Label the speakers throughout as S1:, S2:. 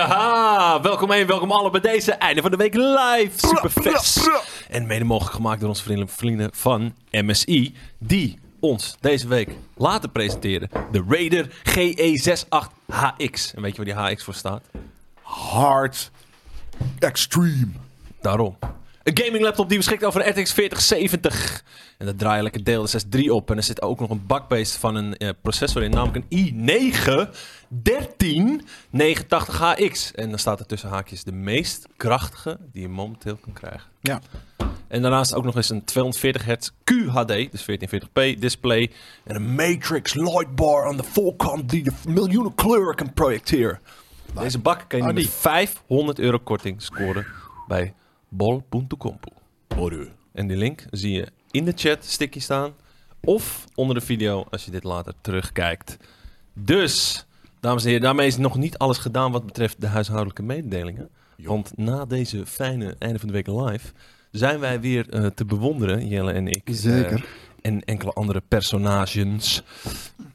S1: Ja, welkom één, welkom allen bij deze einde van de week live
S2: Bra,
S1: superfest.
S2: bra,
S1: En mede mogelijk gemaakt door onze vrienden, vrienden van MSI, die ons deze week laten presenteren de Raider E GE68HX. En weet je waar die HX voor staat?
S2: Hard. Extreme.
S1: Daarom. Een gaming laptop die beschikt over een RTX 4070. En daar draai je lekker deel de 3 op. En er zit ook nog een bakbeest van een eh, processor in, namelijk een i9 1389HX. En dan staat er tussen haakjes de meest krachtige die je momenteel kan krijgen.
S2: Ja.
S1: En daarnaast ook nog eens een 240 Hz QHD, dus 1440p display. En een matrix lightbar aan de voorkant die de miljoenen kleuren kan projecteren. Deze bak kan je nu
S2: Ah, die.
S1: met 500 euro korting scoren bij bol.compo. En die link zie je in de chat sticky staan. Of onder de video als je dit later terugkijkt. Dus, dames en heren, daarmee is nog niet alles gedaan wat betreft de huishoudelijke mededelingen. Want na deze fijne einde van de week live zijn wij weer eh, te bewonderen, Jelle en ik. eh,
S2: Zeker.
S1: en enkele andere personages.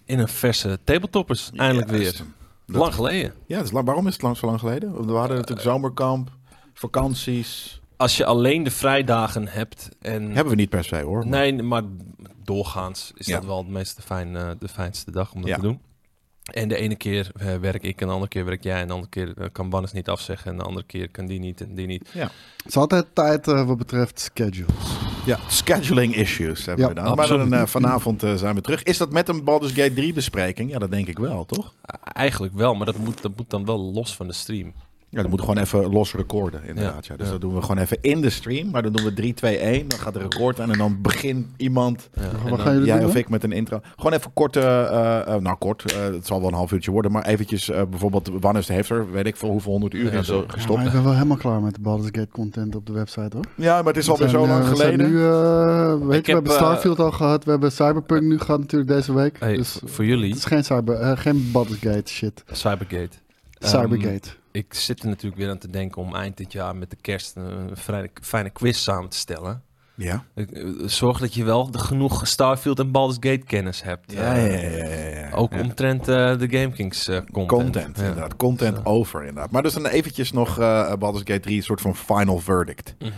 S1: In een verse tabletoppers, eindelijk weer. Lang geleden.
S2: Ja, dus waarom is het lang, zo lang geleden? We
S1: Eh,
S2: hadden natuurlijk zomerkamp, vakanties.
S1: Als je alleen de vrijdagen hebt en...
S2: Hebben we niet per se hoor. maar-
S1: Nee, maar doorgaans is
S2: Ja.
S1: dat wel het meest fijn, eh, de fijnste dag om dat
S2: Ja.
S1: te doen. En de ene keer eh, werk ik, en de andere keer werk jij, en de andere keer eh, kan Bannes niet afzeggen, en de andere keer kan die niet en die niet.
S3: Het is altijd tijd eh, wat betreft schedules.
S2: Ja, scheduling issues hebben
S3: Ja,
S2: we dan. Maar
S1: absoluut.
S2: dan, eh, vanavond eh, zijn we terug. Is dat met een Baldur's Gate 3 bespreking? Ja, dat denk ik wel, toch?
S1: Eh, Eigenlijk wel, maar dat moet, dat moet dan wel los van de stream.
S2: Ja, dat moet gewoon even los recorden, inderdaad. Ja. Dus
S1: ja.
S2: dat doen we gewoon even in de stream. Maar dan doen we 3, 2, 1. Dan gaat de record aan en dan begint iemand,
S1: Ja, en
S3: Wat
S1: dan-
S3: gaan jullie
S2: jij
S3: doen?
S2: of
S3: dan?
S2: ik, met een intro. Gewoon even kort, eh, eh, eh, nou kort, eh, het zal wel een half uurtje worden. Maar eventjes, eh, bijvoorbeeld, Wannes heeft er, weet ik veel hoeveel honderd uur
S1: Ja,
S2: in zo
S1: dat-
S3: Ja,
S2: gestopt.
S3: maar ik ben wel helemaal klaar met de Baldur's Gate content op de website hoor.
S2: Ja, maar het is alweer
S3: We zijn,
S2: zo lang
S3: eh, we zijn
S2: geleden.
S3: Nu, eh, weet
S1: Ik
S3: je, we
S1: heb,
S3: hebben
S1: eh,
S3: Starfield al gehad, we hebben Cyberpunk nu gehad natuurlijk deze week.
S1: Hey,
S3: dus
S1: v- voor
S3: het
S1: jullie,
S3: is geen, cyber, eh, geen Baldur's Gate shit.
S1: Cybergate. Ehm,
S3: Cybergate.
S1: ik zit er natuurlijk weer aan te denken om eind dit jaar met de kerst een, vrij- fijne quiz samen te stellen.
S2: Ja.
S1: Ik, eh, Zorg dat je wel de genoeg Starfield en Baldur's Gate kennis hebt.
S2: Ja,
S1: Eh,
S2: ja, ja, ja, ja, ja.
S1: Ook
S2: Ja.
S1: omtrent eh, de Game Kings eh, content.
S2: Content,
S1: Ja.
S2: inderdaad. Content
S1: Zo.
S2: over, inderdaad. Maar dus dan eventjes nog eh Baldur's Gate 3, een soort van final verdict.
S1: Mhm.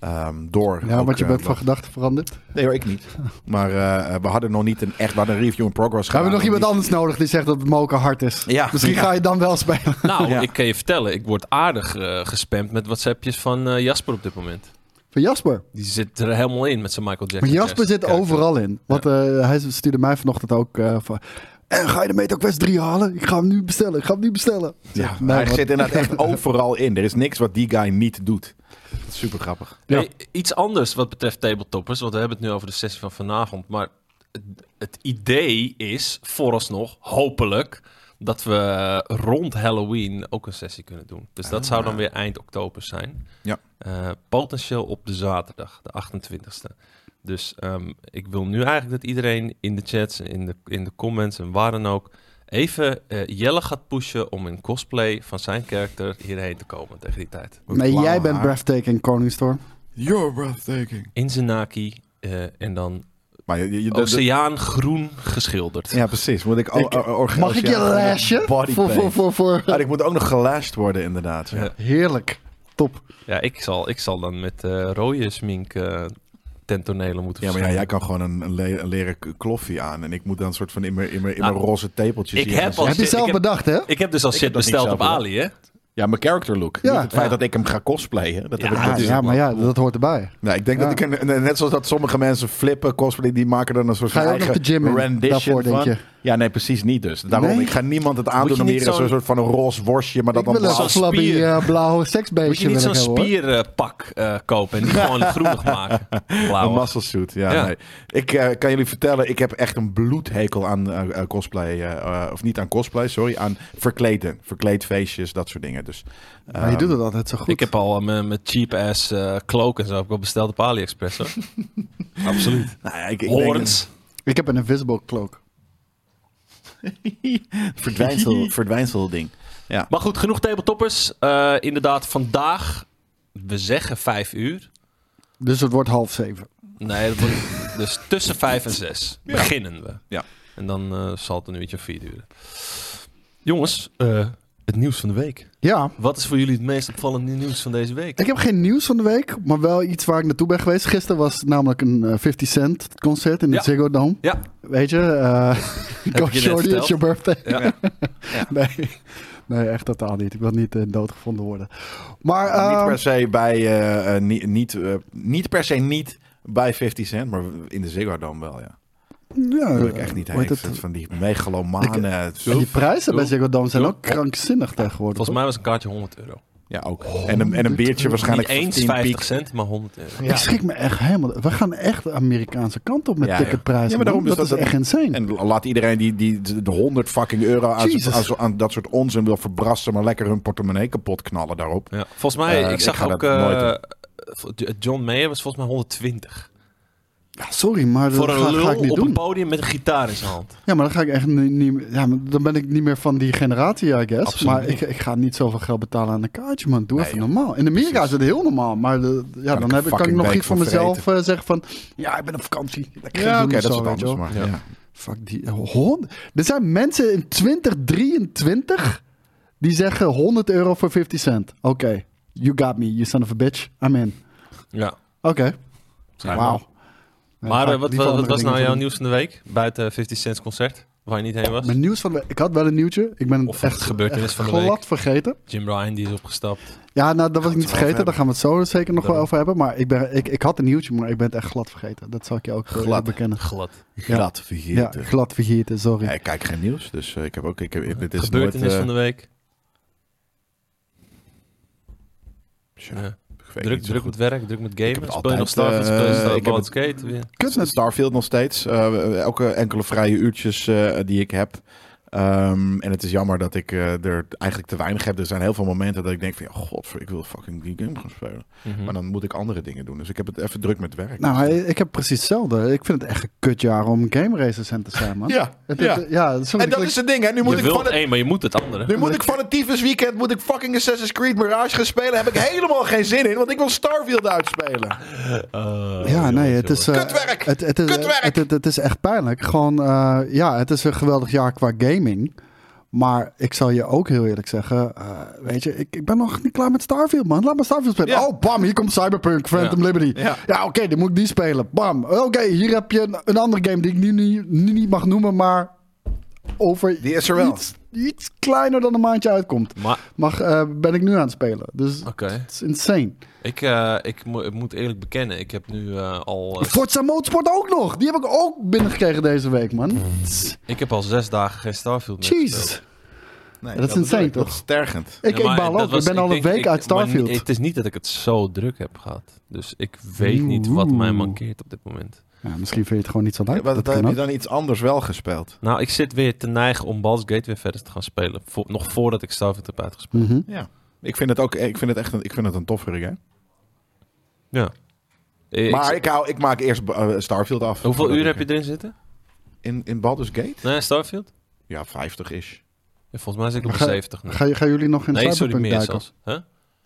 S2: Ehm, door.
S3: Ja,
S2: ook,
S3: want je
S2: eh,
S3: bent van
S2: wat-
S3: gedachten veranderd.
S2: Nee hoor, ik niet. Maar eh, we hadden nog niet een echt, we hadden een review in progress
S3: Gaan we nog iemand
S2: anders?
S3: anders nodig die zegt dat het moken hard is?
S2: Ja.
S3: Misschien
S2: Ja.
S3: ga je dan wel spelen.
S1: Nou,
S2: Ja.
S1: ik kan je vertellen, ik word aardig eh, gespamd met WhatsAppjes van eh, Jasper op dit moment.
S3: Van Jasper.
S1: Die zit er helemaal in met zijn Michael Jackson.
S3: Maar Jasper zit
S1: character.
S3: overal in. Want eh, hij stuurde mij vanochtend ook eh, van... En ga je de Meta Quest 3 halen? Ik ga hem nu bestellen. Ik ga hem nu bestellen.
S2: Ja,
S3: Nee,
S2: hij
S3: wat-
S2: zit inderdaad echt overal in. Er is niks wat die guy niet doet. Dat is super grappig.
S3: Ja.
S1: Hey, iets anders wat betreft tabletoppers, want we hebben het nu over de sessie van vanavond. Maar het, het idee is vooralsnog, hopelijk, dat we rond Halloween ook een sessie kunnen doen. Dus dat zou dan weer eind oktober zijn.
S2: Ja.
S1: Eh, potentieel op de zaterdag, de 28ste. Dus ehm, ik wil nu eigenlijk dat iedereen in de chats, in de, in de comments en waar dan ook... even eh, Jelle gaat pushen om in cosplay van zijn karakter hierheen te komen tegen die tijd.
S2: Met
S3: Nee,
S2: blauwe
S3: jij bent
S2: haar.
S3: breathtaking, Koningstorm.
S2: You're breathtaking.
S1: In Zenaki eh, en dan
S2: Maar je, je-
S1: Oh,
S2: je-
S1: oceaangroen geschilderd.
S2: ja, precies. Moet ik,
S3: Ik- Mag ik je lashen?
S2: Body
S3: Voor, voor, voor, voor.
S2: Ah, ik moet ook nog gelashed worden, inderdaad. Ja.
S1: Ja.
S3: Heerlijk. Top.
S1: Ja, ik zal, ik zal dan met eh, rode smink eh tentonelen moeten
S2: Ja, maar ja,
S1: verschijnen.
S2: jij kan gewoon een, een, le- een leren k- kloffie aan. En ik moet dan een soort van in mijn, in mijn, in mijn
S1: Nou,
S2: roze tepeltjes.
S1: ik
S2: hier gaan
S1: heb
S2: zitten.
S1: Als
S3: heb je
S1: je-
S3: zelf
S1: Oh, ik heb-
S3: bedacht, hè?
S1: Ik heb dus al
S2: Ik
S1: shit
S2: heb dat niet
S1: besteld op
S2: zelf gedaan.
S1: Ali, hè?
S2: Ja, mijn character look.
S3: Ja.
S2: Niet het feit
S1: Ja.
S2: dat ik hem ga cosplayen. Dat
S1: Ja,
S2: heb ik
S1: dat
S3: Ja,
S2: natuurlijk.
S1: is
S3: ja,
S1: ook
S3: maar ja, dat hoort erbij.
S2: Nou, ik denk
S3: Ja.
S2: dat ik een, net zoals dat sommige mensen flippen cosplay, die maken dan een soort
S3: Ga je
S2: van
S3: ook nog de
S2: eigen
S3: gym in
S2: rendition
S3: daarvoor,
S2: van.
S3: denk je?
S2: Ja, nee, precies niet dus. Daarom,
S3: Nee?
S2: ik ga niemand het aandoen
S1: je
S2: om
S1: niet
S2: hier als een
S1: zo'n-
S2: soort van een roze worstje, maar dat
S3: Ik
S2: dan
S3: wil een
S2: blauw.
S1: zo'n
S3: flabby
S1: spier.
S3: eh, blauw
S1: Moet je
S3: seksbeestje
S1: niet zo'n
S3: willen hebben, hoor.
S1: spierpak eh, kopen en die gewoon groenig maken?
S2: Een
S1: Blauw.
S2: muscle suit, ja.
S1: Ja.
S2: Nee. Ik eh, kan jullie vertellen, ik heb echt een bloedhekel aan eh, eh, cosplay. eh, eh, of niet aan cosplay, sorry. Aan verkleden. Verkleedfeestjes, dat soort dingen. Dus,
S3: Maar je
S2: ehm,
S3: doet het altijd zo goed.
S1: Ik heb al eh, mijn mijn cheap ass eh cloak en zo heb ik al besteld op AliExpress, hoor. Absoluut.
S2: nou ja, ik, ik denk-
S1: Horens.
S3: Ik heb een invisible cloak.
S2: verdwijnsel, verdwijnsel ding. Ja.
S1: Maar goed, genoeg tabletoppers. Eh inderdaad, vandaag, we zeggen vijf uur.
S3: Dus het wordt half zeven.
S1: Nee, dat wordt- dus tussen vijf en zes beginnen we.
S2: Ja.
S1: En dan eh, zal het een uurtje of vier duren. Jongens, eh, Het nieuws van de week.
S3: Ja.
S1: Wat is voor jullie het meest opvallende nieuws van deze week?
S3: Ik heb geen nieuws van de week, maar wel iets waar ik naartoe ben geweest. Gisteren was namelijk een eh, 50 Cent concert in
S1: Ja.
S3: het Ziggo Dome.
S1: Ja.
S3: Weet je, eh
S1: je
S3: go
S1: net
S3: shorty,
S1: verteld.
S3: it's your birthday.
S1: Ja.
S3: Nee. nee, echt totaal niet. Ik wil niet eh, doodgevonden worden. Maar
S2: niet
S3: ehm,
S2: per se bij, eh, eh, niet, niet, eh, niet per se niet bij 50 Cent, maar in de Ziggo Dome wel, ja.
S3: ja,
S2: Dat wil ik echt niet
S3: Eh, hoe heet
S2: heen.
S3: het? eh,
S2: Van die megalomane... eh,
S3: En die prijzen bij
S1: Doe.
S3: Ziggo Dome zijn
S1: Doe.
S3: ook krankzinnig tegenwoordig.
S1: Volgens mij was een kaartje 100 euro.
S2: Ja, ook. En een, en een biertje waarschijnlijk
S1: Niet
S2: voor
S1: eens
S2: 10
S1: 50
S2: piek.
S1: cent, maar 100 euro.
S3: Ik schrik me echt helemaal. We gaan echt de Amerikaanse kant op met
S2: Ja, ja.
S3: ticketprijzen.
S2: Ja, maar daarom
S3: man.
S2: dus
S3: dat,
S2: dat-
S3: is echt insane.
S2: En laat iedereen die, die de- de 100 fucking euro aan,
S3: Jesus.
S2: aan, zo- aan dat soort onzin wil verbrassen, maar lekker hun portemonnee kapot knallen daarop.
S1: Ja. Volgens mij,
S2: Eh,
S1: ik
S2: ik
S1: zag
S2: ga
S1: ook...
S2: dat nooit doen.
S1: eh, John Mayer was volgens mij 120.
S3: Ja, sorry, maar dat
S1: Voor een
S3: ga,
S1: lul
S3: ga ik niet
S1: op
S3: doen.
S1: een podium met een gitaar in zijn hand.
S3: Ja, maar dan ga ik echt niet, niet- ja, maar dan ben ik niet meer van die generatie, I guess.
S1: Absoluut
S3: maar
S1: niet.
S3: ik, ik ga niet zoveel geld betalen aan een kaartje, man. Doe
S2: Nee,
S3: even
S2: joh.
S3: normaal. In Amerika
S2: Precies.
S3: is het heel normaal. Maar de- ja,
S2: ik een
S3: dan heb, ik- kan ik
S2: fucking
S3: nog
S2: week
S3: iets voor
S2: van
S3: mezelf eh, zeggen van... Ja, ik ben op vakantie. Lekker
S2: Ja,
S3: gaan
S2: oké,
S3: doen of
S2: dat
S3: zo,
S2: is wat
S3: weet je
S2: anders.
S3: wel.
S2: Maar,
S1: Ja.
S2: ja.
S3: Fuck die... eh, hond- Er zijn mensen in 2023 die zeggen 100 euro voor 50 cent. Oké, you got me, you son of a bitch. I'm in.
S1: Ja.
S3: Oké, wauw.
S1: Maar
S3: Ja,
S1: eh, wat,
S3: liever
S1: wat, wat
S3: andere
S1: was
S3: dingen
S1: nou jouw
S3: doen.
S1: nieuws van de week? Buiten 50 Cent's concert, waar je niet heen was.
S3: Mijn nieuws van de week. Ik had wel een nieuwtje. Ik ben het
S1: Of
S3: echt
S1: het gebeurtenis
S3: echt
S1: van de
S3: glad
S1: week.
S3: vergeten.
S1: Jim Ryan die is opgestapt.
S3: Ja, nou, dat was ik
S2: het
S3: niet
S2: wel
S3: vergeten.
S2: over
S3: Daar gaan we het zo zeker nog wel
S1: Daarom.
S3: over hebben. Maar ik, ben, ik, ik had een nieuwtje, maar ik ben het echt glad vergeten. Dat zal ik je ook eh,
S2: Glad.
S3: bekennen.
S1: Glad.
S2: Glad
S3: Ja,
S2: vergeten.
S3: glad vergeten, sorry.
S2: Ja, ik kijk geen nieuws, dus eh, ik heb ook... Ik heb, dit is
S1: Gebeurtenis
S2: nooit, eh,
S1: van de week.
S2: tja,
S1: Ja.
S2: ik weet
S1: Druk,
S2: niet zo
S1: druk
S2: goed.
S1: met werk, druk met
S2: heb
S1: gamen.
S2: het
S1: Speel je nog
S2: altijd,
S1: Starfield, speel
S2: eh,
S1: je
S2: ik heb
S1: Starboard
S2: het-
S1: Skate. weer.
S3: Kut met
S2: Starfield nog steeds. Eh, elke enkele vrije uurtjes eh, die ik heb. Ehm, en het is jammer dat ik eh, er eigenlijk te weinig heb. Er zijn heel veel momenten dat ik denk van... Ja, godver, ik wil fucking die game gaan spelen.
S1: Mhm.
S2: Maar dan moet ik andere dingen doen. Dus ik heb het even druk met werk.
S3: Hm. Nou, hij- ik heb precies hetzelfde. Ik vind het echt een kutjaar om game recensent te zijn, man.
S2: ja,
S3: Het-
S2: ja.
S3: het- ja, soms
S2: En dat
S3: klik-
S2: is het ding, hè. Nu moet
S1: je
S2: ik
S1: wilt
S2: van
S1: het
S2: het...
S1: een, maar je moet het andere.
S2: Nu moet ik van het tyfus weekend moet ik fucking Assassin's Creed Mirage gaan spelen. Heb ik helemaal geen zin in, want ik wil Starfield uitspelen.
S3: Ja, nee, het is... eh,
S2: Oh, Kutwerk!
S3: Het, het, is,
S2: Kutwerk!
S3: Het, het, het is echt pijnlijk. Gewoon, eh, ja, het is een geweldig jaar qua gaming. Maar ik zal je ook heel eerlijk zeggen, eh, weet je, ik, ik ben nog niet klaar met Starfield, man. Laat me Starfield spelen.
S2: Ja.
S3: Oh, bam, hier komt Cyberpunk, Phantom
S1: Ja.
S3: Liberty. Ja,
S2: Ja.
S3: oké, dan moet ik die spelen. Bam. Oké, hier heb je een, een andere game die ik nu, nu, nu niet mag noemen, maar over
S2: Die is er wel.
S3: Iets, iets kleiner dan een maandje uitkomt.
S1: Maar,
S3: Mag, eh, ben ik nu aan het spelen. Dus
S1: oké.
S3: het is insane.
S1: Ik, eh, ik, mo- ik moet eerlijk bekennen, ik heb nu eh, al... eh,
S3: Forza Motorsport ook nog. Die heb ik ook binnengekregen deze week, man.
S1: Mm. ik heb al zes dagen geen Starfield meer gespeeld.
S3: Jeez.
S2: Nee,
S3: dat is
S2: bedoel
S3: insane,
S2: ik. Dat
S3: toch?
S2: is tergend.
S3: Ik,
S1: Ja,
S3: ik
S1: maar
S3: baal
S1: dat
S3: ook.
S1: was-
S3: Ik ben al een
S1: denk-
S3: week
S1: ik-
S3: uit
S1: maar ni-
S3: Starfield.
S1: het is niet dat ik het zo druk heb gehad. Dus ik weet niet wat mij
S3: Oeh.
S1: mankeert op dit moment.
S3: Ja, misschien vind je het gewoon niet zo leuk.
S2: Ja, maar
S3: dat
S2: dan
S3: kan
S2: heb je
S3: ook.
S2: dan iets anders wel gespeeld.
S1: Nou, ik zit weer te neigen om Baldur's Gate weer verder te gaan spelen. Vo- nog voordat ik Starfield heb uitgespeeld.
S3: Mhm.
S2: Ja. Ik vind het ook, ik vind het echt een, ik vind het een toffere game.
S1: Ja. Eh, ik
S2: maar
S1: zit-
S2: ik, hou, ik maak eerst eh, Starfield af.
S1: hoeveel
S2: Voordat
S1: uur heb
S2: ik-
S1: je erin zitten?
S2: In, in Baldur's Gate?
S1: Nee, Starfield?
S2: Ja, 50 is.
S1: Ja, volgens mij zit ik op
S3: Maar ga-
S1: 70 nu.
S3: Ga je- Gaan jullie nog in
S1: Nee, sorry,
S3: Cyberpunk
S1: meer
S3: duiken?
S1: zelfs. Huh?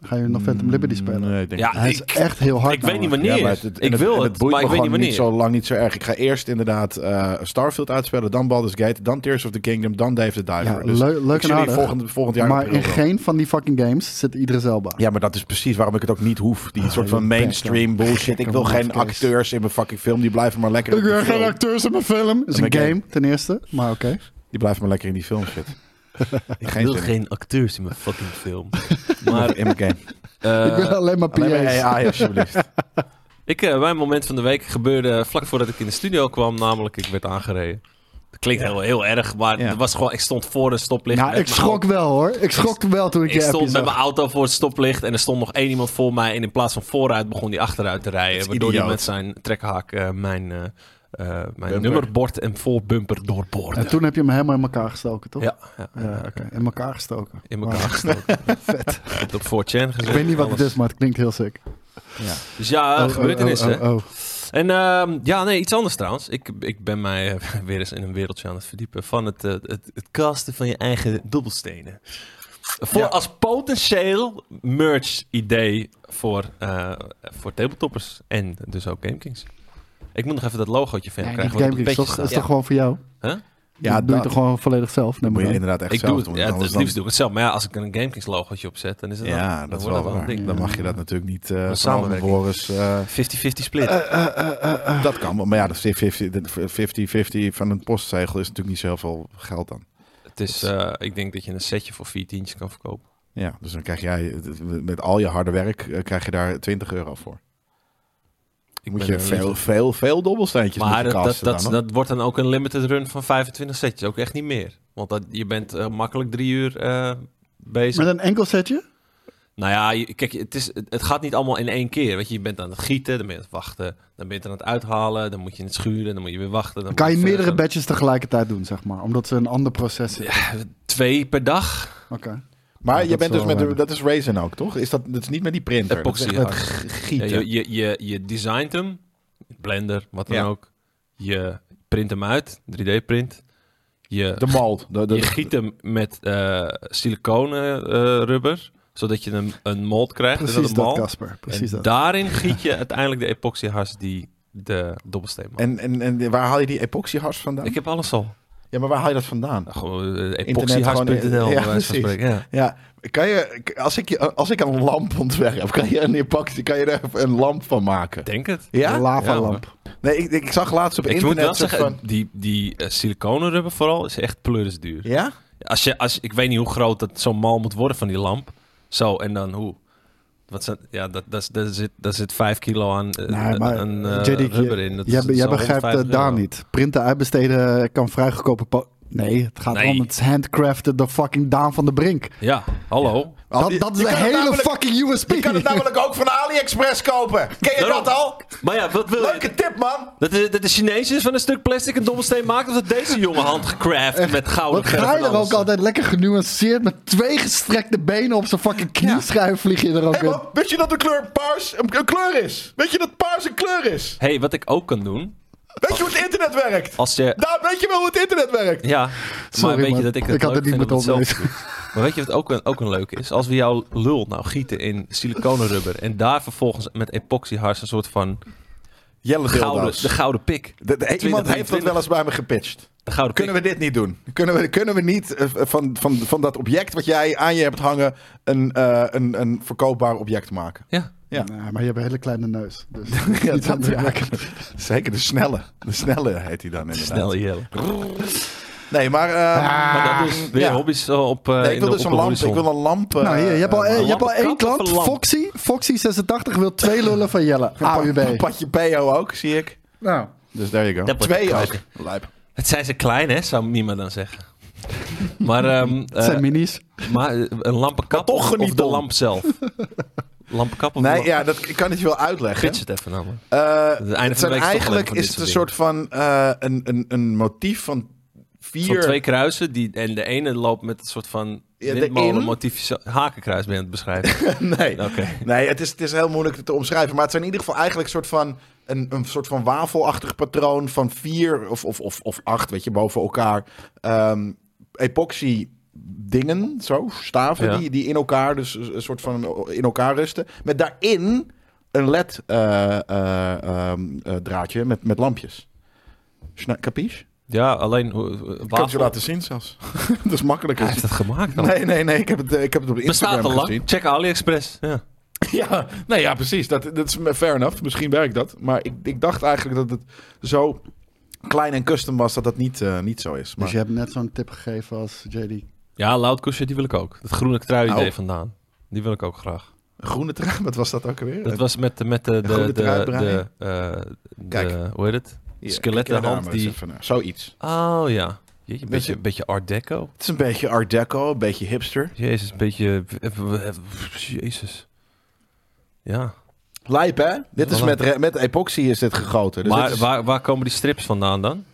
S3: Gaan jullie nog Phantom Liberty spelen?
S2: Nee, ik denk
S1: Ja,
S3: Hij is
S1: ik-
S3: echt heel hard.
S1: Ik weet niet
S3: namelijk.
S1: wanneer.
S2: Ja, maar het- het- en
S1: ik
S2: het-
S1: wil
S2: en
S1: het, maar
S2: me
S1: ik weet niet
S2: gewoon
S1: wanneer.
S2: zo lang niet zo erg. Ik ga eerst inderdaad eh, Starfield uitspelen, dan Baldur's Gate, dan Tears of the Kingdom, dan Dave the Diver.
S3: Ja,
S2: dus
S3: leu- leuk
S2: ik zie
S3: en
S2: jullie
S3: aardig.
S2: volgend, volgend jaar
S3: maar
S2: april
S3: in
S2: wel.
S3: geen van die fucking games zit Idris Elba.
S2: Ja, maar dat is precies waarom ik het ook niet hoef. Die soort van
S3: Ah, je bent
S2: mainstream bullshit. Ik wil geen
S3: mafkees.
S2: acteurs in mijn fucking film. Die blijven maar lekker
S3: Ik
S2: in
S3: wil
S2: die
S3: geen
S2: film.
S3: acteurs in mijn film. Dat is een
S2: mijn
S3: game,
S2: game.
S3: ten eerste. Maar oké.
S1: Eh,
S2: Die blijven maar lekker in die film shit.
S1: Ik
S2: Geen
S1: wil
S2: zin in.
S1: geen acteurs in mijn fucking film. maar
S2: In mijn game.
S1: eh,
S3: ik wil alleen maar Nou, PA's.
S2: Alleen maar AI alsjeblieft.
S1: ik, eh, mijn moment van de week gebeurde vlak voordat ik in de studio kwam. Namelijk, ik werd aangereden. Dat klinkt heel, heel erg, maar
S2: Ja.
S1: het was gewoon, ik stond voor een stoplicht.
S3: nou,
S1: met
S3: ik
S1: mijn
S3: schrok wel hoor. Ik schrok wel toen ik
S1: Ik
S3: je appje
S1: stond met
S3: zag.
S1: mijn auto voor het stoplicht en er stond nog één iemand voor mij. En in plaats van vooruit begon hij achteruit te rijden.
S2: is
S1: Waardoor hij
S2: idioot.
S1: met zijn trekhaak eh, mijn, eh, eh, mijn
S2: Bumper.
S1: nummerbord en voorbumper doorboorde.
S3: En toen heb je hem helemaal in elkaar gestoken, toch?
S1: Ja, ja,
S3: Ja, oké. In elkaar gestoken.
S1: in elkaar
S3: Wauw.
S1: gestoken.
S3: Vet.
S1: Ik heb het op 4chan gezet.
S3: Ik weet niet wat het
S1: alles.
S3: is, maar het klinkt heel sick.
S1: Dus ja,
S3: Oh, oh,
S1: gebeurtenissen.
S3: oh, oh, oh.
S1: En ehm, ja, nee, iets anders trouwens. Ik, ik ben mij eh, weer eens in een wereldje aan het verdiepen van het, eh, het, het casten van je eigen dobbelstenen. Voor,
S2: Ja.
S1: Als potentieel merch-idee voor, eh, voor tabletoppers en dus ook GameKings. Ik moet nog even dat logootje van
S3: Ja,
S1: hem
S3: die
S1: krijgen. want op het
S3: Gamekings
S1: petje
S3: toch,
S1: staat.
S3: is toch gewoon voor jou?
S1: Huh?
S2: Ja,
S3: Ja, dat doe je
S2: dat.
S3: toch gewoon volledig zelf.
S2: Dan
S3: neem
S2: moet je
S3: aan.
S2: inderdaad echt
S1: Ik
S2: zelf
S1: doe het,
S2: doen.
S1: ja, het
S2: anders
S1: liefst
S2: dan-
S1: doe ik het zelf. Maar ja, als ik een GameKings logootje opzet, dan is het dan-
S2: Ja,
S1: dan
S2: dat is
S1: wordt
S2: wel
S1: dat
S2: waar.
S1: een ding.
S2: Dan mag je dat natuurlijk niet eh van
S1: samenwerking.
S2: Boris. eh
S1: 50-50 split.
S3: eh,
S2: dat kan wel. Maar ja, de 50-50 van een postzegel is natuurlijk niet zoveel geld dan.
S1: het is, eh, ik denk dat je een setje voor vier tientjes kan verkopen.
S2: Ja, dus dan krijg jij met al je harde werk eh, krijg je daar 20 euro voor.
S1: Ik
S2: moet
S1: ben
S2: je
S1: er
S2: veel,
S1: liefde-
S2: veel, veel dobbelsteentjes
S1: Maar dat,
S2: moeten
S1: dat,
S2: casten
S1: dat,
S2: dan, hoor.
S1: dat wordt dan ook een limited run van 25 setjes. Ook echt niet meer. Want dat, je bent eh, makkelijk drie uur eh, bezig.
S3: Met een enkel setje?
S1: Nou ja, je- kijk, het, is, het het gaat niet allemaal in één keer. Weet je, je bent aan het gieten, dan ben je aan het wachten. Dan ben je het aan het uithalen, dan moet je het schuren, dan moet je weer wachten. Dan
S3: Dan kan je
S1: moet verder
S3: meerdere
S1: gaan.
S3: batches tegelijkertijd doen, zeg maar. Omdat ze een ander proces zitten.
S1: Twee per dag.
S3: Oké.
S2: Maar
S3: Ja,
S2: je
S3: dat
S2: bent
S3: is
S2: dus
S3: wel
S2: met de,
S3: weinig.
S2: dat is Raisin ook, toch? Is dat, dat is niet met die printer.
S1: eh, Epoxy
S2: dat is echt met
S1: hard.
S2: g-
S1: Ja,
S2: gieten.
S1: je, je, je, je designt hem, blender, wat dan
S2: Ja.
S1: ook. Je print hem uit, 3D-print. Je,
S2: de mold. De, de-
S1: je giet hem met eh siliconen eh, rubber, zodat je een, een mold krijgt. en
S3: Precies
S1: een
S3: dat,
S1: mal.
S3: Casper. Precies
S1: en
S3: dat.
S1: daarin giet je uiteindelijk de epoxyhars die de dobbelsteen maakt.
S2: en, en, en waar haal je die epoxyhars vandaan?
S1: Ik heb alles al.
S2: Ja, maar waar haal je dat vandaan?
S1: Gewoon eh,
S2: Internet gewoon,
S1: epoxyhars.nl,
S2: eh, ja,
S1: bij wijze van
S2: precies.
S1: spreken, ja.
S2: Ja, kan je, k- als, ik, je- als ik een lamp ontwerp, kan je, een epoxy, kan je er een lamp van maken?
S1: Denk het.
S3: De
S2: Ja?
S3: lavalamp.
S2: Nee, ik, ik zag laatst op
S1: Ik moet
S2: internet...
S1: wel
S2: soort
S1: zeggen,
S2: van-
S1: die, die eh, siliconen rubber vooral is echt pleurisduur.
S2: Ja?
S1: Als je, als, ik weet niet hoe groot dat zo'n mal moet worden van die lamp. Zo, en dan hoe? Wat zijn, ja, dat, dat, dat zit, daar zit 5 kilo aan eh,
S3: Nee, maar
S1: een eh,
S3: JD, je-
S1: rubber in. Dat is-
S3: jij,
S1: dat is
S3: jij
S1: al
S3: begrijpt eh,
S1: 150
S3: daar
S1: euro.
S3: niet. Printen uitbesteden eh, kan vrij goedkope... po- Nee, het gaat
S1: Nee.
S3: om het handcrafted de fucking Daan van de Brink.
S1: Ja, hallo.
S3: Dat, dat is
S2: Je
S3: een
S2: kan het
S3: hele
S2: namelijk-
S3: fucking USP.
S2: Je kan het namelijk ook van AliExpress kopen. Ken je
S1: Daarom.
S2: dat al?
S1: Maar ja, wat wil je?
S2: Leuke tip, man.
S1: Dat de, dat de Chinees is van een stuk plastic een dobbelsteen maakt... of dat deze jonge hand gecraft met gouden
S3: Wat ga je er ook altijd lekker genuanceerd met twee gestrekte benen op zijn fucking knieschijf vlieg je er ook
S2: Hé,
S3: in.
S2: man, wist je dat de kleur paars een, een kleur is? Weet je dat paars een kleur is?
S1: Hé, hey, wat ik ook kan doen...
S2: Weet je hoe het internet werkt?
S1: als je
S2: Daar Nou, weet je wel hoe het internet werkt.
S1: Ja,
S3: Sorry,
S1: maar weet je
S3: maar
S1: dat ik het
S3: ik had
S1: leuk
S3: het niet
S1: vind om
S3: moeten
S1: het zelf te doen? Maar weet je wat ook een, ook een leuk is? Als we jouw lul nou gieten in siliconenrubber en daar vervolgens met epoxyhars een soort van
S2: Jelle
S1: gouden,
S2: dildo's.
S1: de gouden pik.
S2: De- de- Iemand
S1: 20,
S2: heeft dat
S1: 20.
S2: wel eens bij me gepitcht.
S1: De gouden
S2: Kunnen
S1: pik.
S2: we dit niet doen? Kunnen we, kunnen we niet eh, van, van, van dat object wat jij aan je hebt hangen... een, eh, een, een verkoopbaar object maken?
S1: Ja.
S2: Ja.
S3: Nee, maar je hebt een hele kleine neus. Dus
S2: Ja,
S3: niet
S2: dat-
S3: indrukwekkend.
S2: eh, Zeker de snelle. De snelle heet hij dan inderdaad.
S1: Snel Jelle.
S2: Nee, maar... eh,
S1: Maar dat is weer
S2: ja.
S1: hobby's eh, op eh
S2: Nee,
S1: Ah, in
S2: ik wil
S1: de-
S2: dus
S1: op
S2: een
S1: de
S2: lamp.
S1: horizon.
S2: Ik wil een lamp. eh,
S3: Nou, hier, je hebt al,
S2: eh,
S3: je hebt al één
S1: lampenkap of
S3: klant,
S1: een lamp?
S3: Foxy. Foxy86 wil twee lullen van Jelle.
S2: ah, Een
S3: AUB.
S2: padje PO ook, zie ik.
S3: Nou,
S2: Dus daar je go.
S1: Dat wordt
S2: Twee ook.
S1: kwijt.
S2: Lijp.
S1: Het zijn ze klein, hè? Zou niemand dan zeggen. Maar, ehm,
S3: het zijn
S1: eh,
S3: minis.
S1: maar eh, een lampenkap
S2: Maar toch
S1: of, of
S2: geniet
S1: de
S2: om.
S1: lamp zelf? Lampenkap of de
S2: Nee,
S1: lamp?
S2: ja, dat, ik kan het je wel uitleggen.
S1: Gids het even nou, namelijk.
S2: Eh,
S1: van de
S2: het zijn
S1: week is toch alleen
S2: eigenlijk
S1: van
S2: is
S1: dit
S2: het een
S1: soort
S2: soort van eh, een, een, een motief van vier.
S1: Van twee kruisen. Die, en de ene loopt met een soort van
S2: Ja, de
S1: windmolenmotief. zo- Hakenkruis ben je aan het beschrijven.
S2: nee,
S1: Oké.
S2: nee het, is, het is heel moeilijk te omschrijven. Maar het zijn in ieder geval eigenlijk een soort van. Een, een soort van wafelachtig patroon van vier of, of, of, of acht, weet je, boven elkaar. ehm epoxy dingen, zo, staven
S1: Ja.
S2: die, die in elkaar, dus een een soort van in elkaar rusten. Met daarin een LED eh, eh, ehm, eh, draadje met, met lampjes. Sna- Capiche?
S1: Ja, alleen... hoe- hoe-
S2: Ik kan het je
S1: wafel-
S2: laten zien zelfs. dat is
S1: Hij
S2: makkelijker.
S1: heeft het gemaakt dan.
S2: Nee, nee, nee. Ik heb het, eh, ik heb het op
S1: Bestaat al
S2: Instagram
S1: lang.
S2: gezien.
S1: Check AliExpress. Ja.
S2: Ja, nee, ja, precies. Dat, dat is fair enough. Misschien werkt dat. Maar ik, ik dacht eigenlijk dat het zo klein en custom was dat dat niet, eh, niet zo is. Maar,
S3: Dus je hebt net zo'n tip gegeven als JD.
S1: Ja, loudkusje, die wil ik ook. Dat groene trui idee
S2: Oh.
S1: vandaan. Die wil ik ook graag.
S2: Een groene trui, wat was dat ook alweer? Eh,
S1: Dat was met, de- met de... de,
S2: groene
S1: de,
S2: trui, Brian?
S1: de, eh, de-
S2: Kijk.
S1: hoe heet het?
S2: Hier,
S1: skelettenhand
S2: kijk daar maar eens
S1: die-
S2: even naar. Zoiets.
S1: Oh ja. Jeetje, een
S2: Weet
S1: beetje,
S2: je-
S1: beetje art deco.
S2: Het is een beetje art deco, een beetje hipster.
S1: Jezus, een beetje... eh, Jezus. Ja.
S2: Lijp, hè? Dit is
S1: Voilà.
S2: met, re- met epoxy is dit gegoten. Dus
S1: maar
S2: dit is-
S1: waar, waar komen die strips vandaan dan?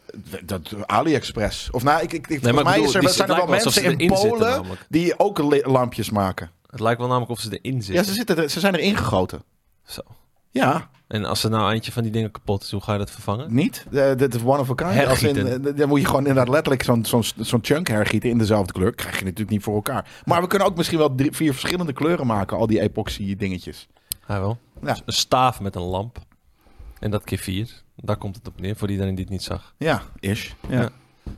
S2: dat, AliExpress. Of nou, ik, ik, ik, volgens
S1: ik
S2: mij
S1: bedoel,
S2: is er,
S1: die-
S2: zijn er
S1: het
S2: wel
S1: lijkt alsof
S2: mensen
S1: ze
S2: in
S1: erin zitten nou.
S2: Polen
S1: namelijk.
S2: die ook li- lampjes maken.
S1: Het lijkt wel namelijk of ze erin zitten.
S2: Ja, ze, zitten er- ze zijn erin gegoten.
S1: Zo.
S2: Dus Ja,
S1: En als er nou eentje van die dingen kapot is, hoe ga je dat vervangen?
S2: niet. Eh, Dit is one of a kind. Als in,
S1: Hergieten.
S2: eh, dan moet je gewoon inderdaad letterlijk zo'n zo'n zo'n chunk hergieten in dezelfde kleur. Krijg je natuurlijk niet voor elkaar. Maar we kunnen ook misschien wel drie, vier verschillende kleuren maken. Al die epoxy dingetjes.
S1: Hij wel.
S2: Ja.
S1: Een staaf met een lamp. En dat keer vier. Daar komt het op neer, voor iedereen die het niet zag.
S2: Ja, ish. Ja.
S1: Ja.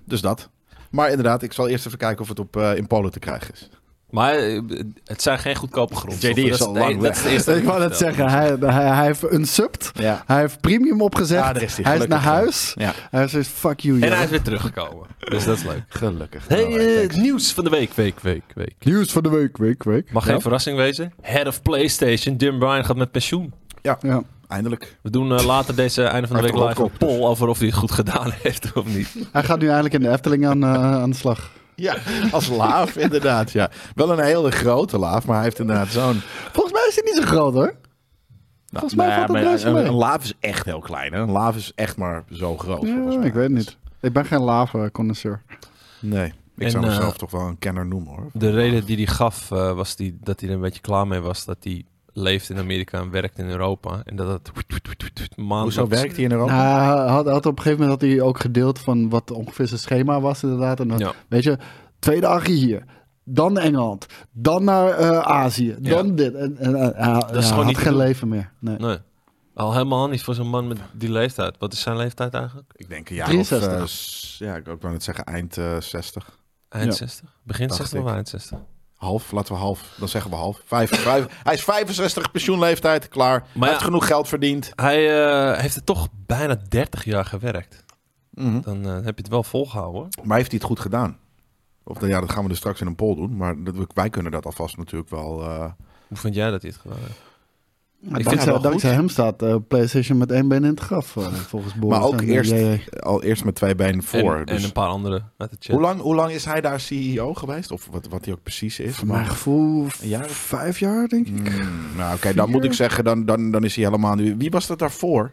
S2: Dus dat. Maar inderdaad, ik zal eerst even kijken of het op, eh, in Polen te krijgen is.
S1: Maar eh, het zijn geen goedkope grond.
S2: JD is al lang
S1: Dat is het eerste.
S3: Ik wou net zeggen, hij, hij, hij heeft unsubbed.
S2: Ja.
S3: Hij heeft premium opgezegd.
S2: Ja, daar is hij,
S3: hij is naar
S2: gelukkig.
S3: huis.
S2: Ja.
S3: Hij is fuck you,
S1: En
S3: joh.
S1: hij is weer teruggekomen. Dus dat is leuk.
S2: Gelukkig.
S1: Hey,
S2: Nou, eh,
S1: eh,
S2: thanks.
S1: nieuws van de week, week, week, week.
S3: Nieuws van de week, week, week.
S1: Mag
S3: ja.
S1: geen verrassing wezen. Head of PlayStation, Jim Bryan gaat met pensioen.
S3: Ja.
S2: Eindelijk.
S1: We doen eh, later deze einde van de
S2: Uit
S1: week
S2: de
S1: live een
S2: rotkop dus.
S1: poll over of hij het goed gedaan heeft of niet.
S3: Hij gaat nu eindelijk in de Efteling aan, eh, aan de slag.
S2: Ja, als laaf inderdaad. Ja. Wel een hele grote laaf, maar hij heeft inderdaad zo'n...
S3: Volgens mij is hij niet zo groot, hoor.
S2: Nou,
S3: Volgens mij valt dat best
S2: een,
S3: mee.
S2: een laaf is echt heel klein. Hè? Een laaf is echt maar zo groot. volgens
S3: Ja,
S2: mij.
S3: ik weet het niet. Ik ben geen lava-connoisseur.
S2: Nee, ik
S1: En,
S2: zou
S1: eh,
S2: mezelf toch wel een kenner noemen hoor.
S1: De reden die hij gaf eh, was die, dat hij er een beetje klaar mee was. Dat hij leeft in Amerika en werkt in Europa. En dat het maandelijks...
S2: Hoezo werkt hij in Europa?
S1: Nou,
S3: Nou, Hij had, had op een gegeven moment had hij ook gedeeld van wat ongeveer zijn schema was inderdaad. En dan,
S1: Ja.
S3: Weet je, twee dagen hier, dan Engeland, dan naar eh, Azië,
S1: Ja.
S3: dan dit. En, en, en, hij- ja,
S1: gewoon
S3: hij
S1: niet te
S3: had geen
S1: doen.
S3: leven meer. Nee.
S2: Nou,
S1: Nee. Al helemaal niet voor zo'n man met die leeftijd. Wat is zijn leeftijd eigenlijk?
S2: Ik denk een jaar
S3: 63.
S2: of... eh, s- ja, ik ook wou net zeggen eind eh 60.
S1: Eind
S3: Ja.
S1: 60? Begin
S2: Dacht
S1: 60
S2: ik.
S1: of eind 60?
S2: Half, laten we half. Dan zeggen we half. Vijf, vijf. Hij is 65, pensioenleeftijd, klaar. hij
S1: ja-
S2: heeft genoeg geld verdiend.
S1: Hij eh, heeft er toch bijna 30 jaar gewerkt.
S2: Mhm.
S1: Dan eh, heb je het wel volgehouden. hoor.
S2: Maar heeft hij het goed gedaan? Of nou ja, dat gaan we dus straks in een poll doen. Maar dat, we- wij kunnen dat alvast natuurlijk wel... eh,
S1: Hoe vind jij dat hij het gedaan heeft?
S3: Maar
S1: Ik vind
S2: het
S3: dankzij,
S2: wel
S3: dankzij
S2: goed.
S3: hem staat eh, PlayStation met één been in het graf, eh, volgens Boris.
S2: maar ook
S3: en, eh,
S2: eerst,
S3: JJ.
S2: al eerst met twee benen voor.
S1: en,
S2: dus
S1: en een paar anderen uit de chat.
S2: hoe, lang, hoe lang is hij daar CEO geweest? Of wat, wat hij ook precies is?
S3: Voor mijn gevoel v-
S2: Een jaar of-
S3: vijf jaar, denk ik.
S2: Mm, nou, oké, dan
S3: Vier?
S2: moet ik zeggen, dan, dan, dan is hij helemaal nu. Wie was dat daarvoor?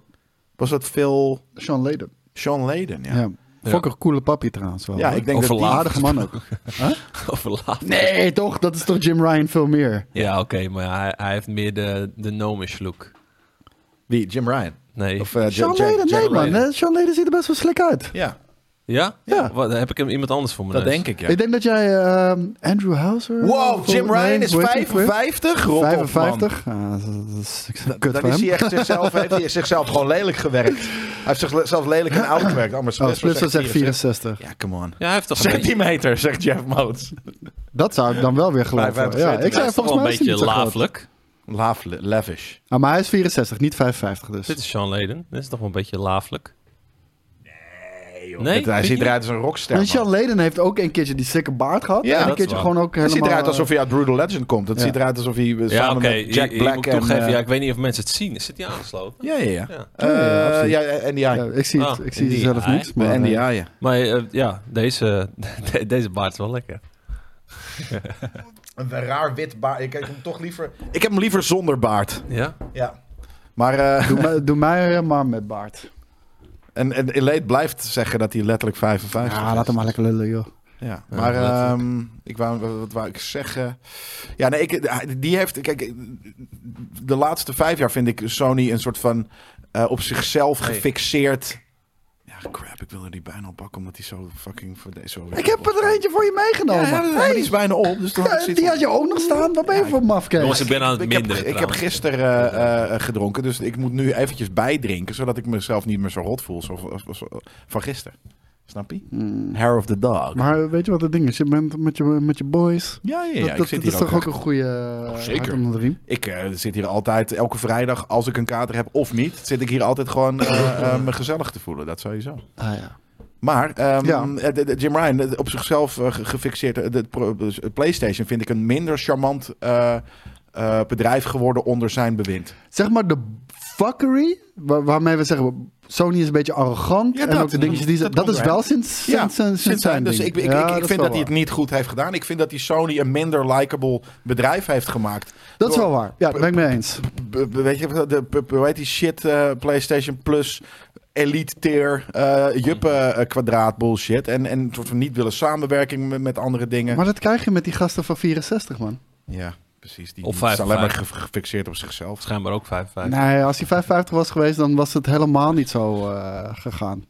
S2: Was dat Phil
S3: Sean Leden.
S2: Sean Leden? Ja,
S3: Ja. Fokker coole papi trouwens wel.
S2: Ja,
S3: hoor.
S2: ik denk dat
S1: Overlaat.
S2: die...
S3: Aardige man ook.
S1: Over laat.
S3: Nee, toch? Dat is toch Jim Ryan veel meer?
S1: Ja, oké, maar hij, hij heeft meer de, de gnomish look.
S2: Wie? Jim Ryan?
S1: Nee.
S2: Of, eh,
S3: Sean
S2: Ja- Ja-
S3: Leden,
S2: Ja-
S3: nee man.
S1: Leden.
S3: Eh, Sean Leden ziet er best wel slik uit.
S2: Ja,
S1: ja?
S3: Ja.
S1: Wat, heb ik hem iemand anders voor me?
S2: dat denk ik, ja.
S3: Ik denk dat jij ehm, Andrew Houser...
S2: Wow, Jim
S3: Nee,
S2: Ryan is
S3: hoe heet hij ook weer?
S2: 55? Rot op, man.
S3: 55? Ah, dat is- dat is
S2: Da-
S3: kut
S2: Dan
S3: voor
S2: is
S3: hem.
S2: hij echt zichzelf, heeft hij zichzelf gewoon lelijk gewerkt. Hij heeft zichzelf lelijk en oud gewerkt. Oh, maar
S3: Oh,
S2: Spencer
S3: Splitser zegt 64.
S2: Ja, come on.
S1: Ja, hij heeft toch een beetje-
S2: Centimeter, zegt Jeff Moots.
S3: Dat zou ik dan wel weer geloven.
S2: 55
S3: Ja,
S1: hij
S3: ik zei
S1: is toch
S3: volgens
S1: wel een
S3: mij is hij
S1: beetje
S3: niet zo groot.
S1: laaflijk.
S2: Laaf, lavish.
S3: Ah, maar hij is 64, niet 55 dus.
S1: Dit is Sean Leden. Dit is toch wel een beetje laaflijk. Nee, joh. Nee,
S2: hij
S1: vind
S2: ziet
S1: je?
S2: eruit als een rockster.
S3: En
S2: man.
S3: Sean Leden heeft ook een keertje die sikke baard gehad.
S2: Ja,
S3: en
S2: dat
S3: een
S1: is
S3: keertje
S1: waar.
S3: gewoon
S2: Het
S3: ook helemaal... eh,
S2: ziet eruit alsof hij uit Brutal Legend komt. Het
S3: Ja.
S2: ziet eruit alsof hij eh,
S1: Ja,
S2: samen
S1: oké.
S2: met Jack
S1: ik-
S2: Black
S1: Ik moet
S2: en...
S1: toegeven,
S2: eh,
S1: ja, ik weet niet of mensen het zien. Zit hij aangesloten?
S2: Ja, ja, ja.
S1: Ja.
S2: Eh,
S3: Ja, ja, absoluut.
S2: ja, en die
S3: eh, ik zie het,
S1: Ah,
S3: ik zie
S1: die-
S3: zelf
S1: hij-
S3: niets. Maar, eh,
S2: ja.
S1: Maar eh, ja, deze, de- deze baard is wel lekker.
S2: Een raar wit baard. Ik heb hem toch liever... Ik heb hem liever zonder baard.
S1: Ja?
S2: Ja. Maar eh,
S3: doe, mij- doe mij eh, maar met baard.
S2: en, en Elite blijft zeggen dat hij letterlijk 55
S3: Ja,
S2: is.
S3: laat hem maar lekker lullen, joh.
S2: Ja,
S1: Ja,
S2: maar
S1: letterlijk.
S2: ehm, ik wou, wat, wat wou ik zeggen? Ja, nee, ik, eh, die heeft... Kijk, de laatste vijf jaar vind ik Sony een soort van eh, op zichzelf
S1: Hey.
S2: gefixeerd... Ja, crap, ik wilde die bijna al pakken omdat hij zo fucking... Voor de, zo
S3: Ik heb er eentje voor je meegenomen.
S2: Ja, ja, maar die is bijna op. Dus dan had ik
S3: Ja,
S2: zoiets
S3: die
S2: van-
S3: had je ook nog staan. Waar ben je voor
S1: Jongens,
S3: mafkees?
S1: ik ben aan het
S2: Ik heb,
S1: minderen
S2: ik heb
S1: trouwens.
S2: gisteren eh, eh, gedronken, dus ik moet nu eventjes bijdrinken, zodat ik mezelf niet meer zo rot voel zoals, als- als- van gisteren. Snap je? Hair of the dog.
S3: Maar weet je wat het ding is? Je bent met je, met je boys.
S2: ja, ja, ja.
S3: dat
S2: ik
S3: dat-
S2: zit
S3: dat
S2: hier
S3: is
S2: ook
S3: toch ook
S2: echt-
S3: een goede
S2: Oh,
S3: eh,
S2: zeker.
S3: hart onder de riem?
S2: Ik eh, zit hier altijd, elke vrijdag, als ik een kater heb of niet, zit ik hier altijd gewoon eh, eh, me gezellig te voelen. Dat sowieso.
S3: Ah, ja.
S2: Maar ehm,
S3: Ja.
S2: eh, de- de- Jim Ryan, eh, op zichzelf eh, ge- gefixeerd, eh, de pro- eh, PlayStation vind ik een minder charmant eh, eh, bedrijf geworden onder zijn bewind.
S3: Zeg maar de fuckery, waar- waarmee we zeggen, Sony is een beetje arrogant.
S2: Ja,
S3: en
S2: dat.
S3: ook de dingetjes die ze...
S2: Dat
S3: Dat,
S2: komt
S3: is
S2: er, hè?
S3: wel sinds,
S2: Ja,
S3: sinds, sinds,
S2: Sinds
S3: zijn
S2: zijn, dus
S3: ding.
S2: ik, ik, ik,
S3: Ja,
S2: ik vind
S3: is wel
S2: dat hij het
S3: waar.
S2: niet goed heeft gedaan. Ik vind dat hij Sony een minder likable bedrijf heeft gemaakt.
S3: Dat is
S2: Door-
S3: wel waar. Ja, daar ben ik mee eens.
S2: b- b- weet je, de, b- b- hoe heet die shit? eh, PlayStation Plus, Elite Tier, eh Juppen eh, kwadraat bullshit. En, en een soort van niet willen samenwerking met, met andere dingen.
S3: Maar dat krijg je met die gasten van 64, man.
S2: Ja, precies. Die,
S1: Of
S2: die is
S1: vijf-
S2: alleen maar
S1: vijf.
S2: ge- gefixeerd op zichzelf.
S1: Schijnbaar ook 55.
S3: Nee, als hij 55 was geweest, dan was het helemaal niet zo eh, gegaan.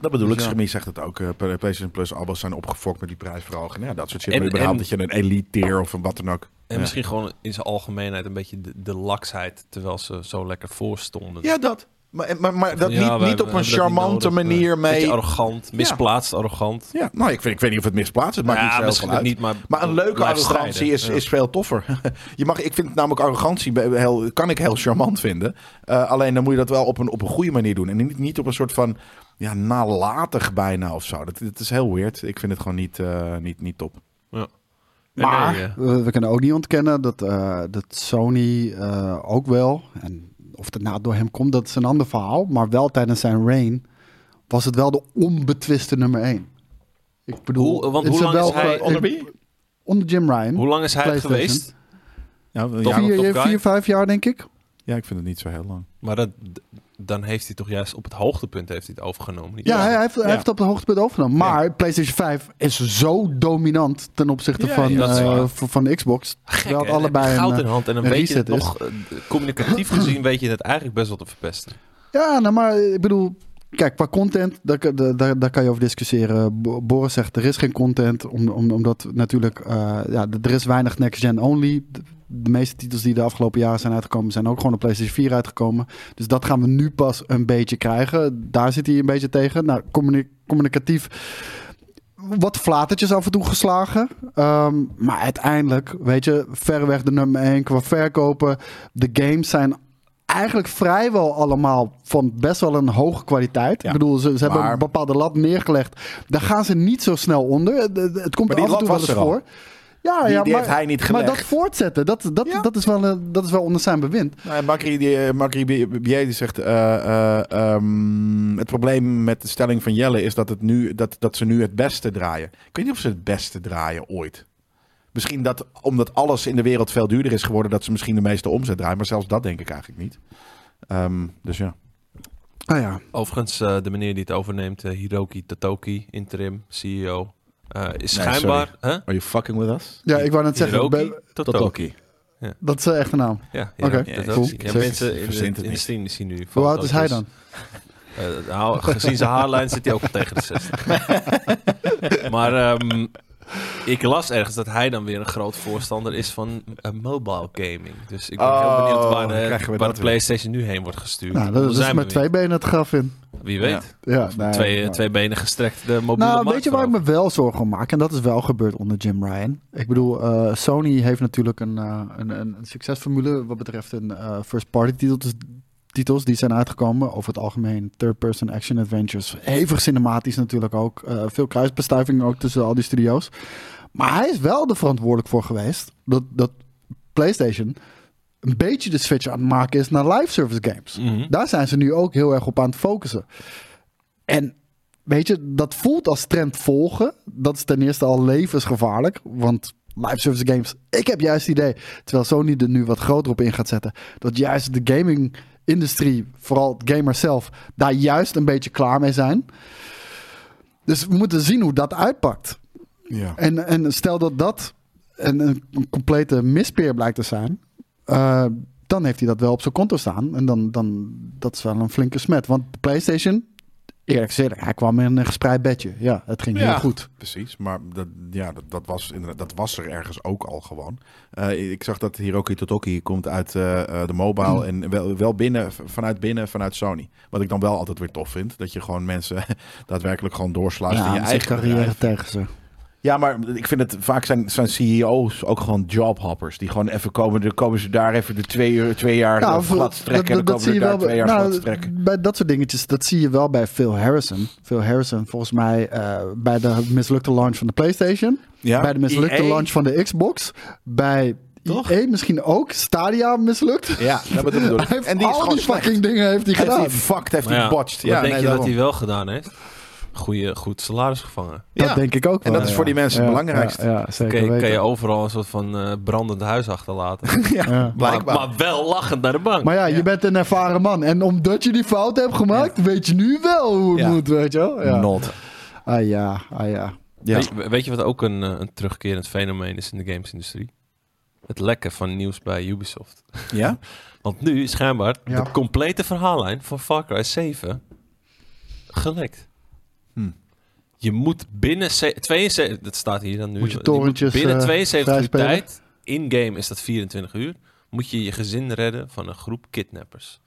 S2: Dat bedoel ik.
S3: Ja.
S2: Schemie zegt het ook. eh, PlayStation Plus, abos zijn opgefokt met die prijsverhoging. Ja, dat soort shit.
S1: En-
S2: maar überhaupt
S1: en-
S2: dat je een Elite Tier of een wat dan ook.
S1: En misschien gewoon in zijn algemeenheid een beetje de, de laksheid. Terwijl ze zo lekker voor stonden.
S2: Ja, dat. Maar, maar, maar dat
S1: Ja, wij
S2: niet, niet
S1: hebben-
S2: op
S1: hebben dat
S2: een
S1: niet
S2: charmante
S1: nodig. eh,
S2: manier
S1: Beetje
S2: mee.
S1: arrogant, misplaatst arrogant.
S2: Ja, nou, ik, vind, ik weet niet of het misplaatst is, maar
S1: Ja,
S2: niet zo heel
S1: misschien
S2: veel uit.
S1: niet, maar
S2: Maar een leuke
S1: blijft
S2: arrogantie
S1: strijden.
S2: is,
S1: Ja.
S2: is veel toffer. je mag, ik vind namelijk arrogantie be- heel, kan ik heel charmant vinden. Eh, alleen dan moet je dat wel op een, op een goede manier doen. En niet, niet op een soort van ja, nalatig bijna of zo. Dat, dat is heel weird. Ik vind het gewoon niet, eh, niet, niet top.
S1: Nee,
S3: Maar
S1: nee, eh, ja.
S3: we, we kunnen ook niet ontkennen dat, eh, dat Sony eh, ook wel, en of het nou door hem komt, dat is een ander verhaal. Maar wel tijdens zijn reign was het wel de onbetwiste nummer één. Ik bedoel,
S1: Hoe- want
S3: in
S1: hoe lang
S3: zowel
S1: is hij-
S3: qua-
S2: Onder
S3: in-
S2: wie?
S3: Onder Jim Ryan.
S1: Hoe lang is hij het
S3: PlayStation.
S1: geweest?
S2: Ja,
S1: Top.
S2: ja,
S1: Top
S3: vier,
S1: Guy?
S3: vier, vijf jaar denk ik.
S2: ja, ik vind het niet zo heel lang.
S1: Maar dat, dan heeft hij toch juist op het hoogtepunt heeft hij het overgenomen. Niet
S3: Ja,
S1: waar?
S3: hij, hij heeft, hij
S2: Ja.
S3: heeft het op het hoogtepunt overgenomen. Maar PlayStation 5 is zo dominant ten opzichte
S2: Ja,
S3: van,
S1: dat is
S3: eh,
S1: waar.
S3: van, van Xbox.
S1: Gek,
S3: terwijl
S1: hè?
S3: het allebei
S1: Heb je
S3: een,
S1: goud
S3: eh,
S1: in hand en dan
S3: een
S1: weet je het
S3: reset
S1: nog eh, communicatief gezien weet je het eigenlijk best wel te verpesten.
S3: Ja, nou maar ik bedoel, kijk, qua content, daar, kan- daar- daar, daar kan je over discussiëren. Bo- Boris zegt, er is geen content, om, om, omdat natuurlijk, eh, ja, d- er is weinig next-gen only. De, de meeste titels die de afgelopen jaren zijn uitgekomen, zijn ook gewoon op PlayStation 4 uitgekomen. Dus dat gaan we nu pas een beetje krijgen. Daar zit hij een beetje tegen. Nou, communi- communicatief wat flatertjes af en toe geslagen. Ehm, maar uiteindelijk, weet je, verreweg de nummer 1 qua verkopen. De games zijn eigenlijk vrijwel allemaal van best wel een hoge kwaliteit.
S2: Ja,
S3: ik bedoel, ze, ze hebben
S2: maar-
S3: een bepaalde lat neergelegd. Daar gaan ze niet zo snel onder. Het- Het, het komt
S2: Maar die
S3: af en
S2: lat
S3: toe wel
S2: was
S3: eens
S2: er al.
S3: voor. Ja,
S2: Die-
S3: ja,
S2: die
S3: maar,
S2: heeft hij niet
S3: maar dat
S2: gelegd.
S3: voortzetten, dat, dat,
S2: Ja.
S3: dat, is wel, een- dat is wel onder zijn bewind.
S2: Nou, en Bakri, die, eh, Bakri B- B- B- die zegt... eh, eh, ehm, het probleem met de stelling van Jelle is dat, het nu, dat, dat ze nu het beste draaien. Ik weet niet of ze het beste draaien ooit. Misschien dat omdat alles in de wereld veel duurder is geworden... dat ze misschien de meeste omzet draaien. Maar zelfs dat denk ik eigenlijk niet. Ehm, dus ja.
S3: Ah ja,
S1: Overigens, eh, de meneer die het overneemt, eh, Hiroki Tatoki, interim CEO, eh, is
S2: Nee,
S1: schijnbaar... Hè?
S2: Are you fucking with us?
S3: ja ik wou net zeggen,
S1: Hiroki
S3: be-
S1: Tatoki.
S3: dat is echt echte naam.
S1: Ja,
S3: Oké,
S1: Hiroki Tatoki.
S3: cool.
S1: Ja,
S3: Zeg,
S1: mensen in de
S2: verzint het
S1: industrie die zien nu
S3: Hoe oud is hij
S1: foto's. Eh,
S3: dan?
S1: nou, gezien zijn haarlijn zit hij ook al tegen de 60. maar ehm, ik las ergens dat hij dan weer een groot voorstander is van eh, mobile gaming. Dus ik ben heel
S2: Oh,
S1: benieuwd waar
S2: dan krijgen
S1: de, waar
S2: we dat
S1: de
S2: weer.
S1: PlayStation nu heen wordt gestuurd.
S3: Nou,
S1: Daar
S3: dat, dat is
S1: zijn we
S3: met
S1: weer.
S3: twee benen het graf in.
S1: Wie weet.
S3: Ja, nee,
S1: twee, eh,
S3: maar-
S1: twee benen gestrekt de mobiele
S3: Nou,
S1: markt
S3: weet je waar ik
S1: over.
S3: me wel zorgen om maak? En dat is wel gebeurd onder Jim Ryan. Ik bedoel, eh, Sony heeft natuurlijk een, eh, een, een, een succesformule wat betreft een eh, first-party titel. Dus titels die zijn uitgekomen. Over het algemeen third-person action adventures. Hevig cinematisch natuurlijk ook. Eh, veel kruisbestuiving ook tussen al die studio's. Maar hij is wel er verantwoordelijk voor geweest dat, dat PlayStation een beetje de switch aan het maken is naar live service games.
S1: Mhm.
S3: Daar zijn ze nu ook heel erg op aan het focussen. En weet je, dat voelt als trend volgen. Dat is ten eerste al levensgevaarlijk. Want live service games, ik heb juist het idee, terwijl Sony er nu wat groter op in gaat zetten, dat juist de gaming industrie, vooral het gamers zelf, daar juist een beetje klaar mee zijn. Dus we moeten zien hoe dat uitpakt.
S2: Ja.
S3: En, en stel dat dat een, een complete mispeer blijkt te zijn, eh, dan heeft hij dat wel op zijn konto staan. En dan, dan dat is wel een flinke smet. Want de PlayStation, eerlijk gezegd, hij kwam in een gespreid bedje. Ja, het ging heel
S2: Ja.
S3: goed.
S2: Precies, maar dat, ja, dat, dat, was, inderdaad- dat was er ergens ook al gewoon. Eh, ik zag dat Hiroki Totoki komt uit eh, eh, de mobile
S3: Mm.
S2: en wel, wel binnen, v- vanuit binnen, vanuit Sony. Wat ik dan wel altijd weer tof vind, dat je gewoon mensen daadwerkelijk gewoon doorsluist in je
S3: met
S2: eigen
S3: zijn carrière
S2: bedrijf.
S3: tegen ze.
S2: Ja, maar ik vind het vaak zijn, zijn CEO's ook gewoon jobhoppers. Die gewoon even komen, dan komen ze daar even de twee, uur, twee jaar
S3: Nou,
S2: ja,
S3: voor-
S2: glad trekken. Dan
S3: dat- dat
S2: komen
S3: zie
S2: ze
S3: je
S2: daar
S3: wel bij-
S2: twee jaar
S3: nou,
S2: glad trekken.
S3: Bij dat soort dingetjes, dat zie je wel bij Phil Harrison. Phil Harrison, volgens mij, eh, bij de mislukte launch van de PlayStation.
S2: Ja,
S3: bij de mislukte
S2: EA.
S3: launch van de Xbox. Bij
S2: E Toch?
S3: EA misschien ook. Stadia mislukt.
S2: Ja, dat bedoel ik.
S3: Hij heeft
S2: En die is
S3: al
S2: gewoon
S3: die
S2: slecht.
S3: fucking dingen heeft hij
S2: Heeft
S3: gedaan.
S2: hij fucked, heeft
S1: Maar
S2: hij
S1: ja,
S2: botched.
S1: Wat denk
S2: nee,
S1: je dat
S2: daarom.
S1: hij wel gedaan heeft? Goeie, goed salaris gevangen.
S3: Dat
S2: Ja.
S3: denk ik ook
S2: En
S3: wel,
S2: dat is
S3: ja.
S2: voor die mensen het
S3: Ja,
S2: belangrijkste.
S3: Ja, ja, zeker
S1: Kan je, kan
S3: weten.
S1: je overal een soort van eh, brandend huis achterlaten.
S3: Ja.
S1: maar,
S2: Blijkbaar.
S1: maar wel lachend naar de bank.
S3: Maar ja, je bent een ervaren man. En omdat je die fout hebt gemaakt, weet je nu wel hoe het
S2: Ja.
S3: moet, weet je wel? Ja.
S2: Not.
S3: Ah ja, ah ja.
S2: Ja.
S1: Weet, weet je wat ook een, eh, een terugkerend fenomeen is in de gamesindustrie? Het lekken van nieuws bij Ubisoft.
S2: ja?
S1: Want nu is schijnbaar
S3: Ja.
S1: de complete verhaallijn van Far Cry 7 gelekt.
S2: Hm.
S1: Je moet binnen ze- 72 dat staat hier dan nu.
S3: Moet je torrentjes,
S1: binnen
S3: eh,
S1: 72 uur
S3: vrijspelen?
S1: tijd, in game is dat 24 uur, moet je je gezin redden van een groep kidnappers.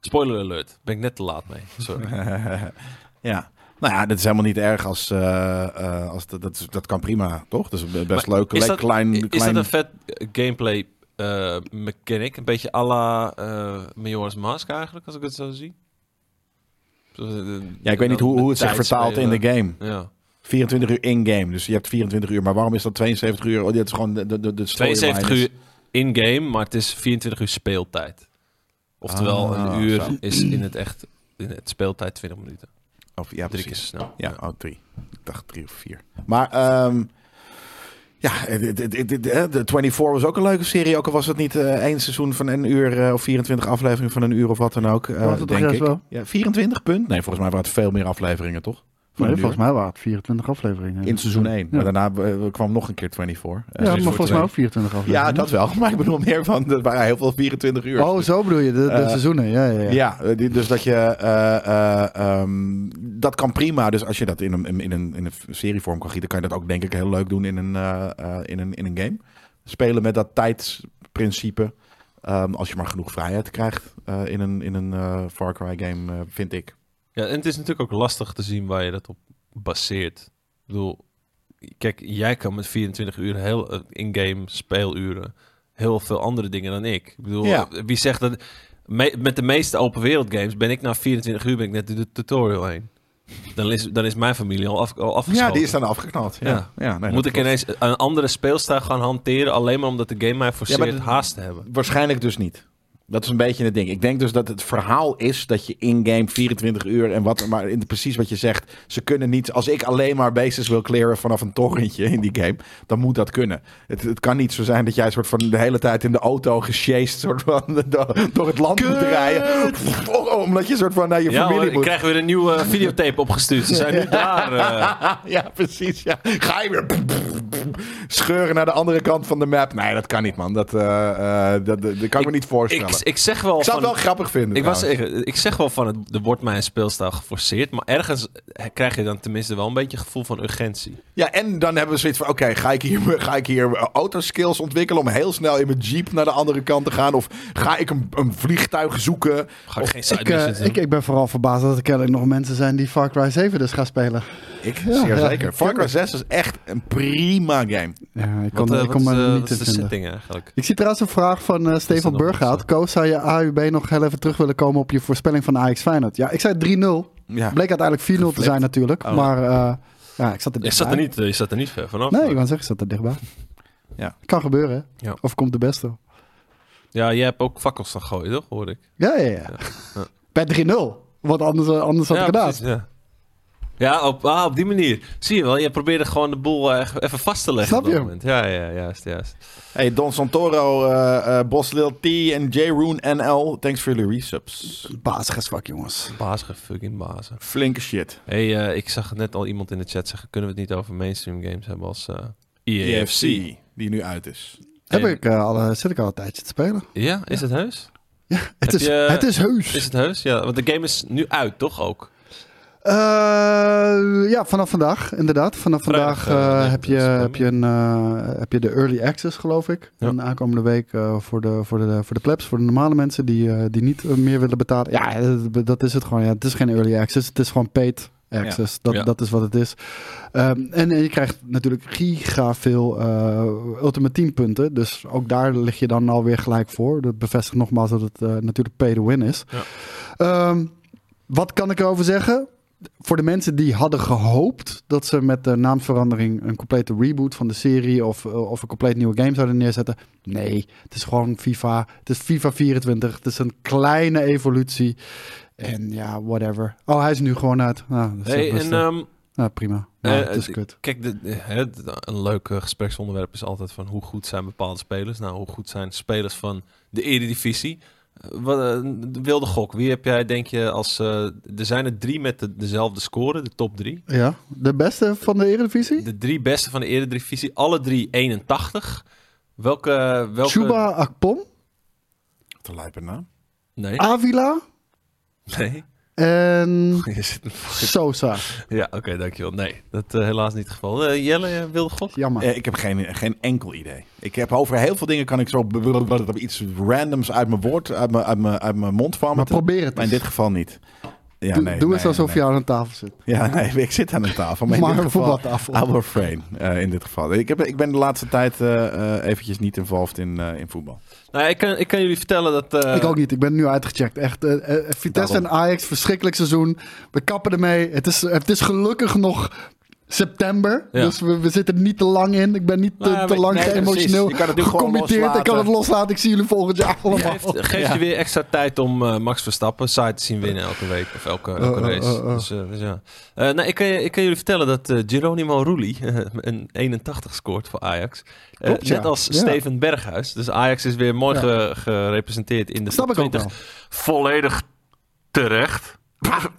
S1: Spoiler alert. Ben ik net te laat mee. Sorry.
S2: ja. Nou ja, dat is helemaal niet erg als, eh, eh, als dat, dat, is- dat kan prima, toch? Dat is best leuk.
S1: is
S2: Le-
S1: dat-
S2: klein,
S1: I- Is
S2: klein...
S1: dat een vet eh, gameplay eh, mechanic? Een beetje à la eh, Majora's Mask eigenlijk, als ik het zo zie. eh,
S2: Ja, ik weet niet hoe, hoe het zich vertaalt in de game.
S1: Ja.
S2: 24 uur in-game, dus je hebt 24 uur. Maar waarom is dat 72 uur? Oh, dit is gewoon de, de, de de storyline
S1: 72
S2: is-
S1: uur in-game, maar het is 24 uur speeltijd. Oftewel,
S2: Ah,
S1: een uur
S2: zo.
S1: is in het echt in het speeltijd 20 minuten.
S2: Of,
S1: Drie
S2: ja, precies.
S1: keer zo snel.
S2: Ja, oh, drie. Ik dacht drie of vier. Maar ehm, ja, het- het- het- het- hè, de 24 was ook een leuke serie. Ook al was het niet eh, één seizoen van een uur eh, of 24 afleveringen van een uur of wat dan ook. eh,
S3: Was het toch
S2: denk
S3: juist
S2: ik.
S3: wel?
S2: Ja, 24 punt. Nee, volgens mij waren het veel meer afleveringen, toch? Van
S3: Nee,
S2: een uur.
S3: volgens mij waren het 24 afleveringen.
S2: In seizoen 1.
S3: Ja,
S2: Maar daarna eh, kwam nog een keer 24. Eh,
S3: Ja,
S2: dus
S3: maar
S2: voor
S3: volgens mij
S2: twee-
S3: ook 24 afleveringen.
S2: Ja, dat wel. Maar ik bedoel meer van, er waren heel veel 24 uur.
S3: Oh, zo bedoel je, de, de
S2: Eh,
S3: seizoenen. Ja, ja, ja.
S2: Ja, eh, die- dus dat je. eh, eh, ehm, dat kan prima. Dus als je dat in een, in, een, in een serievorm kan gieten, kan je dat ook denk ik heel leuk doen in een, eh, eh, in een, in een game. Spelen met dat tijdsprincipe. Ehm, als je maar genoeg vrijheid krijgt eh, in een, in een eh, Far Cry game, eh, vind ik.
S1: Ja, en het is natuurlijk ook lastig te zien waar je dat op baseert. Ik bedoel, kijk, jij kan met 24 uur heel eh, in-game speeluren heel veel andere dingen dan ik. Ik bedoel,
S2: Ja.
S1: eh, wie zegt dat me- met de meeste open wereld games ben ik na 24 uur ben ik net door de tutorial heen. Dan is, dan is mijn familie al, af, al afgeschoten.
S2: Ja, die is dan afgeknald. Ja.
S1: Ja.
S2: Ja. nee,
S1: Moet
S2: dat
S1: ik
S2: klopt.
S1: ineens een andere speelstijl gaan hanteren alleen maar omdat de game mij forceert
S2: dat-
S1: haast te hebben?
S2: Waarschijnlijk dus niet. Dat is een beetje het ding. Ik denk dus dat het verhaal is dat je in-game 24 uur en wat, maar in, precies wat je zegt. Ze kunnen niet, als ik alleen maar bases wil clearen vanaf een torrentje in die game, dan moet dat kunnen. Het, het kan niet zo zijn dat jij soort van de hele tijd in de auto gesjeest, soort van door, door het land moet rijden. Oh, omdat je soort van naar je
S1: Ja, hoor,
S2: familie
S1: ik
S2: moet.
S1: krijg weer een nieuwe eh, videotape opgestuurd. Ze zijn nu daar. eh.
S2: ja, precies. Ja. Ga je weer scheuren naar de andere kant van de map? Nee, dat kan niet, man. Dat, eh, eh, dat, dat, dat kan ik, me niet voorstellen.
S1: ik,
S2: Ik,
S1: ik zeg wel.
S2: zou
S1: van-
S2: het wel grappig vinden.
S1: Ik, was,
S3: nou.
S2: trouwens.
S1: ik, ik zeg wel van, het, er wordt mijn speelstijl geforceerd. Maar ergens krijg je dan tenminste wel een beetje gevoel van urgentie.
S2: Ja, en dan hebben we zoiets van: oké, ga ik hier, ga ik hier autoskills ontwikkelen om heel snel in mijn jeep naar de andere kant te gaan? Of ga ik een, een vliegtuig zoeken?
S1: Ga ik geen side
S3: Ik, eh,
S1: missions doen.
S3: ik, ik ben vooral verbaasd dat er kennelijk nog mensen zijn die Far Cry 7 dus gaan spelen.
S2: Ik,
S3: Ja,
S2: zeer
S3: ja.
S2: zeker. Far Cry 6 is echt een prima game.
S3: Ja,
S1: Wat,
S3: ik kon,
S1: eh,
S3: ik
S1: wat
S3: kon me
S1: is, eh,
S3: er niet
S1: wat is de
S3: in vinden.
S1: setting eigenlijk?
S3: Ik zie trouwens een vraag van eh, Stefan
S1: nog
S3: Burghout.
S1: mensen?
S3: Koos, zou je AUB nog heel even terug willen komen op je voorspelling van Ajax Feyenoord? Ja, ik zei 3-0.
S2: Ja.
S3: Bleek uiteindelijk 4-0 te
S2: Geflipt.
S3: zijn natuurlijk.
S2: Oh.
S3: Maar eh, ja, ik zat er
S1: Je
S3: dichtbij.
S1: zat er niet, eh, je zat er niet ver vanaf.
S3: Nee, ik wou zeggen, ik zat er dichtbij.
S2: Ja.
S3: Kan gebeuren, hè?
S1: Ja.
S3: Of komt de beste.
S1: Ja, jij hebt ook fakkels gaan gooien, toch? Hoor ik.
S3: Ja, ja, ja.
S1: Ja.
S3: Bij 3-0. Want anders, eh, anders had
S1: ja,
S3: ik gedaan.
S1: precies, ja. Ja, op, ah, op die manier. Zie je wel, je probeerde gewoon de boel eh, even vast te leggen
S3: Snap
S1: op dat
S3: je?
S1: moment. Ja, ja, juist, juist.
S2: Hey, Don Santoro, eh eh Bos Lil T en J-Roon NL. Thanks voor jullie resubs.
S3: Basisgesvak, jongens.
S1: Bazige fucking bazen.
S2: Flinke shit.
S1: hey, eh, ik zag net al iemand in de chat zeggen, kunnen we het niet over mainstream games hebben als eh
S2: EFC,
S1: EAFC?
S2: E die nu uit is.
S3: Heb
S1: En-
S3: ik, eh, al, eh, zit ik al een tijdje te spelen.
S1: Ja, is het heus?
S3: Het,
S1: Heb
S3: is,
S1: je-
S3: het is heus.
S1: Is het heus? Ja, want de game is nu uit, toch ook?
S3: Eh, ja, vanaf vandaag, inderdaad. Vanaf
S1: Vrijdag,
S3: vandaag eh,
S1: eh, nee,
S3: heb,
S1: dat
S3: je,
S1: is prima.
S3: heb, je een, eh, heb je de early access, geloof ik.
S1: Ja.
S3: En aankomende week eh, voor, de, voor, de, voor de plebs, voor de normale mensen die, eh, die niet eh, meer willen betalen. Ja, dat- dat is het gewoon. Ja, het is geen early access, het is gewoon paid access. Dat,
S1: Ja.
S3: dat is wat het is. Ehm, en, eh, je krijgt natuurlijk giga veel eh, Ultimate Team punten. Dus ook daar lig je dan alweer gelijk voor. Dat bevestigt nogmaals dat het eh, natuurlijk pay to win is.
S1: Ja.
S3: Ehm, wat kan ik erover zeggen? Voor de mensen die hadden gehoopt dat ze met de naamverandering een complete reboot van de serie of, eh, of een compleet nieuwe game zouden neerzetten. Nee, het is gewoon FIFA. Het is FIFA 24. Het is een kleine evolutie. En ja, whatever. Oh, hij is nu gewoon uit. Nou, dat is
S1: Hey,
S3: het
S1: en,
S3: beste.
S1: ehm,
S3: nou prima. Nou,
S1: eh,
S3: het is
S1: eh,
S3: kut.
S1: kijk, de, de- hè, de- een leuk eh, gespreksonderwerp is altijd van hoe goed zijn bepaalde spelers. Nou, hoe goed zijn spelers van de Eredivisie? Eh, Wat, eh, een wilde gok. Wie heb jij, denk je, als... eh, er zijn er drie met de- dezelfde score, de top drie.
S3: Ja, de beste van de Eredivisie?
S1: De drie beste van de Eredivisie, alle drie 81. Welke... welke...
S3: Chuba Akpom,
S2: nou. Te lijpe naam.
S1: Nee,
S3: Avila,
S1: nee.
S3: En
S1: Je zit-
S3: Sosa.
S1: ja, oké, dankjewel. Nee, dat eh, helaas niet het geval. Eh, Jelle, eh, wilde god?
S3: Jammer.
S2: Eh, ik heb geen, geen enkel idee. Ik heb over heel veel dingen kan ik zo blablabla iets randoms uit mijn woord, uit mijn, uit mijn, uit mijn mond van.
S3: maar probeer het
S2: maar in
S3: eens.
S2: dit geval niet. Ja,
S3: Doe-
S2: nee,
S3: Doe
S2: nee,
S3: eens alsof
S2: nee.
S3: je aan een tafel zit.
S2: Ja, nee, ik zit aan de tafel. Maar, in
S3: Maar
S2: dit
S3: een
S2: geval,
S3: voetbaltafel.
S2: our frame eh, in dit geval. Ik, heb, ik ben de laatste tijd eh, eh, eventjes niet involved in, eh, in voetbal.
S1: Nou, ja, ik kan, ik kan jullie vertellen dat... eh,
S3: ik ook niet. Ik ben nu uitgecheckt. Echt. eh, eh, Vitesse
S2: Daarom.
S3: en Ajax, verschrikkelijk seizoen. We kappen ermee. Het is, het is gelukkig nog september.
S1: Ja.
S3: Dus we, we zitten er niet te lang in. Ik ben niet te,
S1: Nou ja,
S3: te
S1: we-
S3: lang
S1: nee, precies.
S3: emotioneel
S2: Je kan het nu gewoon
S3: gecommitteerd. Ik kan het
S2: loslaten.
S3: loslaten. Ik zie jullie volgend jaar allemaal.
S1: Geeft, geeft je weer extra tijd om eh, Max Verstappen saai te zien winnen elke week of elke, elke
S3: eh,
S1: race.
S3: eh, eh.
S1: Dus, eh, dus ja. Eh, nou, ik, kan, je- ik kan jullie vertellen dat eh Geronimo Rulli eh, een 81 scoort voor Ajax. Eh,
S3: Klopt,
S1: net
S3: ja.
S1: als
S3: Ja.
S1: Steven Berghuis. Dus Ajax is weer mooi
S3: Ja.
S1: ge- gerepresenteerd in de
S3: Snap ik ook
S1: 20. Volledig terecht.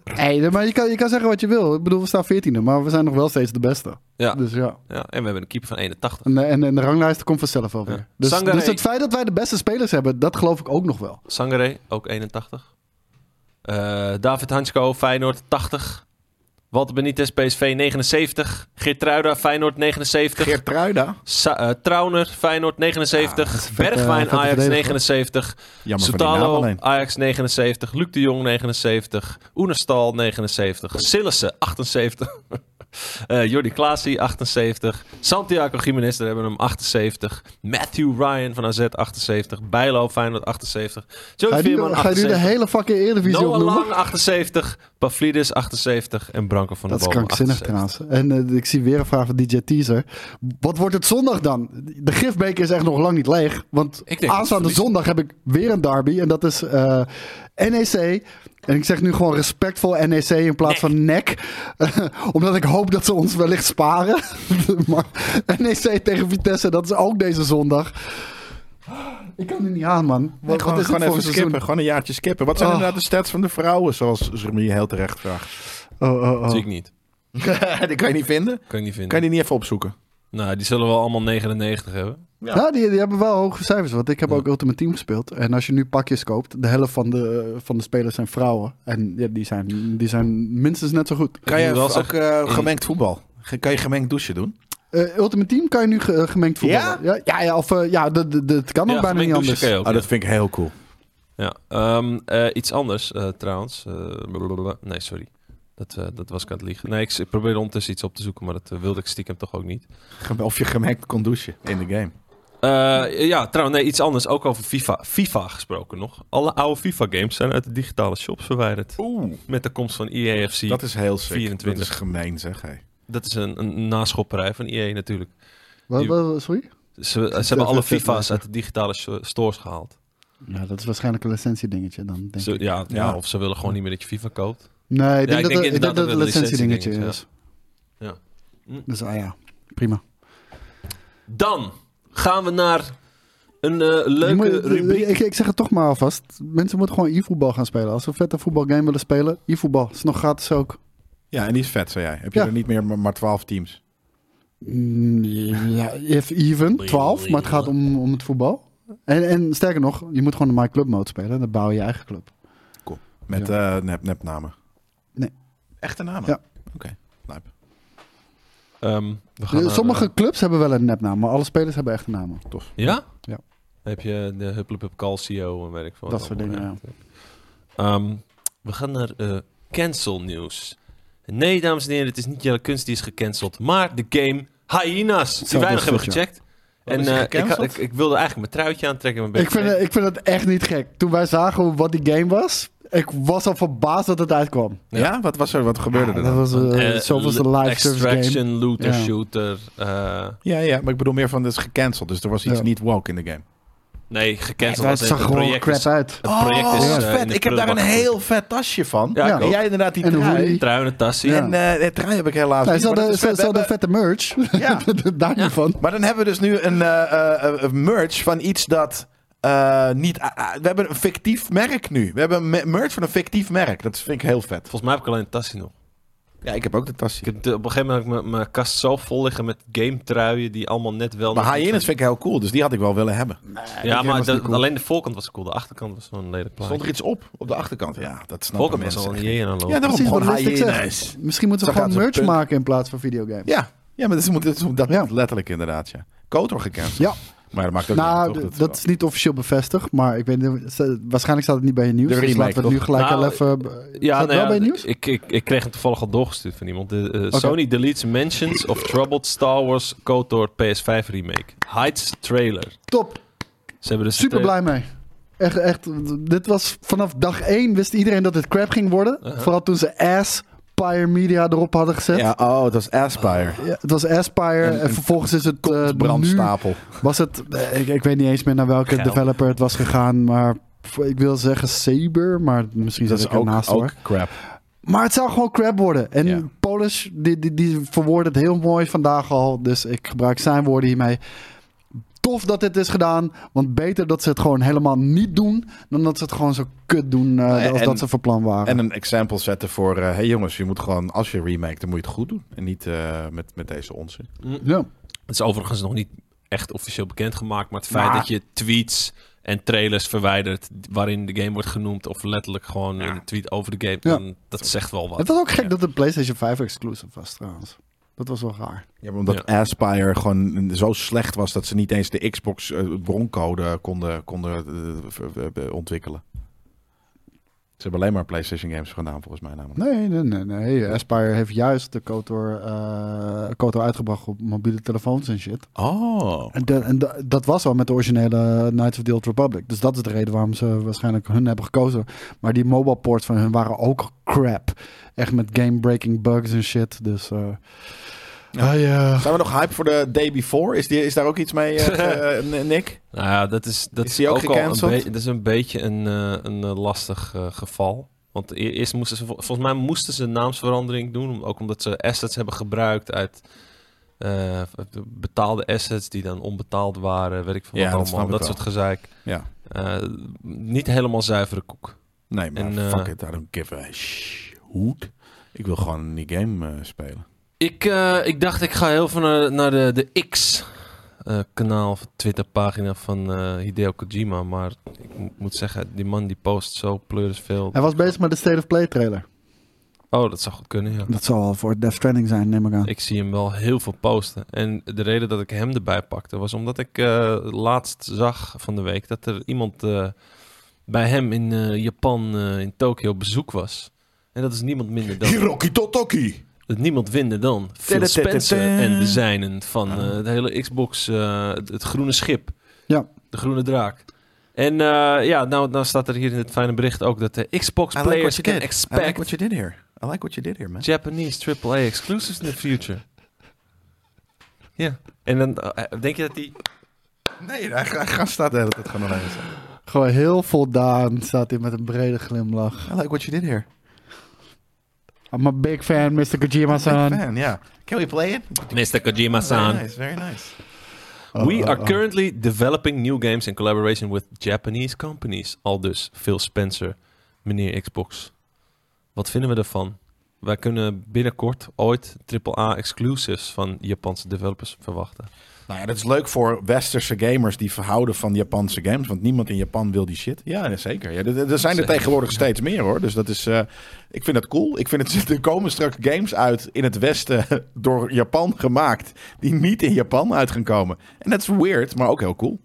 S3: Hey, maar je kan, je kan zeggen wat je wil. Ik bedoel, we staan 14e, maar we zijn nog wel steeds de beste.
S1: Ja.
S3: Dus ja.
S1: Ja, en we hebben een keeper van 81.
S3: En, eh, en, en de ranglijst komt vanzelf wel weer.
S1: Ja.
S3: Dus,
S1: Sangare-
S3: dus het feit dat wij de beste spelers hebben, dat geloof ik ook nog wel.
S1: Sangare, ook 81. Eh, David Hansko, Feyenoord, 80. Walter Benitez, PSV, 79. Geertruida, Feyenoord, 79.
S2: Geertruida.
S1: Sa eh, Trauner, Feyenoord 79. Bergwijn,
S3: vette
S1: Ajax
S3: verdediger.
S1: 79.
S2: Jammer voor die naam
S1: Sotalo,
S2: alleen.
S1: Ajax 79. Luc de Jong 79. Oenerstal 79. Sillissen 78. Eh Jordi Klaasie 78. Santiago Jiménez, daar hebben we hem 78. Matthew Ryan van AZ 78. Bijlo Feyenoord 78.
S3: Ga
S1: Joey
S3: je nu,
S1: Veerman
S3: ga je nu de
S1: 78.
S3: hele fucking Eredivisie
S1: Noah
S3: opnoemen?
S1: Lang 78. Pavlidis 78. En Branko van der
S3: Dat is
S1: Boom
S3: krankzinnig
S1: 78.
S3: trouwens. En eh, ik zie weer een vraag van DJ Teaser. Wat wordt het zondag dan? De gifbeker is echt nog lang niet leeg. Want
S1: denk dat we
S3: aanstaande
S1: verliezen.
S3: zondag heb ik weer een derby. En dat is eh, NEC. En ik zeg nu gewoon respectvol NEC in plaats van NEC. Omdat ik hoop dat ze ons wellicht sparen. maar NEC tegen Vitesse, dat is ook deze zondag. Ik kan er niet aan, man. Wat,
S2: Nee, gewoon,
S3: wat
S2: gewoon
S3: is dit voor
S2: even
S3: een seizoen?
S2: skippen. Gewoon een jaartje skippen. Wat zijn
S3: Oh.
S2: inderdaad de stats van de vrouwen, zoals Remy heel terecht vraagt?
S3: Oh, oh, oh.
S1: Zie ik niet.
S2: die kan je niet vinden.
S1: Kan ik niet vinden.
S2: Kan je die niet even opzoeken?
S1: Nou, die zullen wel allemaal 99 hebben.
S2: Ja.
S3: Ja, die, die hebben wel hoge cijfers. Want ik heb ook Ultimate Team gespeeld. En als je nu pakjes koopt, de helft van de, van de spelers zijn vrouwen. En ja, die, zijn, die zijn minstens net zo goed.
S2: Kan je
S1: moet wel
S2: ook
S1: zeggen,
S2: eh,
S1: in-
S2: gemengd voetbal? Ge- Kan je gemengd douchen doen?
S3: Eh, Ultimate Team kan je nu ge- gemengd voetballen. Ja, ja, ja, of, eh, ja de, de, de- het kan ook bijna niet
S1: gemengd
S3: anders.
S1: douchen kan je ook,
S2: Ah,
S1: ja.
S2: dat vind ik heel cool.
S1: Ja, ehm, eh, iets anders eh, trouwens. Eh, blablabla. nee, sorry. Dat, eh, dat was ik aan het liegen. Nee, ik, ik probeerde ondertussen iets op te zoeken, maar dat eh, wilde ik stiekem toch ook niet.
S2: Gem- Of je gemengd kon douchen in de game.
S1: Eh, ja, trouwens, nee, iets anders. Ook over FIFA. FIFA gesproken nog. Alle oude FIFA-games zijn uit de digitale shops verwijderd.
S2: Oeh.
S1: Met de komst van E EAFC.
S2: Dat is heel sick.
S1: 24.
S2: Dat is gemeen, zeg. Hey.
S1: Dat is een, een naschopperij van EA natuurlijk.
S3: Wat- wat- sorry?
S1: Ze, ze hebben alle
S3: even
S1: FIFA's
S3: lezen.
S1: uit de digitale sh- stores gehaald.
S3: Ja, dat is waarschijnlijk een licentiedingetje dan, denk
S1: Ze-
S3: ik.
S1: ja, ja.
S2: Ja.
S1: of ze willen gewoon niet meer dat je FIFA koopt.
S3: Nee, ik denk
S1: ik
S3: dat,
S1: denk
S3: het- ik
S1: inderdaad
S3: denk dat
S1: dat
S3: het
S1: het
S3: een
S1: een
S3: licentiedingetje
S1: licentiedingetje Ja.
S3: is.
S1: Hm.
S3: Dus ah ja, prima.
S1: Dan gaan we naar een eh,
S3: Je
S1: leuke
S3: moet-
S1: rubriek.
S3: Ik, ik zeg het toch maar alvast. Mensen moeten gewoon e-voetbal gaan spelen. Als ze een vette voetbalgame willen spelen, e-voetbal is nog gratis ook.
S2: Ja, en die is vet, zei jij. Heb je
S3: Ja.
S2: er niet meer maar maar 12 teams?
S3: Mm, Ja, if even, 12, maar het gaat om, om het voetbal. En, en sterker nog, je moet gewoon de My Club mode spelen en dan bouw je je eigen club.
S2: Met eh, nep, nepnamen?
S3: Nee.
S2: Echte namen?
S3: Ja.
S2: Oké. Lijp.
S1: Ehm, we gaan naar,
S3: Sommige
S1: eh,
S3: clubs hebben wel een nepnaam, maar alle spelers hebben echte namen.
S1: ja?
S3: Ja.
S1: Dan heb je de Hupplepup Calcio en weet ik veel.
S3: Dat
S1: wat
S3: soort
S1: allemaal,
S3: dingen,
S1: Ehm, we gaan naar eh, cancel nieuws. Nee, dames en heren, het is niet Jelle Kunst die is gecanceld, maar de game Hyenas, die
S3: Zo,
S1: wij nog
S3: dat
S1: hebben
S3: is het,
S1: gecheckt. En
S2: is hij
S1: eh, ik, had-
S2: gecanceld?
S1: ik, ik wilde eigenlijk mijn truitje aantrekken. Mijn
S3: Ik
S1: bed-
S3: vind, het- ik vind het echt niet gek. Toen wij zagen hoe- wat die game was, ik was al verbaasd dat het uitkwam.
S1: Ja.
S2: Ja. Ah, wat was er? Wat gebeurde er
S3: dat
S2: dan?
S3: was eh,
S1: Eh,
S3: zoveelste live service game.
S1: Extraction, looter,
S3: Ja.
S1: shooter. eh,
S2: Ja, ja, maar ik bedoel meer van, het is gecanceld. Dus er was iets
S3: Ja.
S2: niet woke in de game.
S1: nee, gecanceld. als
S3: Het
S2: eh,
S1: in
S3: zag
S1: het
S3: gewoon
S1: project
S3: crap
S1: is-
S3: uit.
S1: Het project is
S2: oh, wat
S1: eh, in
S2: vet.
S1: de
S2: Ik heb daar een
S1: prullenbak
S2: heel vet tasje van.
S1: Ja, ik
S3: Ja.
S2: En jij inderdaad die
S3: En een
S2: trui.
S3: hoodie.
S1: Truinentassie.
S3: Ja.
S2: En eh de trui heb ik helaas
S3: Hij
S2: niet, maar dat
S3: zat
S2: is vet.
S3: ze hadden
S2: We
S3: vette merch.
S2: hebben- Ja.
S3: Daar niet van.
S2: Maar dan hebben we dus nu een eh, eh, eh, een merch van iets dat eh, niet... ah, ah, we hebben een fictief merk nu. We hebben een me- merch van een fictief merk. Dat vind ik heel vet.
S1: Volgens mij heb ik alleen een tassie nog.
S2: Ja, ik heb ook de tas.
S1: Ik heb de- op een gegeven moment had ik mijn- mijn kast zo vol liggen met game truien die allemaal net wel...
S2: Maar
S1: net niet
S2: high-end vind ik heel cool, dus die had ik wel willen hebben.
S1: gaan.
S3: die
S1: Ja,
S3: game
S1: maar
S3: was niet
S1: de-
S3: cool.
S1: alleen de voorkant was cool. De achterkant was zo'n lelijk plaatje.
S2: Stond er iets op, op de achterkant? Ja, dat
S1: de
S2: snap ik
S1: voorkant was al een hyena logo.
S2: Ja, daarom
S3: Precies
S2: gewoon
S3: wat Listic zegt.
S2: hyena's.
S3: Misschien moeten we
S2: Zo
S3: gewoon
S2: gaat het
S3: merch
S2: punt.
S3: maken in plaats van videogames.
S2: Ja, ja maar dat is, moet- dat is dat
S3: Ja.
S2: moet letterlijk inderdaad, ja. Kotor gecanceld.
S3: Ja.
S2: Maar dat maakt ook
S3: Nou,
S2: niet uit, toch?
S3: d- dat is niet officieel bevestigd, maar ik weet niet, ze- waarschijnlijk staat het niet bij je nieuws.
S2: De
S3: dus
S2: remake,
S3: laten we het nu
S2: toch?
S3: gelijk
S1: Nou,
S3: al even...
S1: Ja,
S3: staat het
S1: nou
S3: wel
S1: ja,
S3: bij je nieuws?
S1: Ik, ik, ik kreeg hem toevallig al doorgestuurd van iemand. De, eh, Sony deletes mentions of troubled Star Wars KOTOR PS5 remake. Hides trailer.
S3: Top,
S1: Ze hebben dus de
S3: super
S1: trailer-
S3: blij mee. Echt, echt, dit was vanaf dag één wist iedereen dat het crap ging worden.
S1: Uh-huh.
S3: Vooral toen ze Ass Pyre Media erop hadden gezet.
S2: Ja, oh, dat is Aspire.
S3: Ja, het was Aspire en, vervolgens is het eh, nu
S2: brandstapel.
S3: was het eh, ik, ik weet niet eens meer naar welke
S1: Geil.
S3: developer het was gegaan, maar f- ik wil zeggen Saber, maar misschien
S2: Dat
S3: zit
S2: is
S3: ik ernaast
S2: ook,
S3: naast hoor.
S2: ook crap.
S3: Maar het zou gewoon crap worden. En
S2: Ja.
S3: Polish, die, die, die verwoordt het heel mooi vandaag al. Dus ik gebruik zijn woorden hiermee. Tof dat dit is gedaan. Want beter dat ze het gewoon helemaal niet doen. Dan dat ze het gewoon zo kut doen eh,
S2: Nee,
S3: als
S2: en-
S3: dat ze van plan waren.
S2: En een example zetten voor, eh hey jongens, je moet gewoon, als je remake, dan moet je het goed doen. En niet eh, met, met deze onzin.
S3: ja.
S1: Het is overigens nog niet echt officieel bekendgemaakt, maar het feit
S2: Maar-
S1: dat je tweets en trailers verwijdert waarin de game wordt genoemd of letterlijk gewoon een tweet over de game,
S3: Ja.
S1: dan, dat zegt wel wat.
S3: Het was ook gek
S1: Ja.
S3: dat het PlayStation 5 exclusive was trouwens. Dat was wel raar.
S2: Ja, maar omdat Aspire gewoon zo slecht was dat ze niet eens de Xbox eh, broncode konden, konden eh, ver- ver- ver- ontwikkelen. Ze hebben alleen maar PlayStation games gedaan, volgens mij namelijk.
S3: Nee, nee, nee. nee. Aspire heeft juist de KOTOR, eh, KOTOR uitgebracht op mobiele telefoons en shit.
S2: Oh.
S3: En, de- en da- dat was al met de originele Knights of the Old Republic. Dus dat is de reden waarom ze waarschijnlijk hun hebben gekozen. Maar die mobile ports van hun waren ook crap. Echt met game-breaking bugs en shit. Dus eh
S2: Ja.
S3: hij, eh,
S2: Nou. Zijn we nog hype voor de day before? Is, die, is daar ook iets mee, eh, eh, Nick?
S1: Nou ja, dat is, dat
S2: Is
S1: is,
S2: die ook
S1: ook, al een,
S2: gecanceld?
S1: beetje- dat is een beetje een, eh, een eh, lastig eh, geval. Want e- eerst moesten ze, vol- volgens mij moesten ze een naamsverandering doen, om- ook omdat ze assets hebben gebruikt uit eh, betaalde assets die dan onbetaald waren, weet ik veel
S2: Ja,
S1: wat
S2: dat snap
S1: allemaal,
S2: ik
S1: dat
S2: wel.
S1: soort gezeik.
S2: Ja.
S1: Eh, niet helemaal zuivere koek.
S2: Nee, maar
S1: En, eh,
S2: fuck it, I don't give a sh- hoot. Ik wil gewoon die game eh, spelen.
S1: Ik, eh, ik dacht, ik ga heel even naar, naar de, de X-kanaal of Twitter-pagina van eh, Hideo Kojima. Maar ik mo- moet zeggen, die man die post zo pleuris veel.
S3: hij was bezig met de State of Play trailer.
S1: Oh, dat zou goed kunnen, ja.
S3: Dat zal al voor Death Stranding zijn, neem ik aan.
S1: Ik zie hem wel heel veel posten. En de reden dat ik hem erbij pakte was omdat ik eh, laatst zag van de week dat er iemand eh, bij hem in eh, Japan, eh, in Tokio, op bezoek was. En dat is niemand minder dan.
S2: Hiroki Totoki!
S1: Dat niemand winnen dan Phil Spencer en de zijnen van
S2: Ah.
S1: eh, het hele Xbox, eh, het, het groene schip.
S3: Ja.
S1: De groene draak. En eh, ja, nou, nou staat er hier in het fijne bericht ook dat de Xbox
S2: I like what
S1: players
S2: you
S1: can
S2: did. I like
S1: expect
S2: what you did here. I like what you did here, man.
S1: Japanese AAA exclusives in the future. Ja. En dan eh, denk je dat die...
S2: Nee, hij, hij gaat staat de hele tijd gewoon alleen. zo.
S3: Gewoon heel voldaan staat hij met een brede glimlach.
S2: I like what you did here.
S3: I'm a big fan, Mr. Kojima-san.
S2: fan, yeah. Can we play it?
S1: Mr.
S2: Very
S1: Kojima-san.
S2: nice, very nice.
S3: Oh,
S1: We are currently developing new games in collaboration with Japanese companies. Al dus Phil Spencer, meneer Xbox. Wat vinden we daarvan? Wij kunnen binnenkort ooit AAA exclusives van Japanse developers verwachten.
S2: Nou ja, dat is leuk voor westerse gamers die verhouden van Japanse games. Want niemand in Japan wil die shit. Ja, nee, zeker. Ja, er- er er zijn er
S1: Zeker.
S2: tegenwoordig steeds meer hoor. Dus dat is. eh, ik vind dat cool. Ik vind het. Er komen straks games uit in het Westen. door Japan gemaakt. die niet in Japan uit gaan komen. En dat is weird, maar ook heel cool.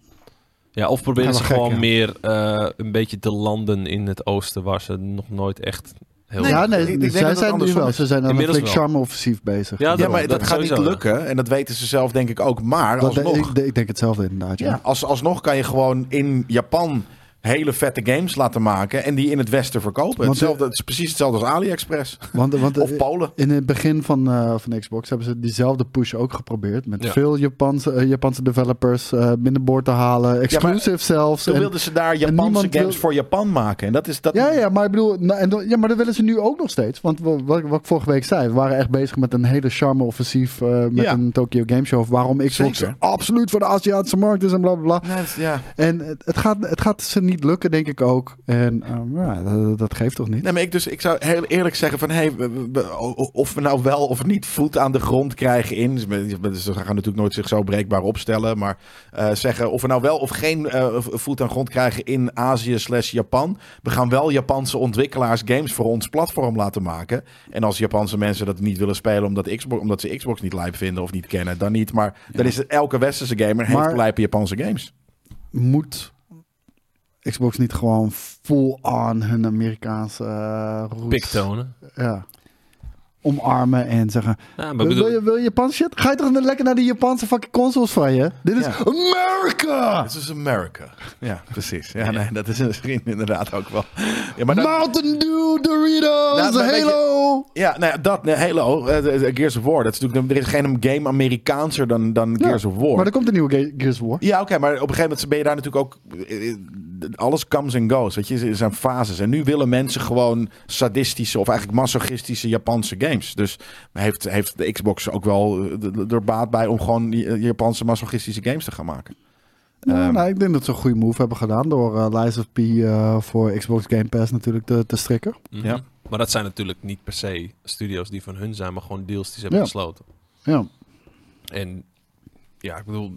S1: Ja, of proberen
S3: Ja,
S1: ze
S3: maar gek,
S1: gewoon
S3: ja.
S1: meer eh, een beetje te landen in het oosten waar ze nog nooit echt heel...
S3: ja, nee,
S2: ik- ik denk dat
S3: zij
S2: het
S3: zijn nu
S2: andersom
S3: wel.
S2: is.
S3: Ze zijn aan een
S1: Inmiddels
S3: flink
S1: wel.
S3: charme-offensief bezig.
S1: Ja,
S2: Ja,
S1: daarom,
S2: maar dat,
S1: dat
S2: gaat niet
S1: sowieso.
S2: lukken. En dat weten ze zelf, denk ik ook. Maar
S3: Dat-
S2: alsnog.
S3: ik, ik denk hetzelfde inderdaad. Ja.
S2: Ja. Als, alsnog kan je gewoon in Japan hele vette games laten maken en die in het Westen verkopen.
S3: Want-
S2: hetzelfde, het is precies hetzelfde als AliExpress
S3: Want, want,
S2: of Polen.
S3: In het begin van, eh, van Xbox hebben ze diezelfde push ook geprobeerd. Met
S1: Ja.
S3: veel Japanse, eh, Japanse developers eh binnenboord te halen. Exclusive zelfs.
S2: Toen
S3: En-
S2: wilden ze daar Japanse
S3: niemand
S2: games
S3: wil-
S2: voor Japan maken. En dat is dat.
S3: ja, ja, maar ik bedoel, nou, en, dan- ja, maar dat willen ze nu ook nog steeds. Want wa- wat, ik- wat ik vorige week zei, we waren echt bezig met een hele charme offensief eh, met
S2: Ja.
S3: een Tokyo Game Show. Waarom Xbox
S2: Zeker.
S3: absoluut voor de Aziatische markt is en bla bla bla.
S2: Nee, dat is- ja.
S3: En het, het gaat, het gaat ze niet niet lukken, denk ik ook. En ehm, ja, dat, dat geeft toch niet?
S2: Nee, maar ik, dus, ik zou heel eerlijk zeggen van... Hey, we- we- o- of we nou wel of niet voet aan de grond krijgen in... Dus ze gaan natuurlijk nooit zich zo breekbaar opstellen... maar eh, zeggen of we nou wel of geen eh, voet aan de grond krijgen in Azië slash Japan... we gaan wel Japanse ontwikkelaars games voor ons platform laten maken. En als Japanse mensen dat niet willen spelen... omdat, Xbox, omdat ze Xbox niet lijp vinden of niet kennen, dan niet. Maar dan is het elke westerse gamer heeft
S3: Maar-
S2: lijpe Japanse games.
S3: Moet Xbox niet gewoon full on hun Amerikaanse eh, roots
S1: Piktonen.
S3: ja, omarmen en zeggen...
S1: Ja, maar
S3: Wil,
S1: ik bedoel,
S3: je, wil je Japanse shit? Ga je toch lekker naar die Japanse fucking consoles van je? Dit is
S2: Ja.
S3: America!
S2: This is America. Ja, precies. Ja, nee, dat is misschien inderdaad ook wel... Ja, maar dat-
S3: Mountain Dew, Doritos,
S2: Nou, maar weet je-
S3: Halo!
S2: Ja, nou ja, dat, nee, Halo, eh, de- de Gears of War. Dat is natuurlijk, er is geen game Amerikaanser dan, dan
S3: Ja,
S2: Gears of War.
S3: Maar er komt een nieuwe Ge- Gears of War.
S2: Ja, oké, maar op een gegeven moment ben je daar natuurlijk ook... eh, eh, Alles comes and goes, weet je. Er zijn fases. En nu willen mensen gewoon sadistische of eigenlijk masochistische Japanse games. Dus heeft, heeft de Xbox ook wel eh, d- d- er baat bij om gewoon die, eh, Japanse masochistische games te gaan maken.
S3: Nou,
S2: Ehm.
S3: nou, ik denk dat ze een goede move hebben gedaan door eh Lies of P eh, voor Xbox Game Pass natuurlijk te, te strikken.
S1: mhm.
S2: ja.
S1: Maar dat zijn natuurlijk niet per se studio's die van hun zijn, maar gewoon deals die ze hebben
S3: Ja.
S1: gesloten.
S3: Ja.
S1: En ja, ik bedoel,